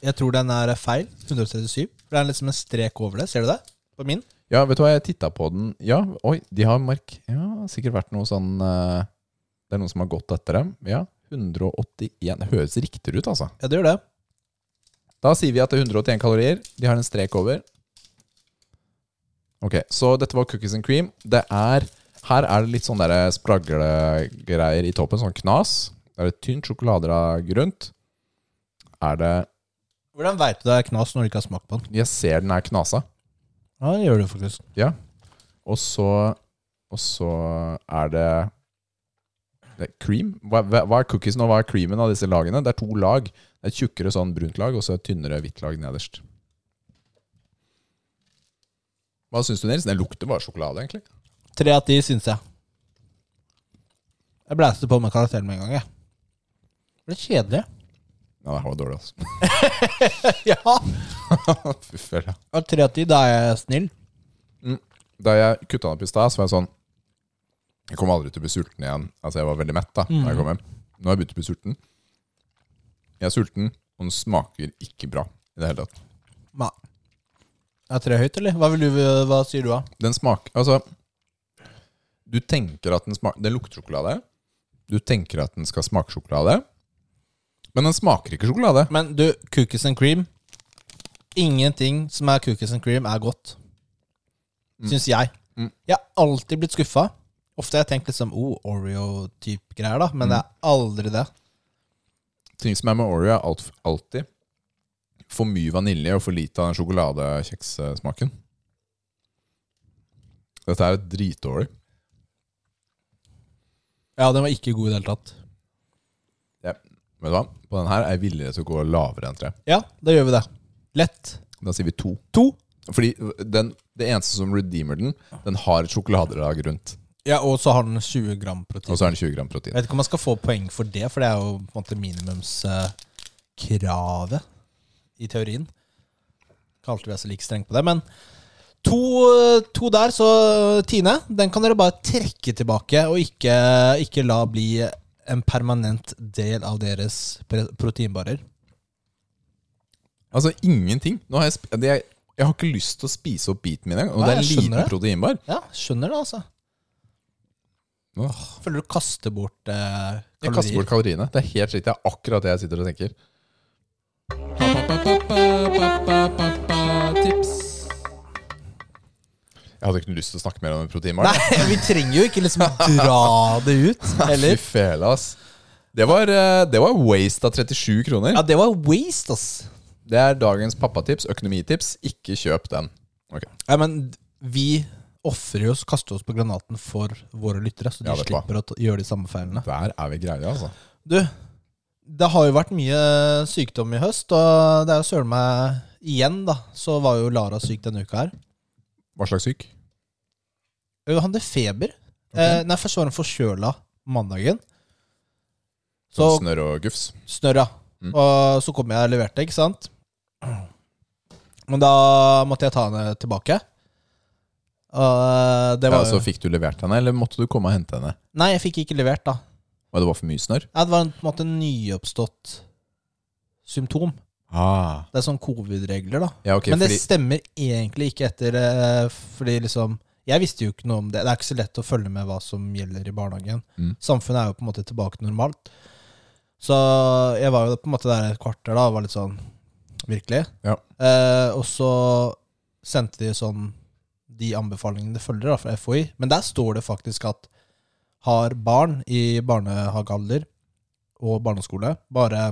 [SPEAKER 1] Jeg tror den er feil. 137. For det er liksom en strek over det. Ser du det? På min.
[SPEAKER 2] Ja, vet du hva, jeg titta på den. Ja, oi, de har mark... Ja, sikkert vært noe sånn eh, Det er noen som har gått etter dem. Ja, 181. Det høres riktig ut, altså.
[SPEAKER 1] Ja, det gjør det.
[SPEAKER 2] Da sier vi at det er 181 kalorier. De har en strek over. Ok, så dette var cookies and cream. Det er, her er det litt sånn der spraglegreier i toppen, sånn knas. Det er et tynt sjokoladelag rundt. Er det
[SPEAKER 1] Hvordan veit du det er knas når du ikke har smakt på den?
[SPEAKER 2] Jeg ser den er knasa.
[SPEAKER 1] Ja, det gjør du faktisk.
[SPEAKER 2] Og så, og så er det, det er cream. Hva, hva hva er cookiesen og hva er creamen av disse lagene? Det er to lag. Det er et tjukkere sånn brunt lag og så et tynnere hvitt lag nederst. Hva syns du, Nils? Den lukter bare sjokolade, egentlig.
[SPEAKER 1] Tre av ti, syns jeg. Jeg blæste på med karakteren med en gang, jeg. Det ble kjedelig.
[SPEAKER 2] Ja, det her var dårlig, altså.
[SPEAKER 1] ja.
[SPEAKER 2] Fy fella.
[SPEAKER 1] Og tre av ti, da er jeg snill.
[SPEAKER 2] Da jeg kutta den opp i stad, så var jeg sånn Jeg kommer aldri til å bli sulten igjen. Altså, jeg var veldig mett da da jeg kom hjem. Nå har jeg begynt å bli sulten. Jeg er sulten, og den smaker ikke bra i det hele tatt.
[SPEAKER 1] Nei. Er tre høyt, eller? Hva, vil du, hva sier du, da?
[SPEAKER 2] Den smaker Altså Du tenker at den smaker Den lukter sjokolade. Du tenker at den skal smake sjokolade. Men den smaker ikke sjokolade.
[SPEAKER 1] Men du, cookies and cream Ingenting som er cookies and cream, er godt. Syns jeg.
[SPEAKER 2] Mm.
[SPEAKER 1] Jeg har alltid blitt skuffa. Ofte har jeg tenkt liksom oh, Oreo-type greier, da, men det er aldri det.
[SPEAKER 2] Ting som er med Oreo, er alt, alltid for mye vanilje og for lite av den sjokoladekjekssmaken. Dette er dritdårlig.
[SPEAKER 1] Ja, den var ikke god i det hele tatt.
[SPEAKER 2] Vet du hva? På den her er jeg villigere til å gå lavere enn tre.
[SPEAKER 1] Ja, da gjør vi det. Lett.
[SPEAKER 2] Da sier vi to.
[SPEAKER 1] To.
[SPEAKER 2] Fordi den, det eneste som redeemer den, den har et sjokoladelag rundt.
[SPEAKER 1] Ja, og så har den 20 gram protein.
[SPEAKER 2] Og så er den 20 gram protein.
[SPEAKER 1] Jeg vet ikke om man skal få poeng for det, for det er jo på en måte minimumskravet i teorien. Ikke alltid vi er så like strenge på det, men to, to der, så Tine, den kan dere bare trekke tilbake, og ikke, ikke la bli en permanent del av deres pre- proteinbarer.
[SPEAKER 2] Altså ingenting. Nå har jeg, sp- det er, jeg har ikke lyst til å spise opp biten min engang. Og
[SPEAKER 1] Nei,
[SPEAKER 2] det er en
[SPEAKER 1] jeg skjønner
[SPEAKER 2] liten
[SPEAKER 1] det.
[SPEAKER 2] proteinbar.
[SPEAKER 1] Ja, skjønner det, altså.
[SPEAKER 2] Åh,
[SPEAKER 1] Føler du kaster bort eh, kalorier?
[SPEAKER 2] jeg kaster bort kaloriene. Det er helt riktig. Det er akkurat det jeg sitter og tenker. Jeg hadde ikke lyst til å snakke mer om en proteinbar.
[SPEAKER 1] Nei, vi trenger jo ikke liksom dra det ut,
[SPEAKER 2] Ah, Fy
[SPEAKER 1] heller.
[SPEAKER 2] fela, ass. Det var, eh, det var waste av 37 kroner.
[SPEAKER 1] Ja, det var waste, ass.
[SPEAKER 2] Det er dagens pappatips, økonomitips. Ikke kjøp den. Ok,
[SPEAKER 1] Ja, men vi offrer jo oss, kaster oss på granaten for våre lyttere, så de
[SPEAKER 2] Ja, vet du hva.
[SPEAKER 1] slipper å ta- gjøre de samme feilene.
[SPEAKER 2] Der er vi greie, altså.
[SPEAKER 1] Du, det har jo vært mye sykdom i høst, og det er jo søren meg igjen, da. Så var jo Lara syk denne uka her.
[SPEAKER 2] Hva slags syk?
[SPEAKER 1] Jo, Han hadde feber. Eh, nei, først var hun forkjøla mandagen. Så
[SPEAKER 2] Sånn Snørr og gufs.
[SPEAKER 1] snørra.
[SPEAKER 2] Mm.
[SPEAKER 1] Og så kom jeg og leverte, ikke sant? Men da måtte jeg ta henne tilbake. Og eh, det
[SPEAKER 2] Ja,
[SPEAKER 1] var
[SPEAKER 2] så
[SPEAKER 1] jo
[SPEAKER 2] fikk du levert henne, eller måtte du komme og hente henne?
[SPEAKER 1] Nei, jeg fikk ikke levert, da.
[SPEAKER 2] Og det var for mye snørr?
[SPEAKER 1] Nei, det var en, på en måte en nyoppstått symptom.
[SPEAKER 2] Ah.
[SPEAKER 1] Det er sånn covid-regler, da.
[SPEAKER 2] Ja, ok,
[SPEAKER 1] Men det
[SPEAKER 2] fordi,
[SPEAKER 1] stemmer egentlig ikke etter eh, Fordi liksom Jeg visste jo ikke noe om det. Det er ikke så lett å følge med hva som gjelder i barnehagen.
[SPEAKER 2] Mm.
[SPEAKER 1] Samfunnet er jo på en måte tilbake til normalt. Så jeg var jo på en måte der et kvarter da og var litt sånn Virkelig.
[SPEAKER 2] Ja.
[SPEAKER 1] Eh, og så sendte de sånn de anbefalingene det følger da, fra FHI. Men der står det faktisk at har barn i barnehagealder og barneskole bare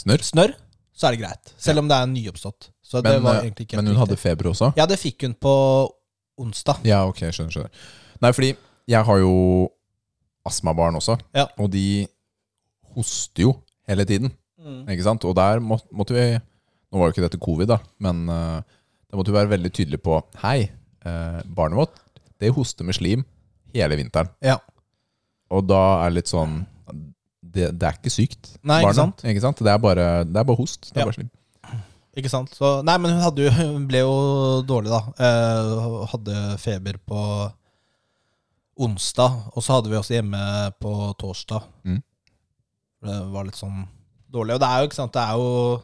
[SPEAKER 2] snørr?
[SPEAKER 1] snørr, så er det greit. Selv om det er nyoppstått. Så det
[SPEAKER 2] Men,
[SPEAKER 1] var
[SPEAKER 2] eh,
[SPEAKER 1] egentlig ikke
[SPEAKER 2] men
[SPEAKER 1] helt
[SPEAKER 2] hun
[SPEAKER 1] riktig.
[SPEAKER 2] hadde feber også?
[SPEAKER 1] Ja, det fikk hun på onsdag.
[SPEAKER 2] Ja, ok, skjønner, skjønner. Nei, fordi jeg har jo astmabarn også,
[SPEAKER 1] Ja.
[SPEAKER 2] og de hoster jo hele tiden,
[SPEAKER 1] Mm.
[SPEAKER 2] ikke sant? Og der må, måtte vi, nå var jo ikke dette covid da, men eh, da måtte vi være veldig tydelige på, hei, eh, barnet vårt, det hoster med slim hele vinteren.
[SPEAKER 1] Ja.
[SPEAKER 2] Og da er det litt sånn, det, det er ikke sykt,
[SPEAKER 1] Nei, ikke
[SPEAKER 2] barnet,
[SPEAKER 1] sant?
[SPEAKER 2] ikke sant? Det er bare, det er bare host, det er
[SPEAKER 1] Ja.
[SPEAKER 2] bare slim.
[SPEAKER 1] Ikke sant? Så, nei, men hun, hadde jo, hun ble jo dårlig, da. Eh, hadde feber på onsdag, og så hadde vi oss hjemme på torsdag.
[SPEAKER 2] Mm.
[SPEAKER 1] Det var litt sånn dårlig. Og det er jo, ikke sant, det er jo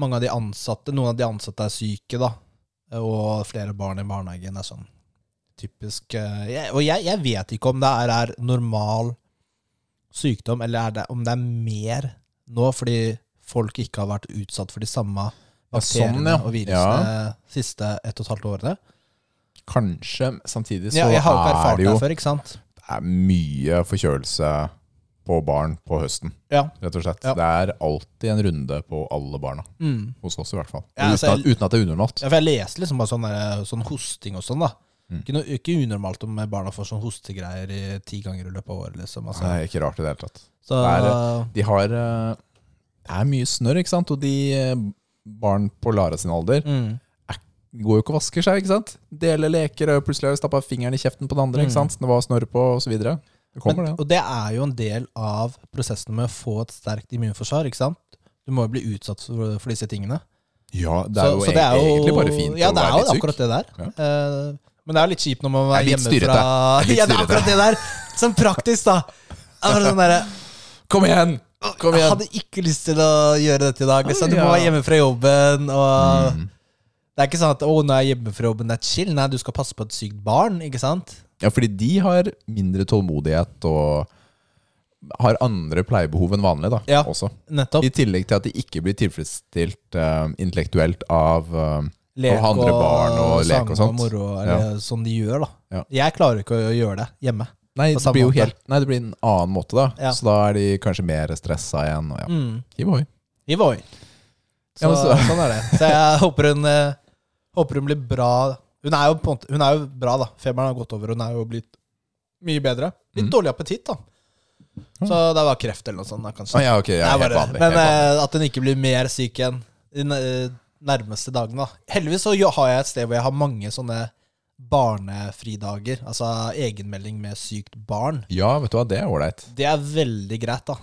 [SPEAKER 1] mange av de ansatte Noen av de ansatte er syke, da. Og flere barn i barnehagen er sånn typisk eh, jeg, Og jeg, jeg vet ikke om det er, er normal sykdom, eller er det, om det er mer nå fordi folk ikke har vært utsatt for de samme
[SPEAKER 2] Ja, sånn,
[SPEAKER 1] bakteriene
[SPEAKER 2] ja.
[SPEAKER 1] og virusene siste ett og et halvt årene.
[SPEAKER 2] Kanskje, men samtidig så
[SPEAKER 1] Ja, jeg har jo ikke
[SPEAKER 2] er
[SPEAKER 1] erfart
[SPEAKER 2] det
[SPEAKER 1] det
[SPEAKER 2] jo
[SPEAKER 1] før, ikke sant?
[SPEAKER 2] er mye forkjølelse på barn på høsten,
[SPEAKER 1] Ja.
[SPEAKER 2] rett og slett.
[SPEAKER 1] Ja.
[SPEAKER 2] Det er alltid en runde på alle barna.
[SPEAKER 1] Mm.
[SPEAKER 2] Hos oss, i hvert fall.
[SPEAKER 1] Ja, altså,
[SPEAKER 2] uten, at, uten at det er unormalt.
[SPEAKER 1] ja, for jeg leste liksom bare sånn, der, sånn hosting og sånn, da.
[SPEAKER 2] Mm.
[SPEAKER 1] Ikke, noe, ikke unormalt om barna får sånn hostegreier i ti ganger i løpet av året, liksom. Altså.
[SPEAKER 2] Det er ikke rart i det hele tatt.
[SPEAKER 1] Så,
[SPEAKER 2] De har eh, Det er mye snørr, ikke sant? Og de eh, barn på Lara sin alder
[SPEAKER 1] mm.
[SPEAKER 2] går jo ikke og vasker seg, ikke sant? Deler leker, og plutselig har de stappa fingeren i kjeften på den andre,
[SPEAKER 1] Mm.
[SPEAKER 2] ikke sant? Det var snørr på, og så videre. Det kommer,
[SPEAKER 1] Men,
[SPEAKER 2] det.
[SPEAKER 1] og det er jo en del av prosessen med å få et sterkt immunforsvar, ikke sant? Du må jo bli utsatt for, for disse tingene.
[SPEAKER 2] Ja, det er
[SPEAKER 1] Så-
[SPEAKER 2] jo, e-
[SPEAKER 1] så det er
[SPEAKER 2] egentlig- egentlig bare fint
[SPEAKER 1] ja,
[SPEAKER 2] å være litt
[SPEAKER 1] det er jo
[SPEAKER 2] syk.
[SPEAKER 1] akkurat det der. Eh, men det er jo litt kjipt når man er
[SPEAKER 2] Det er litt
[SPEAKER 1] hjemmefra
[SPEAKER 2] styrete. Det er litt
[SPEAKER 1] Ja, det er akkurat det der! Sånn praktisk, da. Det er bare sånn derre
[SPEAKER 2] Kom igjen! Kom
[SPEAKER 1] Jeg
[SPEAKER 2] igjen!
[SPEAKER 1] hadde ikke lyst til å gjøre dette i dag. Liksom. Du må
[SPEAKER 2] Ja.
[SPEAKER 1] være hjemme fra jobben. Og
[SPEAKER 2] Mm.
[SPEAKER 1] Det er ikke sånn at 'Å, nå er jeg hjemme fra jobben, det er chill'. Nei, du skal passe på et sykt barn, ikke sant?
[SPEAKER 2] Ja, fordi de har mindre tålmodighet og har andre pleiebehov enn vanlig, da.
[SPEAKER 1] Ja.
[SPEAKER 2] Også.
[SPEAKER 1] Nettopp.
[SPEAKER 2] I tillegg til at de ikke blir tilfredsstilt eh, intellektuelt av eh,
[SPEAKER 1] Lek
[SPEAKER 2] Og andre barn og lek og
[SPEAKER 1] sang
[SPEAKER 2] sånt.
[SPEAKER 1] moro, eller som de gjør, da.
[SPEAKER 2] Ja.
[SPEAKER 1] Jeg klarer ikke å gjøre det hjemme.
[SPEAKER 2] Nei,
[SPEAKER 1] På
[SPEAKER 2] det
[SPEAKER 1] samme
[SPEAKER 2] blir jo
[SPEAKER 1] måte.
[SPEAKER 2] helt, nei, det blir en annen måte, da.
[SPEAKER 1] Ja.
[SPEAKER 2] Så da er de kanskje mer stressa igjen. Og ja.
[SPEAKER 1] Mm.
[SPEAKER 2] Hiv ohoi.
[SPEAKER 1] I Voi. Så,
[SPEAKER 2] Ja, men så-
[SPEAKER 1] sånn er det. Så jeg håper hun, eh, håper hun blir bra. Hun er, jo på, en måte- hun er jo bra, da. Feberen har gått over. Hun er jo blitt mye bedre. Litt
[SPEAKER 2] Mm.
[SPEAKER 1] dårlig appetitt, da. Så det var kreft eller noe sånt, da, kanskje.
[SPEAKER 2] Ah, ja, ok, ja,
[SPEAKER 1] Det er
[SPEAKER 2] helt
[SPEAKER 1] bare-
[SPEAKER 2] vanlig.
[SPEAKER 1] Men
[SPEAKER 2] helt vanlig.
[SPEAKER 1] eh, at hun ikke blir mer syk igjen de n- eh, nærmeste dagene. da. Heldigvis så jo- har jeg et sted hvor jeg har mange sånne barnefridager. Altså egenmelding med sykt barn.
[SPEAKER 2] ja, vet du hva, det er ålreit.
[SPEAKER 1] Det er veldig greit, da.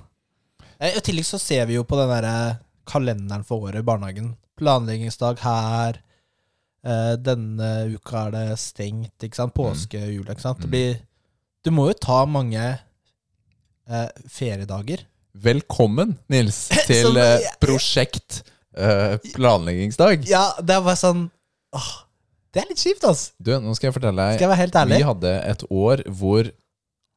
[SPEAKER 1] Eh, I tillegg så ser vi jo på den derre kalenderen for året i barnehagen. Planleggingsdag her. eh, Denne uka er det stengt. ikke sant? Påske og jul. ikke sant? Det
[SPEAKER 2] Mm.
[SPEAKER 1] blir, du må jo ta mange eh, feriedager.
[SPEAKER 2] Velkommen, Nils, til
[SPEAKER 1] Som-
[SPEAKER 2] eh, prosjekt eh, planleggingsdag.
[SPEAKER 1] Ja, det er bare sånn åh, Det er litt kjipt, ass.
[SPEAKER 2] Du, nå skal jeg fortelle
[SPEAKER 1] Skal
[SPEAKER 2] deg.
[SPEAKER 1] jeg være helt ærlig?
[SPEAKER 2] Vi hadde et år hvor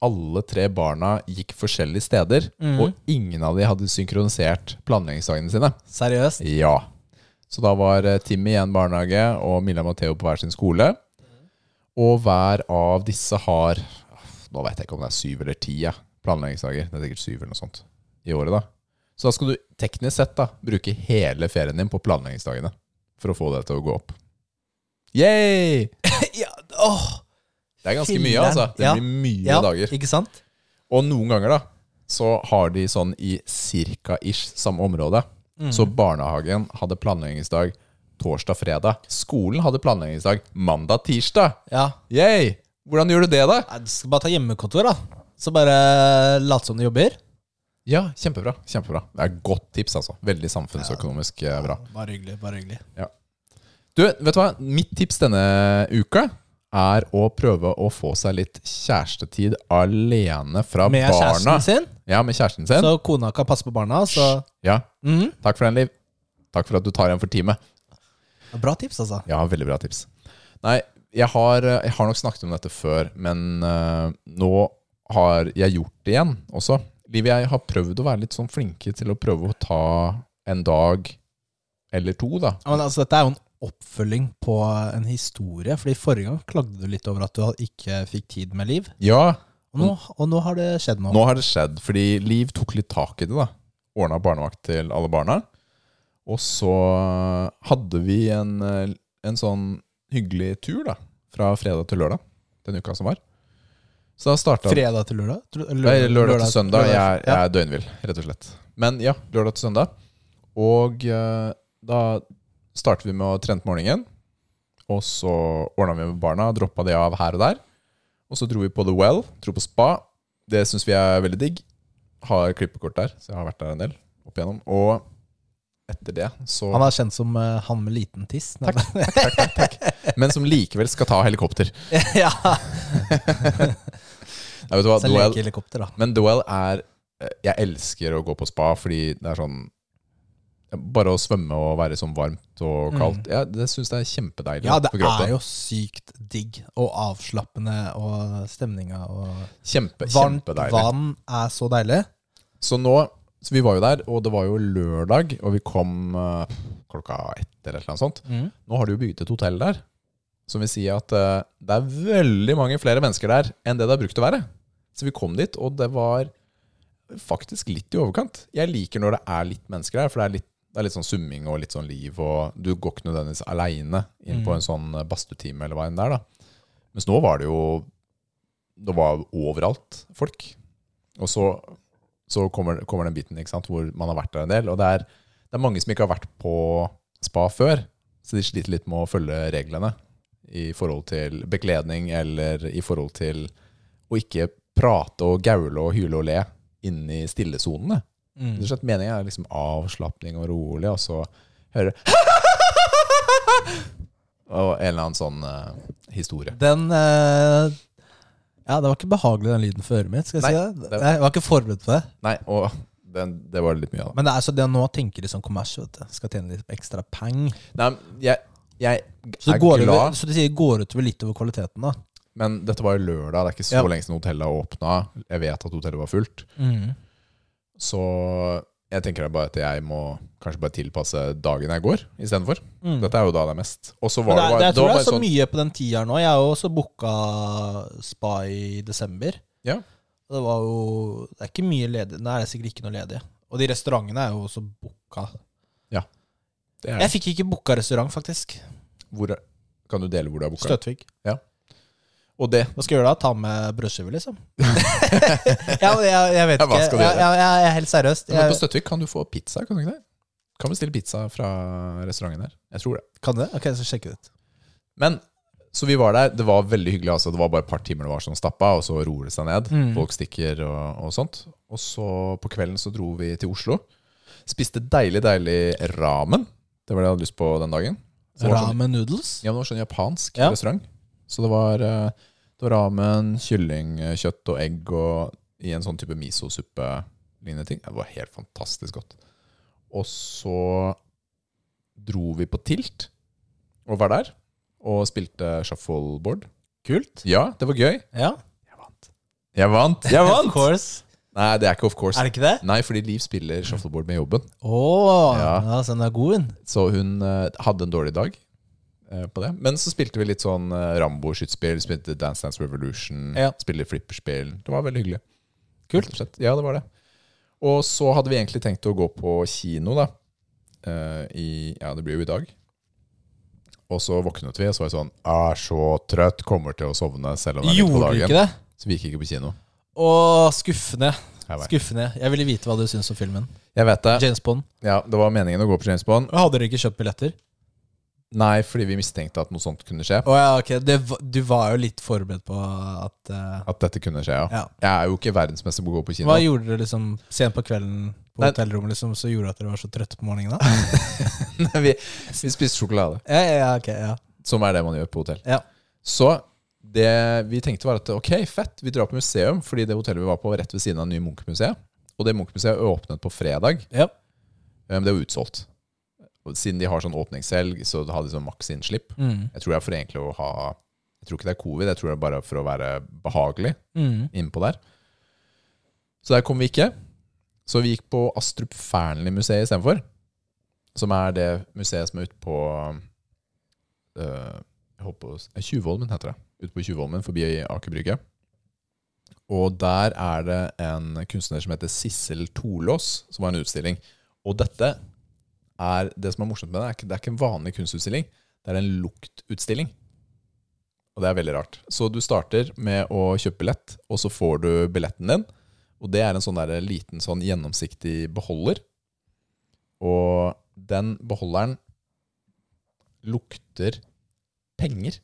[SPEAKER 2] alle tre barna gikk forskjellige steder,
[SPEAKER 1] Mhm.
[SPEAKER 2] og ingen av de hadde synkronisert planleggingsdagene sine.
[SPEAKER 1] Seriøst.
[SPEAKER 2] Ja. Så da var eh, Timmy i en barnehage og Milla og Matheo på hver sin skole. Og hver av disse har Nå vet jeg ikke om det er syv eller ti ja, planleggingsdager. Det er sikkert syv eller noe sånt i året, da. Så da skal du teknisk sett da bruke hele ferien din på planleggingsdagene for å få det til å gå opp. Yay!
[SPEAKER 1] ja, åh,
[SPEAKER 2] Det er ganske
[SPEAKER 1] Filler'n.
[SPEAKER 2] mye, altså. Det
[SPEAKER 1] Ja.
[SPEAKER 2] blir mye
[SPEAKER 1] ja,
[SPEAKER 2] dager.
[SPEAKER 1] ikke sant?
[SPEAKER 2] Og noen ganger, da, så har de sånn i cirka-ish samme område.
[SPEAKER 1] Mm.
[SPEAKER 2] Så barnehagen hadde planleggingsdag torsdag-fredag. Skolen hadde planleggingsdag mandag-tirsdag.
[SPEAKER 1] Ja.
[SPEAKER 2] Yay! Hvordan gjør du det, da?
[SPEAKER 1] Nei, Du skal bare ta hjemmekontor, da. Så bare late som du jobber.
[SPEAKER 2] Ja, kjempebra. kjempebra. Det er et godt tips, altså. Veldig samfunnsøkonomisk eh, bra.
[SPEAKER 1] Bare hyggelig. bare hyggelig
[SPEAKER 2] Du, vet du hva? Mitt tips denne uka er å prøve å få seg litt kjærestetid alene fra
[SPEAKER 1] Med
[SPEAKER 2] barna.
[SPEAKER 1] kjæresten sin,
[SPEAKER 2] Ja, med kjæresten sin.
[SPEAKER 1] så kona kan passe på barna. Så
[SPEAKER 2] Ja,
[SPEAKER 1] mm.
[SPEAKER 2] Takk for den, Liv. Takk for at du tar en for teamet.
[SPEAKER 1] Bra tips, altså.
[SPEAKER 2] Ja, veldig bra tips. Nei, jeg har, eh, jeg har nok snakket om dette før, men eh, nå har jeg gjort det igjen også. Liv, jeg har prøvd å være litt sånn flinke til å prøve å ta en dag eller to, da.
[SPEAKER 1] Ja, Men altså, Dette er jo en oppfølging på en historie. Fordi Forrige gang klagde du litt over at du ikke fikk tid med Liv.
[SPEAKER 2] Ja,
[SPEAKER 1] Og nå, og nå har det skjedd nå.
[SPEAKER 2] Mm. nå har det skjedd, fordi Liv tok litt tak i det, da. Ordna barnevakt til alle barna. Og så hadde vi en, eh, en sånn hyggelig tur, da. Fra fredag til lørdag, den uka som var. Så da starta
[SPEAKER 1] Fredag til lørdag? Tror-
[SPEAKER 2] Nei, lørdag til søndag.
[SPEAKER 1] lørdag-
[SPEAKER 2] Jeg, er-
[SPEAKER 1] ja.
[SPEAKER 2] jeg er døgnvill, rett og slett. Men ja, lørdag til søndag. Og eh, da starter vi med å trene på morgenen. Og så ordna vi med barna, droppa de av her og der. Og så dro vi på The Well, dro på spa. Det syns vi er veldig digg. Har klippekort der, så jeg har vært der en del opp igjennom. Og etter det så
[SPEAKER 1] Han er kjent som eh, han med liten tiss. Nei,
[SPEAKER 2] Men som likevel skal ta helikopter.
[SPEAKER 1] ja,
[SPEAKER 2] Nei, vet du hva?
[SPEAKER 1] så
[SPEAKER 2] The Well
[SPEAKER 1] lekehelikopter, da.
[SPEAKER 2] eh, Men Doel er Jeg elsker å gå på spa fordi det er sånn Bare å svømme og være sånn varmt og kaldt, ja, det syns jeg er
[SPEAKER 3] Mm.
[SPEAKER 2] kjempedeilig.
[SPEAKER 3] Ja, det
[SPEAKER 2] på kroppen.
[SPEAKER 3] er jo sykt digg og avslappende og stemninga og
[SPEAKER 2] Kjempe,
[SPEAKER 3] Varmt
[SPEAKER 2] kjempedeilig.
[SPEAKER 3] vann er så deilig.
[SPEAKER 2] Så nå, så vi var jo der, og det var jo lørdag, og vi kom eh, klokka ett eller et eller annet sånt. Nå har de jo bygget et hotell der, som vil si at eh, det er veldig mange flere mennesker der enn det det har brukt å være. Så vi kom dit, og det var faktisk litt i overkant. Jeg liker når det er litt mennesker der, for det er litt, det er litt sånn summing og litt sånn liv, og du går ikke nødvendigvis aleine inn på en sånn eh, badstutime eller hva enn det er, da. Mens nå var det jo Det var overalt folk. Og så så kommer, kommer den biten ikke sant? hvor man har vært der en del. Og det er, det er mange som ikke har vært på spa før, så de sliter litt med å følge reglene i forhold til bekledning eller i forhold til å ikke prate og gaule og hyle og le inne i stillesonene.
[SPEAKER 3] Mm.
[SPEAKER 2] Rett og slett Meningen er liksom avslapning og rolig, og så hører du Og en eller annen sånn eh, historie.
[SPEAKER 3] Den eh, Ja, det var ikke behagelig, den lyden for øret mitt. Skal jeg
[SPEAKER 2] Nei,
[SPEAKER 3] si det?
[SPEAKER 2] det-
[SPEAKER 3] Nei, Jeg var ikke forberedt på det.
[SPEAKER 2] Nei, og den, det var litt mye av det.
[SPEAKER 3] Men det er så det nå tenker de sånn kommers, vet du. Skal tjene litt ekstra peng.
[SPEAKER 2] Nei, jeg, jeg
[SPEAKER 3] Så,
[SPEAKER 2] er
[SPEAKER 3] det går
[SPEAKER 2] glad
[SPEAKER 3] over, så de sier det går utover litt over kvaliteten, da.
[SPEAKER 2] Men dette var jo lørdag, det er ikke så
[SPEAKER 3] Ja.
[SPEAKER 2] lenge siden hotellet åpna. Jeg vet at hotellet var fullt. Så jeg tenker da bare at jeg må kanskje bare tilpasse dagen jeg går, istedenfor.
[SPEAKER 3] Mm.
[SPEAKER 2] Dette er jo da det er mest. Og så
[SPEAKER 1] Mm. Men
[SPEAKER 2] var
[SPEAKER 1] det, er-
[SPEAKER 2] det, bare,
[SPEAKER 1] det, jeg tror
[SPEAKER 2] var
[SPEAKER 1] det
[SPEAKER 2] bare
[SPEAKER 1] er så
[SPEAKER 2] sånn,
[SPEAKER 1] mye på den tieren nå. Jeg har jo også booka spa i desember.
[SPEAKER 2] Ja.
[SPEAKER 1] Og Det var jo Det er ikke mye ledig. Nei, det er sikkert ikke noe ledig. Og de restaurantene er jo også booka.
[SPEAKER 2] det
[SPEAKER 1] Jeg
[SPEAKER 2] er,
[SPEAKER 1] fikk ikke booka restaurant, faktisk.
[SPEAKER 2] hvor, Kan du dele hvor du har booka?
[SPEAKER 1] Støtvig.
[SPEAKER 2] Og det
[SPEAKER 1] Hva skal jeg gjøre da? Ta med brødskive, liksom? ja, men jeg, jeg vet
[SPEAKER 2] Ja, hva
[SPEAKER 1] ikke.
[SPEAKER 2] skal
[SPEAKER 1] Jeg,
[SPEAKER 2] du gjøre?
[SPEAKER 1] jeg, jeg er helt seriøst.
[SPEAKER 2] Men på
[SPEAKER 1] Jeg,
[SPEAKER 2] Støttvik kan du få pizza, kan du ikke det? Kan bestille pizza fra restauranten her. Jeg tror det.
[SPEAKER 3] Kan det? Ok, så sjekk det ut.
[SPEAKER 2] Men så vi var der, det var veldig hyggelig. Altså. Det var bare et par timer det var sånn stappa, og så roer det seg ned.
[SPEAKER 1] Mm.
[SPEAKER 2] Folk stikker og, og sånt. Og så på kvelden så dro vi til Oslo. Spiste deilig, deilig ramen. Det var det jeg hadde lyst på den dagen. Så det var sånn,
[SPEAKER 3] Ramen noodles.
[SPEAKER 2] ja, men det var sånn japansk
[SPEAKER 1] Ja.
[SPEAKER 2] restaurant. Så det var, eh, det var ramen, kylling, eh, kjøtt og egg og i en sånn type misosuppe-lignende ting. Det var helt fantastisk godt. Og så dro vi på tilt og var der. Og spilte shuffleboard.
[SPEAKER 1] kult.
[SPEAKER 2] Ja, det var gøy.
[SPEAKER 1] Ja.
[SPEAKER 2] Jeg vant! Jeg
[SPEAKER 1] Of course.
[SPEAKER 2] Nei, det er ikke of course.
[SPEAKER 1] Er det ikke det?
[SPEAKER 2] Nei, fordi Liv spiller shuffleboard med jobben.
[SPEAKER 1] Å, ja.
[SPEAKER 2] Ja.
[SPEAKER 1] så den er god, den.
[SPEAKER 2] Så hun eh, hadde en dårlig dag eh, på det. Men så spilte vi litt sånn eh, Rambo-skytespill, spilte Dance Dance Revolution,
[SPEAKER 1] Ja.
[SPEAKER 2] spilte flipperspill. Det var veldig hyggelig. Rett og slett. Ja, det var det. Og så hadde vi egentlig tenkt å gå på kino, da. eh, I, ja, det blir jo i dag. Og så våknet vi, og så var jeg sånn Er så trøtt, kommer til å sovne selv om det er midt på
[SPEAKER 1] Gjorde du
[SPEAKER 2] dagen.
[SPEAKER 1] ikke det?
[SPEAKER 2] Så vi gikk ikke på kino.
[SPEAKER 1] Å, skuffende.
[SPEAKER 2] Jeg vet.
[SPEAKER 1] Skuffende. Jeg ville vite hva du syns om filmen.
[SPEAKER 2] Jeg vet det.
[SPEAKER 1] James Bond.
[SPEAKER 2] Ja, det var meningen å gå på James Bond.
[SPEAKER 1] Hadde dere ikke kjøpt billetter?
[SPEAKER 2] Nei, fordi vi mistenkte at noe sånt kunne skje.
[SPEAKER 1] Å ja, ok. Det, va- du var jo litt forberedt på at eh,
[SPEAKER 2] At dette kunne skje, ja.
[SPEAKER 1] Ja.
[SPEAKER 2] Jeg er jo ikke verdensmester på å gå på kino.
[SPEAKER 1] Hva gjorde dere liksom sent på kvelden på
[SPEAKER 2] Nei.
[SPEAKER 1] hotellrommet liksom, som gjorde at dere var så trøtte på morgenen? da?
[SPEAKER 2] vi, vi spiste sjokolade,
[SPEAKER 1] ja, ja, ja, ok, ja.
[SPEAKER 2] som er det man gjør på hotell.
[SPEAKER 1] Ja.
[SPEAKER 2] Så det vi tenkte var at ok, fett, vi drar på museum, fordi det hotellet vi var på var rett ved siden av det nye Munch-museet. Og det Munch-museet åpnet på fredag,
[SPEAKER 1] Ja.
[SPEAKER 2] eh, men det er jo utsolgt. Og siden de har sånn åpningsselg, så har de sånn maks innslipp.
[SPEAKER 1] Mm.
[SPEAKER 2] Jeg tror det er for egentlig å ha Jeg tror ikke det er covid, jeg tror det er bare for å være behagelig.
[SPEAKER 1] Mm.
[SPEAKER 2] innpå der. Så der kom vi ikke. Så vi gikk på Astrup Fearnley-museet istedenfor. Som er det museet som er ute på øh, jeg holdt på å s- eh, Tjuvholmen, heter det. Ute på Tjuvholmen, forbi Aker Brygge. Og der er det en kunstner som heter Sissel Torlås, som har en utstilling. Og dette er det som er morsomt med det, er ikke, det er ikke en vanlig kunstutstilling. Det er en luktutstilling. Og det er veldig rart. Så du starter med å kjøpe billett, og så får du billetten din. Og det er en sånn der liten sånn gjennomsiktig beholder. Og den beholderen lukter penger.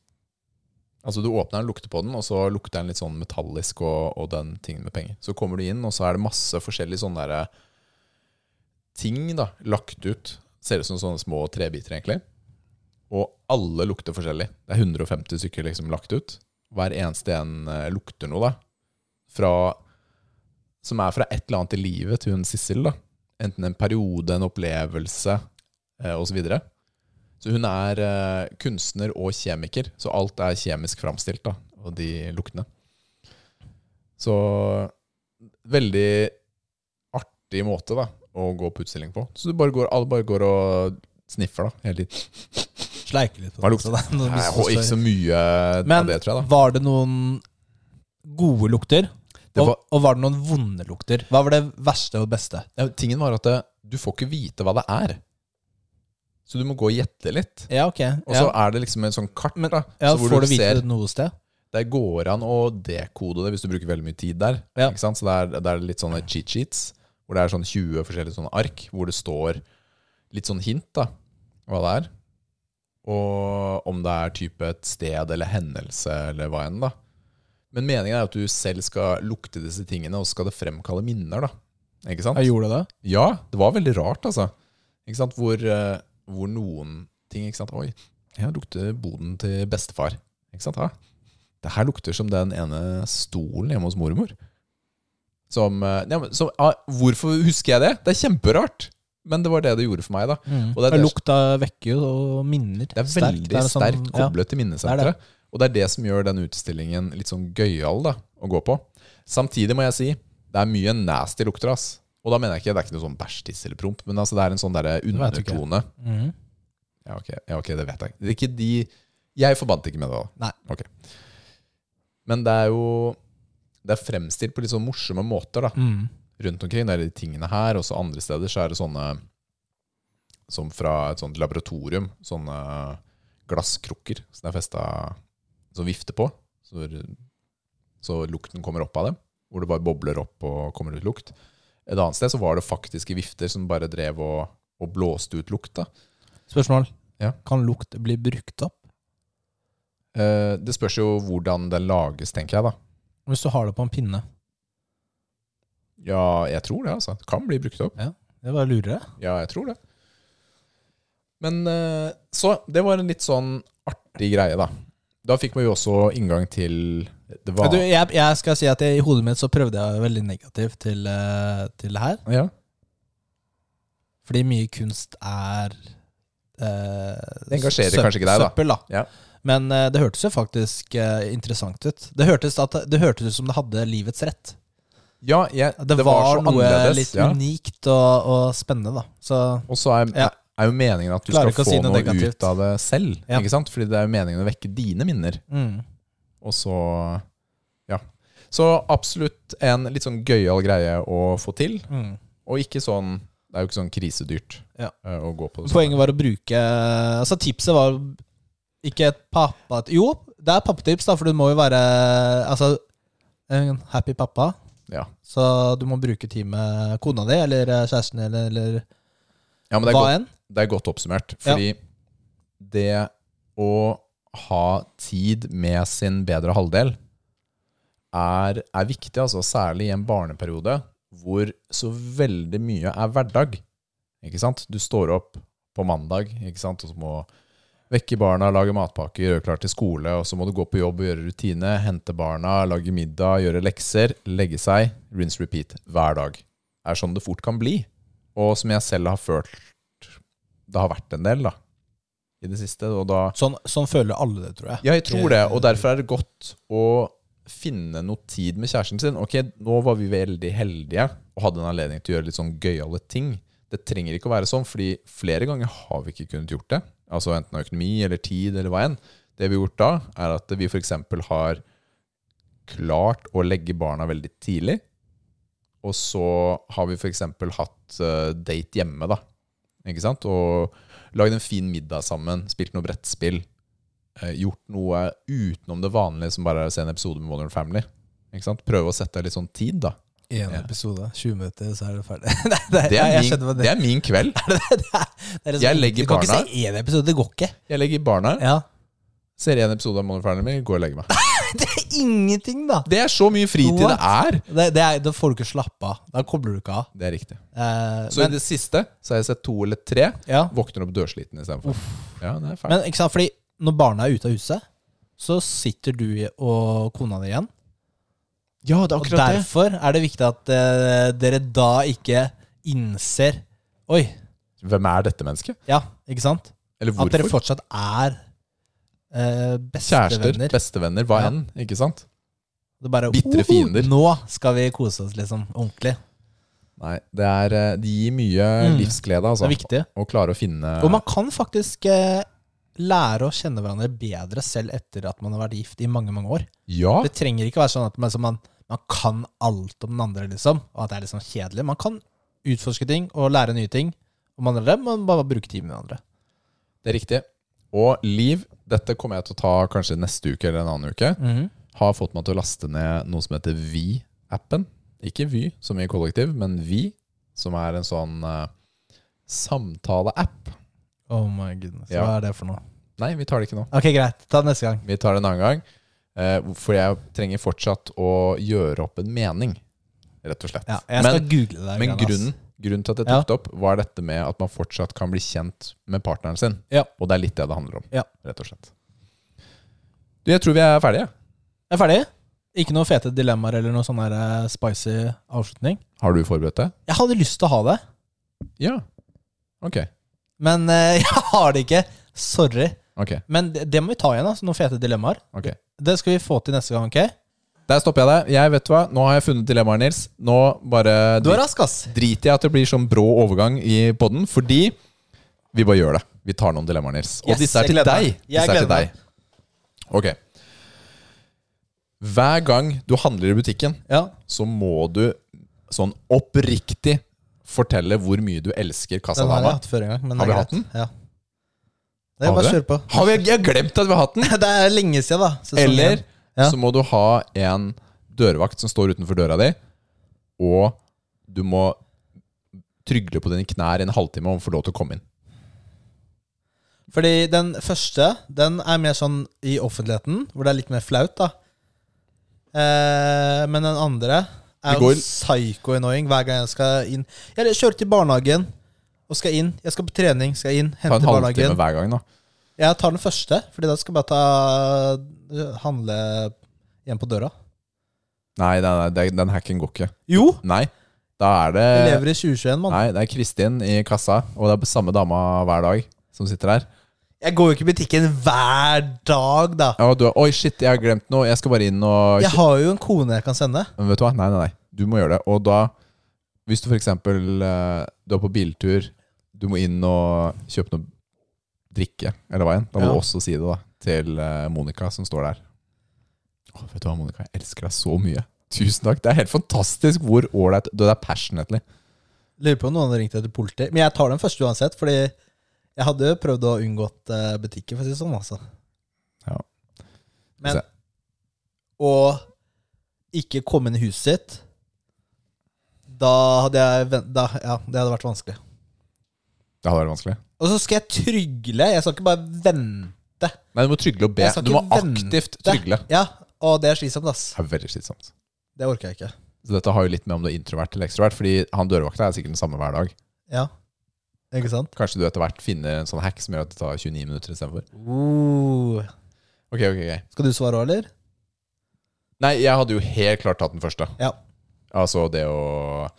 [SPEAKER 2] Altså du åpner den, lukter på den, og så lukter den litt sånn metallisk og, og den tingen med penger. Så kommer du inn, og så er det masse forskjellige sånne der eh, ting da, lagt ut. Ser ut som sånne små trebiter egentlig. Og alle lukter forskjellig. Det er 150 stykker liksom lagt ut. Hver eneste en eh, lukter noe, da. Fra, som er fra et eller annet i livet til hun Sissel, da. enten en periode, en opplevelse eh, osv. Så, videre. så hun er eh, kunstner og kjemiker, så alt er kjemisk framstilt, da, og de luktene. Så veldig artig måte da, å gå på utstilling på. Så du bare går, alle bare går og sniffer da, hele tiden.
[SPEAKER 1] Sleike litt på
[SPEAKER 2] Hva
[SPEAKER 1] det. så
[SPEAKER 2] lukter
[SPEAKER 1] det er noe
[SPEAKER 2] Nei,
[SPEAKER 1] misforståelse.
[SPEAKER 2] og ikke så mye
[SPEAKER 1] Men
[SPEAKER 2] av det, tror jeg. da.
[SPEAKER 1] var det noen gode lukter?
[SPEAKER 2] Det var-
[SPEAKER 1] og, og var det noen vonde lukter? Hva var det verste og beste?
[SPEAKER 2] Ja, tingen var at det, du får ikke vite hva det er. Så du må gå og gjette litt.
[SPEAKER 1] Ja, ok.
[SPEAKER 2] Og så
[SPEAKER 1] Ja.
[SPEAKER 2] er det liksom en sånn kart da,
[SPEAKER 1] Ja,
[SPEAKER 2] så hvor
[SPEAKER 1] får
[SPEAKER 2] du
[SPEAKER 1] du vite
[SPEAKER 2] ser
[SPEAKER 1] det noe sted?
[SPEAKER 2] Der går an å dekode det hvis du bruker veldig mye tid der.
[SPEAKER 1] Ja.
[SPEAKER 2] Ikke sant? Så det er, det er litt sånne cheat sheets, hvor det er sånn 20 forskjellige sånne ark, hvor det står litt sånn hint da, hva det er. Og om det er type et sted eller hendelse eller hva enn da. Men meningen er at du selv skal lukte disse tingene, og så skal det fremkalle minner da. Ikke sant?
[SPEAKER 1] Jeg gjorde det.
[SPEAKER 2] Ja, det var veldig rart, altså. Ikke sant? Hvor, eh, hvor noen ting ikke sant? Oi, her lukter boden til bestefar. Ikke sant? Ja. Det her lukter som den ene stolen hjemme hos mormor. Som, eh, ja, men, som ah, Hvorfor husker jeg det? Det er kjemperart! Men det var det det gjorde for meg. da Og det er
[SPEAKER 1] Ja,
[SPEAKER 2] det-
[SPEAKER 1] Mm. Lukta vekker jo og minner.
[SPEAKER 2] Det er
[SPEAKER 1] sterkt.
[SPEAKER 2] veldig
[SPEAKER 1] Det er
[SPEAKER 2] sterkt,
[SPEAKER 1] sånn- ja.
[SPEAKER 2] koblet til minnesenteret.
[SPEAKER 1] Det er
[SPEAKER 2] Og det er det som gjør den utstillingen litt sånn gøyal da, å gå på. Samtidig må jeg si, det er mye nasty lukter, ass. Og da mener jeg ikke, det er ikke noe sånn bæsj, tiss eller promp, men altså, det er en sånn der
[SPEAKER 1] vet du ikke.
[SPEAKER 2] undertone.
[SPEAKER 1] Mhm.
[SPEAKER 2] Ja, ok, ja, ok, det vet jeg. Det er ikke de Jeg forbandt ikke med det. da.
[SPEAKER 1] Nei.
[SPEAKER 2] Ok. Men det er jo Det er fremstilt på litt sånn morsomme måter da,
[SPEAKER 1] Mhm.
[SPEAKER 2] rundt omkring. Det er de tingene her, og så andre steder så er det sånne Som fra et sånt laboratorium. Sånne glasskrukker som det er festa Som vifter på. Så, så lukten kommer opp av dem. Hvor det bare bobler opp og kommer ut lukt. Et annet sted så var det faktiske vifter som bare drev og, og blåste ut lukt. da.
[SPEAKER 1] Spørsmål.
[SPEAKER 2] Ja.
[SPEAKER 1] Kan lukt bli brukt opp?
[SPEAKER 2] Eh, Det spørs jo hvordan den lages, tenker jeg da.
[SPEAKER 1] Hvis du har det på en pinne.
[SPEAKER 2] Ja, jeg tror det, altså. Det kan bli brukt opp.
[SPEAKER 1] Det var lurere.
[SPEAKER 2] Ja, jeg tror det. Men eh, så Det var en litt sånn artig greie, da. Da fikk vi jo også inngang til Det var
[SPEAKER 1] Du, jeg, jeg skal si at jeg, I hodet mitt så prøvde jeg å være veldig negativ til, eh, til det her.
[SPEAKER 2] ja.
[SPEAKER 1] Fordi mye kunst er eh,
[SPEAKER 2] Det engasjerer kanskje ikke deg, da.
[SPEAKER 1] Søppel, da.
[SPEAKER 2] Ja.
[SPEAKER 1] Men eh, det hørtes jo faktisk eh, interessant ut. Det hørtes, at, det hørtes ut som det hadde livets rett.
[SPEAKER 2] ja jeg,
[SPEAKER 1] Det, var,
[SPEAKER 2] så
[SPEAKER 1] noe
[SPEAKER 2] annerledes.
[SPEAKER 1] litt
[SPEAKER 2] ja.
[SPEAKER 1] unikt og, og spennende, da. Så
[SPEAKER 2] Og så er,
[SPEAKER 1] Ja.
[SPEAKER 2] er jo meningen at du
[SPEAKER 1] Klarer ikke å
[SPEAKER 2] skal få
[SPEAKER 1] si noe
[SPEAKER 2] noe
[SPEAKER 1] negativt.
[SPEAKER 2] ut av det selv.
[SPEAKER 1] Ja.
[SPEAKER 2] Ikke sant? Fordi det er jo meningen å vekke dine minner.
[SPEAKER 1] mm.
[SPEAKER 2] Og så Ja. Så absolutt en litt sånn gøyal greie å få til.
[SPEAKER 1] Mm.
[SPEAKER 2] Og ikke sånn Det er jo ikke sånn krisedyrt
[SPEAKER 1] Ja.
[SPEAKER 2] eh, å gå på det.
[SPEAKER 1] Poenget var å bruke Altså tipset var ikke et pappa... Jo, det er pappatips, da, for du må jo være Altså en happy pappa.
[SPEAKER 2] Ja.
[SPEAKER 1] Så du må bruke tid med kona di eller eh, kjæresten din eller,
[SPEAKER 2] Ja, men det
[SPEAKER 1] eller
[SPEAKER 2] er,
[SPEAKER 1] hva
[SPEAKER 2] godt,
[SPEAKER 1] enn.
[SPEAKER 2] det er godt oppsummert.
[SPEAKER 1] Ja.
[SPEAKER 2] Fordi det å ha tid med sin bedre halvdel er, er viktig, altså, særlig i en barneperiode hvor så veldig mye er hverdag. Ikke sant? Du står opp på mandag, ikke sant? og så må vekke barna, lage matpakker, gjøre klart til skole, og så må du gå på jobb og gjøre rutine, hente barna, lage middag, gjøre lekser, legge seg, rinse repeat hver dag. er sånn det fort kan bli, og som jeg selv har følt det har vært en del da, i det siste, og da
[SPEAKER 1] Sånn, sånn føler alle det, tror jeg.
[SPEAKER 2] ja, jeg tror det, og derfor er det godt å finne noe tid med kjæresten sin. Ok, nå var vi veldig heldige og hadde en anledning til å gjøre litt sånn gøyale ting. Det trenger ikke å være sånn, fordi flere ganger har vi ikke kunnet gjort det. Altså enten av økonomi eller tid eller hva enn. Det vi har gjort da, er at vi f.eks. har klart å legge barna veldig tidlig. Og så har vi f.eks. hatt eh, date hjemme, da. Ikke sant? Og lagd en fin middag sammen, spilt noe brettspill eh, gjort noe utenom det vanlige, som bare er å se en episode med Modern Family. Ikke sant? Prøve å sette deg litt sånn tid, da.
[SPEAKER 3] Én
[SPEAKER 2] Ja.
[SPEAKER 3] episode, 20 minutter, så er det ferdig. Nei, det,
[SPEAKER 2] Det
[SPEAKER 3] jeg,
[SPEAKER 2] er
[SPEAKER 3] jeg skjønner hva
[SPEAKER 2] min, det er min kveld.
[SPEAKER 1] Det er liksom-
[SPEAKER 2] Jeg legger
[SPEAKER 1] du kan
[SPEAKER 2] barna-
[SPEAKER 1] ikke se én episode, det går ikke.
[SPEAKER 2] Jeg legger barna,
[SPEAKER 1] Ja.
[SPEAKER 2] ser én episode av Modern Family, går og legger meg.
[SPEAKER 1] Det er ingenting, da!
[SPEAKER 2] Det er så mye fritid det er!
[SPEAKER 1] Det, det er, da får du ikke slappe av. Da kobler du ikke av.
[SPEAKER 2] Det er riktig.
[SPEAKER 1] Eh,
[SPEAKER 2] Så
[SPEAKER 1] men,
[SPEAKER 2] i det siste så har jeg sett to eller tre.
[SPEAKER 1] ja.
[SPEAKER 2] Våkner opp dørsliten istedenfor. Ja, det er fælt.
[SPEAKER 1] men ikke sant, fordi når barna er ute av huset, så sitter du og kona di igjen.
[SPEAKER 2] Ja, det er
[SPEAKER 1] Og derfor er det viktig at eh, dere da ikke innser Oi,
[SPEAKER 2] Hvem er dette mennesket?
[SPEAKER 1] ja, ikke sant?
[SPEAKER 2] Eller
[SPEAKER 1] At dere
[SPEAKER 2] hvorfor?
[SPEAKER 1] fortsatt er eh,
[SPEAKER 2] Kjærester,
[SPEAKER 1] bestevenner.
[SPEAKER 2] bestevenner, hva
[SPEAKER 1] Ja.
[SPEAKER 2] enn. Ikke sant?
[SPEAKER 1] Det er bare,
[SPEAKER 2] bittre fiender.
[SPEAKER 1] Nå skal vi kose oss, liksom. Ordentlig.
[SPEAKER 2] Nei, det, er, eh, det gir mye
[SPEAKER 1] Mm. Det
[SPEAKER 2] livsglede, altså.
[SPEAKER 1] er viktig.
[SPEAKER 2] Å klare å finne
[SPEAKER 1] Og man kan faktisk eh, lære å kjenne hverandre bedre selv etter at man har vært gift i mange, mange år.
[SPEAKER 2] Ja,
[SPEAKER 1] Det trenger ikke være sånn at man, som man, man kan alt om den andre, liksom, og at det er litt sånn kjedelig. Man kan utforske ting og lære nye ting om andre, men bare bruke tid med hverandre.
[SPEAKER 2] det er riktig. Og Liv, dette kommer jeg til å ta kanskje neste uke eller en annen uke, har fått meg til å laste ned noe som heter Vi-appen. Ikke Vy, som i kollektiv, men Vi, som er en sånn eh, samtale-app.
[SPEAKER 1] Oh my goodness.
[SPEAKER 2] Ja.
[SPEAKER 1] Hva er det for noe?
[SPEAKER 2] Nei, vi tar det ikke nå.
[SPEAKER 1] Ok, greit. Ta det neste gang.
[SPEAKER 2] Vi tar det en annen gang. eh, For jeg trenger fortsatt å gjøre opp en mening, rett og slett.
[SPEAKER 1] Ja, jeg skal
[SPEAKER 2] Men-
[SPEAKER 1] google det. der
[SPEAKER 2] Men
[SPEAKER 1] greiene, ass.
[SPEAKER 2] grunnen, grunnen til at jeg
[SPEAKER 1] Ja.
[SPEAKER 2] tok det opp, var dette med at man fortsatt kan bli kjent med partneren sin.
[SPEAKER 1] Ja.
[SPEAKER 2] Og det er litt det det handler om,
[SPEAKER 1] Ja.
[SPEAKER 2] rett og slett. Du, jeg tror vi er ferdige.
[SPEAKER 1] Er ferdig? Ikke noe fete dilemmaer eller noe sånn her eh, spicy avslutning?
[SPEAKER 2] Har du forberedt det?
[SPEAKER 1] Jeg hadde lyst til å ha det,
[SPEAKER 2] Ja. Ok.
[SPEAKER 1] men eh, jeg har det ikke. Sorry.
[SPEAKER 2] ok,
[SPEAKER 1] Men det, det må vi ta igjen, altså. Noen fete dilemmaer.
[SPEAKER 2] ok.
[SPEAKER 1] Det skal vi få til neste gang, ok?
[SPEAKER 2] Der stopper jeg deg. Jeg vet du hva, Nå har jeg funnet dilemmaet, Nils. Nå bare
[SPEAKER 1] Du er
[SPEAKER 2] dri-
[SPEAKER 1] rask, ass.
[SPEAKER 2] driter jeg at det blir sånn brå overgang i podden, fordi vi bare gjør det. Vi tar noen dilemmaer, Nils. Og
[SPEAKER 1] Yes,
[SPEAKER 2] disse er
[SPEAKER 1] jeg
[SPEAKER 2] til
[SPEAKER 1] gleder
[SPEAKER 2] deg.
[SPEAKER 1] meg. Jeg
[SPEAKER 2] Disse er til
[SPEAKER 1] gleder
[SPEAKER 2] deg. Ok. Hver gang du handler i butikken,
[SPEAKER 1] Ja.
[SPEAKER 2] så må du sånn oppriktig fortelle hvor mye du elsker
[SPEAKER 1] Den har jeg
[SPEAKER 2] kassadama.
[SPEAKER 1] hatt før en gang. Men det er
[SPEAKER 2] Altså, Har vi hatt
[SPEAKER 1] greit. Ja. Det er
[SPEAKER 2] Har
[SPEAKER 1] bare å
[SPEAKER 2] vi
[SPEAKER 1] kjøre på.
[SPEAKER 2] Har vi, jeg har glemt at vi har hatt den!
[SPEAKER 1] Det er lenge siden, da. Sesong
[SPEAKER 2] Eller
[SPEAKER 1] én. Sånn, Ja.
[SPEAKER 2] så må du ha en dørvakt som står utenfor døra di, og du må trygle på dine knær i en halvtime og få lov til å komme inn.
[SPEAKER 1] Fordi den første, den er mer sånn i offentligheten, hvor det er litt mer flaut, da. Eh, men den andre
[SPEAKER 2] Vi
[SPEAKER 1] er jo
[SPEAKER 2] går-
[SPEAKER 1] psycho-annoying hver gang jeg skal inn. Jeg kjører til barnehagen og skal inn. Jeg skal på trening, skal inn.
[SPEAKER 2] Ta
[SPEAKER 1] Hente
[SPEAKER 2] en
[SPEAKER 1] i
[SPEAKER 2] halvtime
[SPEAKER 1] barnehagen.
[SPEAKER 2] hver gang, da.
[SPEAKER 1] Jeg tar den første, Fordi da skal jeg bare ta eh, handle igjen på døra.
[SPEAKER 2] Nei, nei, nei det- den hacken går ikke.
[SPEAKER 1] Jo!
[SPEAKER 2] Nei, da er
[SPEAKER 1] Jeg
[SPEAKER 2] det
[SPEAKER 1] lever i sånn. 2021, mann.
[SPEAKER 2] Nei, det er Kristin i kassa, og det er samme dama hver dag som sitter her.
[SPEAKER 1] Jeg går jo ikke i butikken hver dag, da.
[SPEAKER 2] Ja, og du, er, Oi, shit, jeg har glemt noe. Jeg skal bare inn og
[SPEAKER 1] Jeg har jo en kone jeg kan sende.
[SPEAKER 2] Men vet du hva? Nei, nei, nei. Du må gjøre det. Og da, hvis du for eksempel eh, du er på biltur, du må inn og kjøpe noe drikke, eller hva enn, da må
[SPEAKER 1] Ja.
[SPEAKER 2] du også si det da, til eh, Monica som står der. Åh, vet du hva, Monica? Jeg elsker deg så mye. Tusen takk. Det er helt fantastisk hvor ålreit Du det er passionately.
[SPEAKER 1] Lurer på om noen har ringt etter politi. Men jeg tar den første uansett, fordi jeg hadde jo prøvd å unngått eh, butikker, for å si det sånn, altså.
[SPEAKER 2] Ja.
[SPEAKER 1] Men
[SPEAKER 2] Se.
[SPEAKER 1] å ikke komme inn i huset sitt, da hadde jeg ven- da, Ja, det hadde vært vanskelig.
[SPEAKER 2] Det hadde vært vanskelig.
[SPEAKER 1] Og så skal jeg trygle. Jeg skal ikke bare vente.
[SPEAKER 2] Nei, du må trygle og be.
[SPEAKER 1] Jeg skal
[SPEAKER 2] Du må
[SPEAKER 1] ikke vente.
[SPEAKER 2] aktivt trygle.
[SPEAKER 1] Ja, og det er slitsomt, ass.
[SPEAKER 2] Det er veldig slitsomt.
[SPEAKER 1] Det orker jeg ikke.
[SPEAKER 2] Så dette har jo litt med om du er introvert eller ekstrovert, fordi han dørvakta er sikkert den samme hver dag.
[SPEAKER 1] Ja, ikke sant?
[SPEAKER 2] Kanskje du etter hvert finner en sånn hack som gjør at det tar 29 minutter istedenfor.
[SPEAKER 1] Uh.
[SPEAKER 2] Ok, ok, ok.
[SPEAKER 1] Skal du svare òg, eller?
[SPEAKER 2] Nei, jeg hadde jo helt klart tatt den første.
[SPEAKER 1] Ja.
[SPEAKER 2] Altså det å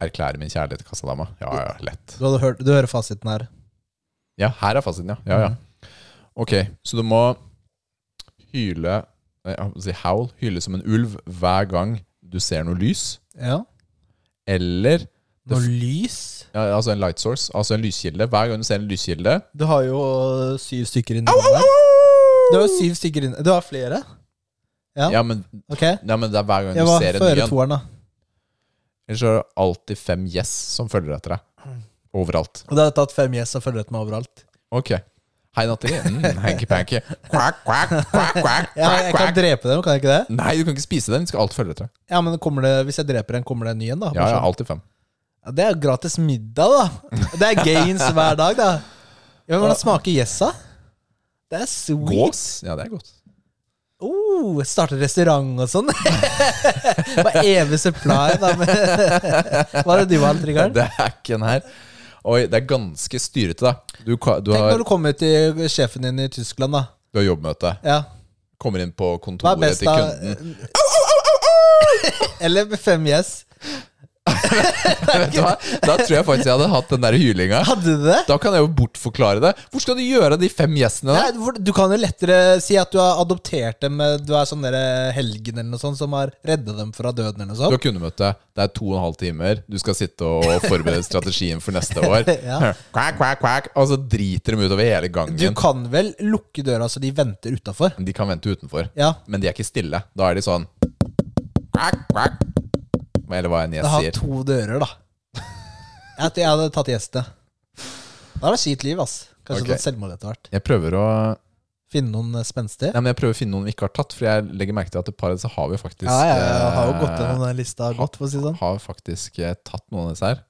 [SPEAKER 2] erklære min kjærlighet til kassadama. Ja, ja, lett.
[SPEAKER 1] Du, hadde hørt, du hører fasiten her.
[SPEAKER 2] Ja, her er fasiten, ja. ja, ja. Ok, så du må hyle nei, Jeg holdt på å si howl. Hyle som en ulv hver gang du ser noe lys.
[SPEAKER 1] Ja.
[SPEAKER 2] Eller Det
[SPEAKER 1] Noe
[SPEAKER 2] f-
[SPEAKER 1] lys.
[SPEAKER 2] ja, altså en light source, altså en lyskilde. Hver gang du ser en lyskilde
[SPEAKER 1] Du har jo øh, syv stykker inni deg. Du har jo syv stykker inni Du har flere? ja.
[SPEAKER 2] Ja, men,
[SPEAKER 1] Ok.
[SPEAKER 2] ja, men det er hver gang
[SPEAKER 1] Jeg
[SPEAKER 2] du
[SPEAKER 1] var
[SPEAKER 2] ser en ny
[SPEAKER 1] før
[SPEAKER 2] en.
[SPEAKER 1] toeren, da.
[SPEAKER 2] Ellers er det alltid fem yes som følger etter deg.
[SPEAKER 1] Mm.
[SPEAKER 2] Overalt.
[SPEAKER 1] Og da har jeg tatt fem yes og følget meg overalt.
[SPEAKER 2] Ok. Hei, Nathalie. Mm, Hanky-panky. Quack, quack, quack, quack,
[SPEAKER 1] Ja,
[SPEAKER 2] quack,
[SPEAKER 1] jeg kan
[SPEAKER 2] quack.
[SPEAKER 1] drepe dem, kan jeg ikke det?
[SPEAKER 2] Nei, du kan ikke spise den. Vi skal alt følge etter.
[SPEAKER 1] Ja, men kommer det, Hvis jeg dreper en, kommer det en ny en, da?
[SPEAKER 2] Ja, ja, alltid fem.
[SPEAKER 1] Ja, Det er jo gratis middag, da. Det er gains hver dag, da. Ja, men Hvordan smaker yes, da? Det er sweet.
[SPEAKER 2] Gås? Ja, det er godt.
[SPEAKER 1] Oh, starte restaurant og sånn. Bare evig supply. Da. med- Hva er det du har, Tryggarn?
[SPEAKER 2] Det er ikke en her. Oi, det er ganske styrete, da. Du, ka- du,
[SPEAKER 1] Tenk
[SPEAKER 2] har,
[SPEAKER 1] når du kommer til sjefen din i Tyskland, da.
[SPEAKER 2] du har jobbmøte.
[SPEAKER 1] Ja.
[SPEAKER 2] Kommer inn på
[SPEAKER 1] Hva er
[SPEAKER 2] kontoret
[SPEAKER 1] best,
[SPEAKER 2] til
[SPEAKER 1] da?
[SPEAKER 2] kunden.
[SPEAKER 1] Eller med fem yes.
[SPEAKER 2] Vet du hva? Da tror jeg faktisk jeg hadde hatt den der hylinga.
[SPEAKER 1] Hadde du det?
[SPEAKER 2] Da kan jeg jo bortforklare det. Hvor skal du gjøre av de fem gjestene? da?
[SPEAKER 1] Nei, hvor- du kan jo lettere si at du har adoptert dem eh, Du er sånn derre helgen eller noe sånt som har redda dem fra døden eller noe
[SPEAKER 2] Du
[SPEAKER 1] sånt.
[SPEAKER 2] har kundemøte. Det er to og en halv timer. Du skal sitte og forberede strategien for neste år.
[SPEAKER 1] Ja.
[SPEAKER 2] Quack, quack, quack. Og så driter de utover hele
[SPEAKER 1] Du
[SPEAKER 2] gangen.
[SPEAKER 1] kan vel lukke døra så de venter utafor?
[SPEAKER 2] De kan vente utenfor.
[SPEAKER 1] Ja.
[SPEAKER 2] Men de er ikke stille. Da er de sånn quack, quack. Eller hva en
[SPEAKER 1] Det
[SPEAKER 2] gjest
[SPEAKER 1] har
[SPEAKER 2] sier.
[SPEAKER 1] to dører, da. Jeg, jeg hadde tatt gjestene. Da er det sykt liv, ass. Kanskje
[SPEAKER 2] Ok.
[SPEAKER 1] tatt selvmord etter hvert.
[SPEAKER 2] Jeg prøver å
[SPEAKER 1] Finne noen eh, spenstige.
[SPEAKER 2] Nei, men jeg prøver å finne noen vi ikke har tatt, for jeg legger merke til at et par av disse har vi faktisk
[SPEAKER 1] Ja, ja, ja, jeg har jo
[SPEAKER 2] eh,
[SPEAKER 1] gått gjennom den lista godt, for å si det sånn.
[SPEAKER 2] Har faktisk eh, tatt noen av disse her.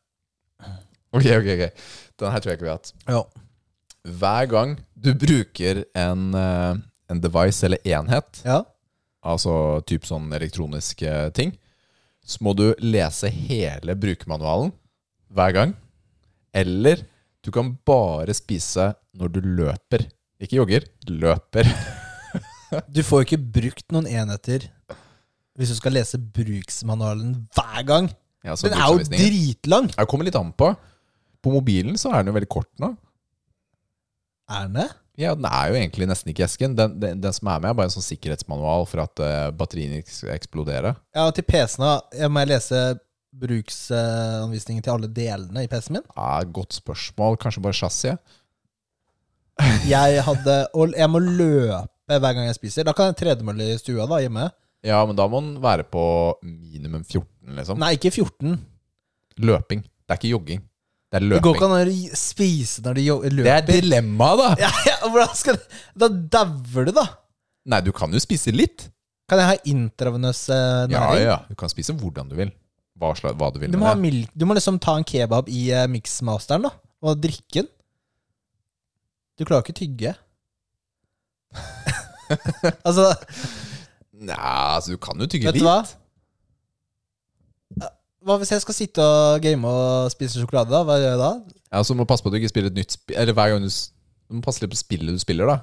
[SPEAKER 2] Ok, ok, ok. Den her tror jeg ikke vi har hatt.
[SPEAKER 1] Ja.
[SPEAKER 2] Hver gang du bruker en, eh, en device eller enhet,
[SPEAKER 1] Ja.
[SPEAKER 2] altså typ sånn elektroniske ting, så må du lese hele brukermanualen hver gang. Eller du kan bare spise når du løper. Ikke jogger, løper.
[SPEAKER 1] Du får jo ikke brukt noen enheter hvis du skal lese bruksmanualen hver gang.
[SPEAKER 2] Ja, så
[SPEAKER 1] Den er jo
[SPEAKER 2] bruksanvisningen.
[SPEAKER 1] dritlang!
[SPEAKER 2] Jeg kommer litt an på. På mobilen så er den jo veldig kort nå.
[SPEAKER 1] Er den det?
[SPEAKER 2] Ja, den er jo egentlig nesten ikke i esken. Den, den, den som er med, er bare en sånn sikkerhetsmanual for at eh, batteriene ikke skal eksplodere.
[SPEAKER 1] Ja, og til PC-en da, jeg må jeg lese bruksanvisningen til alle delene i PC-en min.
[SPEAKER 2] Ja, godt spørsmål. Kanskje bare chassiset?
[SPEAKER 1] Jeg hadde Og jeg må løpe hver gang jeg spiser. Da kan jeg tredemølle i stua da, hjemme.
[SPEAKER 2] Ja, men da må den være på minimum 14, liksom.
[SPEAKER 1] Nei, ikke 14.
[SPEAKER 2] Løping. Det er ikke jogging. Det er
[SPEAKER 1] Det går ikke
[SPEAKER 2] løping.
[SPEAKER 1] an å ri- spise når de jo-
[SPEAKER 2] Det
[SPEAKER 1] løper.
[SPEAKER 2] er dilemmaet, da!
[SPEAKER 1] Ja, ja, hvordan skal Da dauer du, da!
[SPEAKER 2] Nei, du kan jo spise litt.
[SPEAKER 1] Kan jeg ha intravenøs eh,
[SPEAKER 2] Ja,
[SPEAKER 1] næring?
[SPEAKER 2] ja. Du kan spise hvordan du vil. Hva, sla- hva du vil
[SPEAKER 1] Du må, ha
[SPEAKER 2] med det.
[SPEAKER 1] milk, du må liksom ta en kebab i eh, mixmasteren da og drikke den. Du klarer ikke tygge. altså,
[SPEAKER 2] Nei, altså, du kan jo tygge
[SPEAKER 1] vet
[SPEAKER 2] litt.
[SPEAKER 1] du hva? Eh, Hva hvis jeg skal sitte og game og spise sjokolade, da? Hva gjør jeg da?
[SPEAKER 2] Ja, så må du passe på at du ikke spiller et nytt spill Eller hver gang du, s- du må passe litt på spillet du spiller da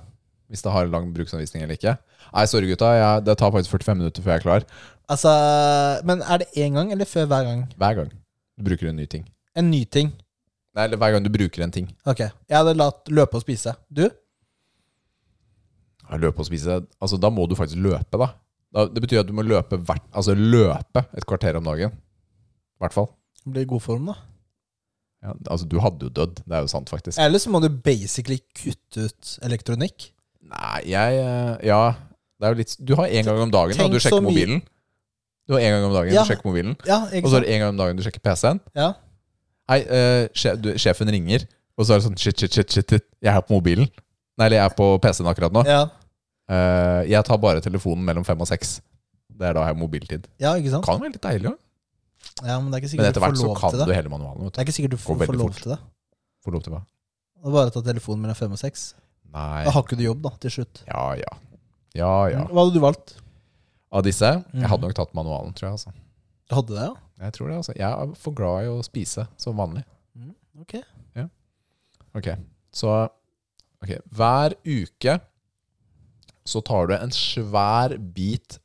[SPEAKER 2] Hvis det har lang bruksanvisning eller ikke Nei, sorry gutta, jeg, det tar faktisk 45 minutter før jeg er klar
[SPEAKER 1] Altså, Men er det én gang, eller før hver gang?
[SPEAKER 2] Hver gang du bruker en ny ting
[SPEAKER 1] En ny ting.
[SPEAKER 2] Nei, eller hver gang du bruker en ting
[SPEAKER 1] Ok. Jeg hadde latt løpe og spise. Du?
[SPEAKER 2] Ja, Løpe og spise, altså da må du faktisk løpe da, da Det betyr at du må løpe hvert, Altså løpe et kvarter om dagen Hvertfall
[SPEAKER 1] Blir i god form, da.
[SPEAKER 2] ja, Altså du hadde jo dødd, det er jo sant faktisk
[SPEAKER 1] Eller så må du basically kutte ut elektronikk.
[SPEAKER 2] Nei, jeg, eh, ja Det er jo litt, du har en gang om dagen da
[SPEAKER 1] Tenk
[SPEAKER 2] du
[SPEAKER 1] så
[SPEAKER 2] sjekker
[SPEAKER 1] mye-
[SPEAKER 2] mobilen Du har en gang om dagen
[SPEAKER 1] Ja.
[SPEAKER 2] du sjekker mobilen
[SPEAKER 1] Ja,
[SPEAKER 2] Og
[SPEAKER 1] ikke
[SPEAKER 2] så er
[SPEAKER 1] sant?
[SPEAKER 2] det en gang om dagen du sjekker PC-en
[SPEAKER 1] Ja.
[SPEAKER 2] Hei, eh, sje- du, sjefen ringer, og så er det sånn shit, shit, shit, shit, shit. Jeg er på mobilen. Nei, eller jeg er på PC-en akkurat nå.
[SPEAKER 1] Ja.
[SPEAKER 2] Eh, jeg tar bare telefonen mellom fem og seks. Det er da jeg har mobiltid.
[SPEAKER 1] ja, ikke sant?
[SPEAKER 2] Kan være litt deilig, jo.
[SPEAKER 1] Ja, Men det er ikke
[SPEAKER 2] Men
[SPEAKER 1] sikkert du
[SPEAKER 2] etter
[SPEAKER 1] får
[SPEAKER 2] hvert så
[SPEAKER 1] lov
[SPEAKER 2] kan
[SPEAKER 1] til det.
[SPEAKER 2] du hele manualen.
[SPEAKER 1] Det
[SPEAKER 2] Vet du.
[SPEAKER 1] er ikke sikkert du får,
[SPEAKER 2] veldig
[SPEAKER 1] får lov
[SPEAKER 2] fort.
[SPEAKER 1] til det.
[SPEAKER 2] Får lov til hva?
[SPEAKER 1] Og bare ta telefonen mellom fem og seks. Da
[SPEAKER 2] Nei.
[SPEAKER 1] har ikke du jobb, da, til slutt.
[SPEAKER 2] Ja, ja. Ja, ja.
[SPEAKER 1] Hva hadde du valgt?
[SPEAKER 2] Av disse,
[SPEAKER 1] Mhm.
[SPEAKER 2] jeg hadde nok tatt manualen, tror jeg. Altså.
[SPEAKER 1] Du hadde det, ja?
[SPEAKER 2] Jeg tror det, altså. Jeg er for glad i å spise, som vanlig.
[SPEAKER 1] Mm, ok.
[SPEAKER 2] Ja. Ok, så ok, hver uke så tar du en svær bit,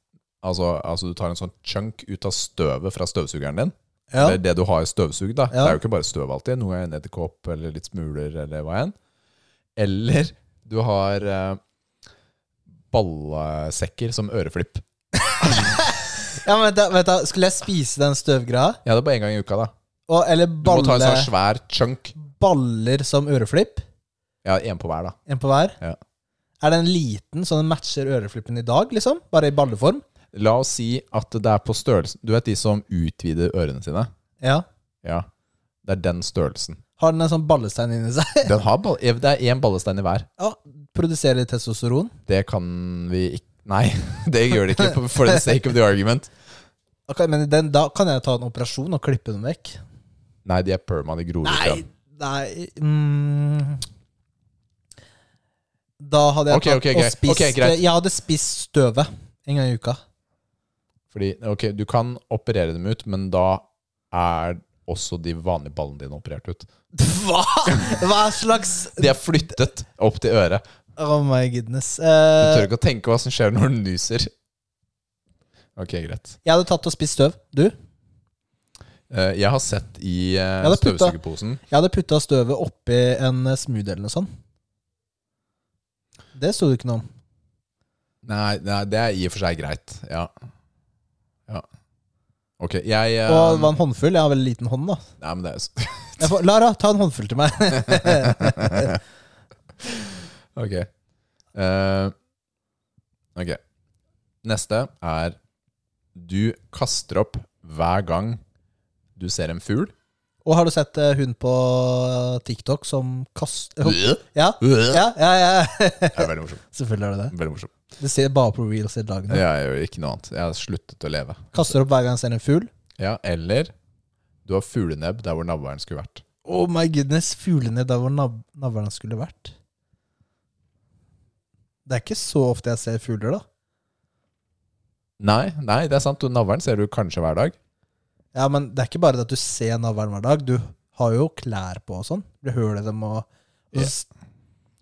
[SPEAKER 2] altså, altså du tar en sånn chunk ut av støvet fra støvsugeren din.
[SPEAKER 1] Ja.
[SPEAKER 2] Eller det du har i støvsug da.
[SPEAKER 1] Ja.
[SPEAKER 2] Det er jo ikke bare støv alltid. Noen ganger en edderkopp eller litt smuler eller hva enn. Eller du har eh, ballesekker som øreflipp.
[SPEAKER 1] ja men da, vet du, Skulle jeg spise den støvgreia?
[SPEAKER 2] Ja, det er bare en gang i uka da.
[SPEAKER 1] Og, eller
[SPEAKER 2] Du må ta en
[SPEAKER 1] balle,
[SPEAKER 2] sånn svær chunk.
[SPEAKER 1] baller som øreflipp?
[SPEAKER 2] Ja, en på hver da.
[SPEAKER 1] En på hver?
[SPEAKER 2] Ja.
[SPEAKER 1] Er den liten, så den matcher øreflippen i dag, liksom? Bare i balleform?
[SPEAKER 2] La oss si at det er på størrelsen Du vet de som utvider ørene sine?
[SPEAKER 1] Ja.
[SPEAKER 2] Ja. Det er den størrelsen.
[SPEAKER 1] Har den en sånn ballestein inni seg?
[SPEAKER 2] Den har ball eh, det er én ballestein i hver.
[SPEAKER 1] Ja. Produserer testosteron?
[SPEAKER 2] Det kan vi ikke Nei, det gjør det ikke, for the sake of the argument.
[SPEAKER 1] Ok, men den, da kan jeg ta en operasjon og klippe den vekk?
[SPEAKER 2] Nei, de er perma, de gror ikke.
[SPEAKER 1] Nei, nei mm. Da hadde jeg
[SPEAKER 2] Ok,
[SPEAKER 1] tatt
[SPEAKER 2] ok, greit.
[SPEAKER 1] og spist
[SPEAKER 2] Ok, greit.
[SPEAKER 1] Jeg hadde spist støvet en gang i uka.
[SPEAKER 2] Fordi, ok, Du kan operere dem ut, men da er også de vanlige ballene dine operert ut.
[SPEAKER 1] Hva?! Hva slags
[SPEAKER 2] De er flyttet opp til øret.
[SPEAKER 1] Oh my goodness.
[SPEAKER 2] Du
[SPEAKER 1] Eh,
[SPEAKER 2] tør ikke å tenke hva som skjer når du nyser. Ok, greit.
[SPEAKER 1] jeg hadde tatt og spist støv. Du?
[SPEAKER 2] Eh, Jeg har sett i eh,
[SPEAKER 1] Ja, det er putta.
[SPEAKER 2] støvsugerposen.
[SPEAKER 1] Jeg hadde putta støvet oppi en smoothie eller noe sånt. Det sto det ikke noe om.
[SPEAKER 2] Nei, nei, det er i og for seg greit. Ja. ja. Ok, jeg eh,
[SPEAKER 1] Og det var en håndfull. Jeg har veldig liten hånd, da.
[SPEAKER 2] Nei, men det er
[SPEAKER 1] Jeg får, Lara, ta en håndfull til meg.
[SPEAKER 2] Ok. Eh, ok. Neste er Du kaster opp hver gang du ser en fugl.
[SPEAKER 1] Og har du sett eh, hun på TikTok som kast... eh, Ja, ja, ja. ja.
[SPEAKER 2] Det er veldig morsomt.
[SPEAKER 1] Selvfølgelig er det det.
[SPEAKER 2] Veldig morsomt.
[SPEAKER 1] Du ser bare på reels i dag nå.
[SPEAKER 2] Jeg gjør ikke noe annet. Jeg har sluttet å leve.
[SPEAKER 1] Kaster opp hver gang jeg ser en fugl.
[SPEAKER 2] Ja, Eller du har fuglenebb der hvor navlen skulle vært.
[SPEAKER 1] Oh my goodness, fuglene der hvor nav navlene skulle vært. Det er ikke så ofte jeg ser fugler, da.
[SPEAKER 2] Nei, nei, det er sant. Du, Navlen ser du kanskje hver dag.
[SPEAKER 1] Ja, men det er ikke bare det at du ser navlen hver dag. Du har jo klær på og sånn. Du hører dem og og så-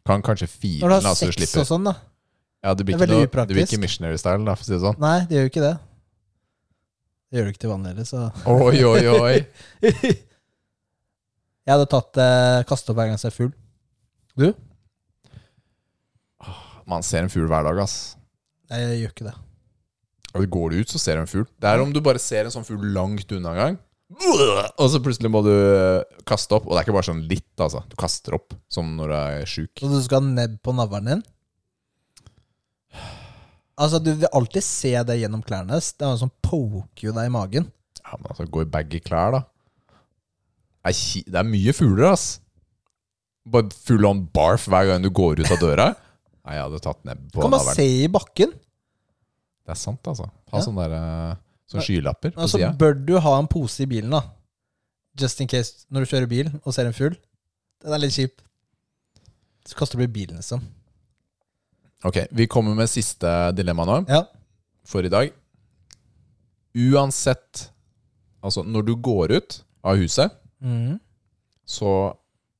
[SPEAKER 2] Kan kanskje
[SPEAKER 1] Når
[SPEAKER 2] file
[SPEAKER 1] du
[SPEAKER 2] den,
[SPEAKER 1] har
[SPEAKER 2] altså
[SPEAKER 1] sex
[SPEAKER 2] du
[SPEAKER 1] og
[SPEAKER 2] slipper.
[SPEAKER 1] sånn, da.
[SPEAKER 2] Ja, det blir
[SPEAKER 1] Det er
[SPEAKER 2] ikke,
[SPEAKER 1] veldig
[SPEAKER 2] noe, det blir
[SPEAKER 1] upraktisk.
[SPEAKER 2] ikke missionary style, da, for å si det sånn.
[SPEAKER 1] Nei, det gjør jo ikke det. Det gjør du ikke til vanlig heller, så
[SPEAKER 2] Oi, oi, oi.
[SPEAKER 1] Jeg hadde tatt eh, kaste opp hver gang jeg ser fugl.
[SPEAKER 2] Man ser en fugl hver dag, ass.
[SPEAKER 1] Nei, jeg gjør ikke det.
[SPEAKER 2] Og det går du ut, så ser du en fugl. Det er om du bare ser en sånn fugl langt unna en gang. Og så plutselig må du eh, kaste opp. Og det er ikke bare sånn litt, altså. Du kaster opp som når du er sjuk.
[SPEAKER 1] Så du skal ha nebb på navlen din? Altså, du vil alltid se det gjennom klærne. Det er noen som poker jo deg i magen.
[SPEAKER 2] Ja, men altså, gå i bag i klær, da. Det er, ki det er mye fugler, ass. Bare full on barf hver gang du går ut av døra. Nei, jeg hadde tatt nebb på
[SPEAKER 1] Kan man
[SPEAKER 2] navlen.
[SPEAKER 1] se i bakken?
[SPEAKER 2] Det er sant, altså.
[SPEAKER 1] Ja.
[SPEAKER 2] Ha sånne der, eh, sånne skylapper på
[SPEAKER 1] Altså,
[SPEAKER 2] sida.
[SPEAKER 1] bør du ha en pose i bilen, da? Just in case når du kjører bil og ser en fugl. Den er litt kjip. Så kaster du i bilen, liksom.
[SPEAKER 2] Ok, vi kommer med siste dilemma nå.
[SPEAKER 1] Ja.
[SPEAKER 2] for i dag. Uansett Altså, når du går ut av huset,
[SPEAKER 1] Mm.
[SPEAKER 2] så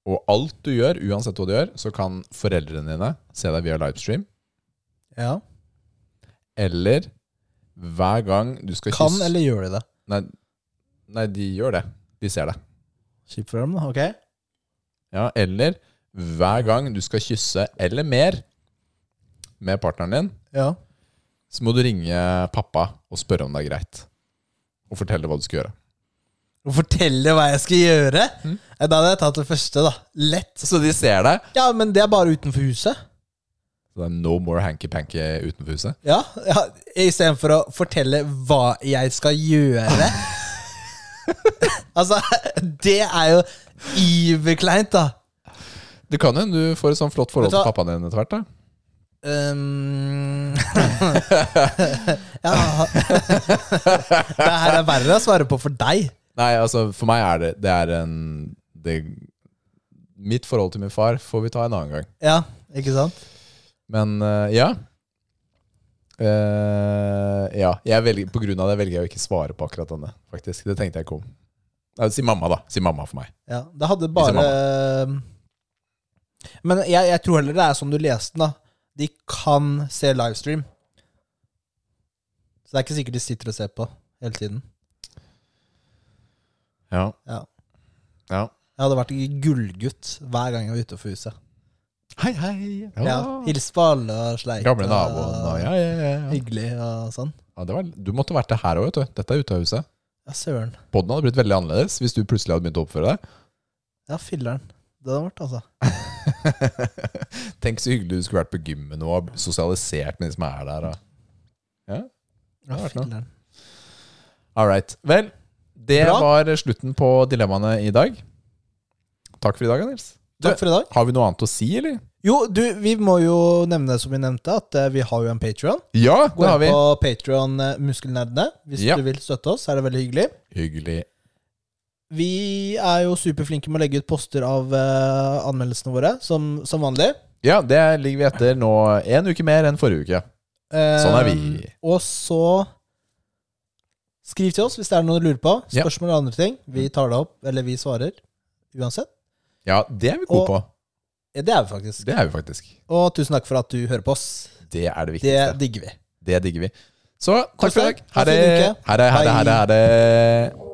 [SPEAKER 2] Og alt du gjør, uansett hva du gjør, så kan foreldrene dine se deg via livestream.
[SPEAKER 1] ja.
[SPEAKER 2] Eller hver gang du skal
[SPEAKER 1] Kan
[SPEAKER 2] kysse
[SPEAKER 1] eller gjør de det?
[SPEAKER 2] nei, nei, de gjør det. De ser det.
[SPEAKER 1] Kjipt for dem, da. Ok.
[SPEAKER 2] Ja, eller hver gang du skal kysse eller mer med partneren din,
[SPEAKER 1] Ja.
[SPEAKER 2] så må du ringe pappa og spørre om det er greit. Og fortelle hva du skal gjøre.
[SPEAKER 1] Å fortelle hva jeg skal gjøre?
[SPEAKER 2] Mm.
[SPEAKER 1] Eh, Da hadde jeg tatt det første, da. Lett.
[SPEAKER 2] Så de ser deg.
[SPEAKER 1] Ja, men det er bare utenfor huset.
[SPEAKER 2] Så det er no more hanky-panky utenfor huset.
[SPEAKER 1] Ja, ja Istedenfor å fortelle hva jeg skal gjøre. altså, det er jo iverkleint, da.
[SPEAKER 2] Det kan jo hende du får et sånn flott forhold
[SPEAKER 1] Vet du hva?
[SPEAKER 2] til pappaen din etter hvert. da
[SPEAKER 1] Um, ja Det her er verre å svare på for deg.
[SPEAKER 2] Nei, altså for meg er det Det er en det, Mitt forhold til min far får vi ta en annen gang.
[SPEAKER 1] Ja, ikke sant?
[SPEAKER 2] Men eh, ja. Eh, ja. Jeg velger, på grunn av det velger jeg å ikke svare på akkurat denne. Faktisk, Det tenkte jeg ikke om. Nei, si mamma, da. Si mamma for meg.
[SPEAKER 1] Ja, det hadde bare Men jeg, jeg tror heller det er som du leste den, da. De kan se livestream. Så det er ikke sikkert de sitter og ser på hele tiden.
[SPEAKER 2] Ja.
[SPEAKER 1] Ja.
[SPEAKER 2] ja.
[SPEAKER 1] Jeg hadde vært gullgutt hver gang jeg var utenfor huset.
[SPEAKER 2] Hei, hei.
[SPEAKER 1] Ja. Hils på alle og sleik.
[SPEAKER 2] Gamle
[SPEAKER 1] og-
[SPEAKER 2] naboen og ja, ja, ja, ja.
[SPEAKER 1] Hyggelig og sånn.
[SPEAKER 2] ja det var, Du måtte vært det her òg, vet du. Dette er ute av huset.
[SPEAKER 1] Ja, søren.
[SPEAKER 2] Podden hadde blitt veldig annerledes hvis du plutselig hadde begynt å oppføre deg.
[SPEAKER 1] Ja, filler'n. Det hadde vært, altså.
[SPEAKER 2] Tenk så hyggelig du skulle vært på gymmen og sosialisert med de som er der. Og.
[SPEAKER 1] Ja,
[SPEAKER 2] hadde vært noe.
[SPEAKER 1] filler'n.
[SPEAKER 2] All right. Vel, det
[SPEAKER 1] Bra.
[SPEAKER 2] var slutten på dilemmaene i dag. Takk for i dag, Nils.
[SPEAKER 1] Takk for i dag.
[SPEAKER 2] Har vi noe annet å si, eller?
[SPEAKER 1] Jo, du, vi må jo nevne som vi nevnte, at eh, vi har jo en Patrion.
[SPEAKER 2] Ja,
[SPEAKER 1] Gå
[SPEAKER 2] det har
[SPEAKER 1] inn
[SPEAKER 2] vi.
[SPEAKER 1] på Patrion Muskelnerdene hvis
[SPEAKER 2] Ja.
[SPEAKER 1] du vil støtte oss. Er det veldig hyggelig.
[SPEAKER 2] Hyggelig.
[SPEAKER 1] Vi er jo superflinke med å legge ut poster av eh, anmeldelsene våre, som, som vanlig.
[SPEAKER 2] Ja, det ligger vi etter nå en uke mer enn forrige uke.
[SPEAKER 1] Eh,
[SPEAKER 2] Sånn er vi.
[SPEAKER 1] Og så skriv til oss hvis det er noe du lurer på.
[SPEAKER 2] Ja.
[SPEAKER 1] Spørsmål og andre ting. Vi tar det opp, eller vi svarer. Uansett.
[SPEAKER 2] Ja, det er vi gode på.
[SPEAKER 1] Ja, Det er vi faktisk.
[SPEAKER 2] Det er vi faktisk.
[SPEAKER 1] Og tusen takk for at du hører på oss.
[SPEAKER 2] Det er det
[SPEAKER 1] Det
[SPEAKER 2] viktigste.
[SPEAKER 1] digger vi.
[SPEAKER 2] Det digger vi. Så takk
[SPEAKER 1] Takk
[SPEAKER 2] for i
[SPEAKER 1] for det. Ha en
[SPEAKER 2] dag. Ha det.
[SPEAKER 1] fin uke.
[SPEAKER 2] Ha det, ha det, ha det. Ha det.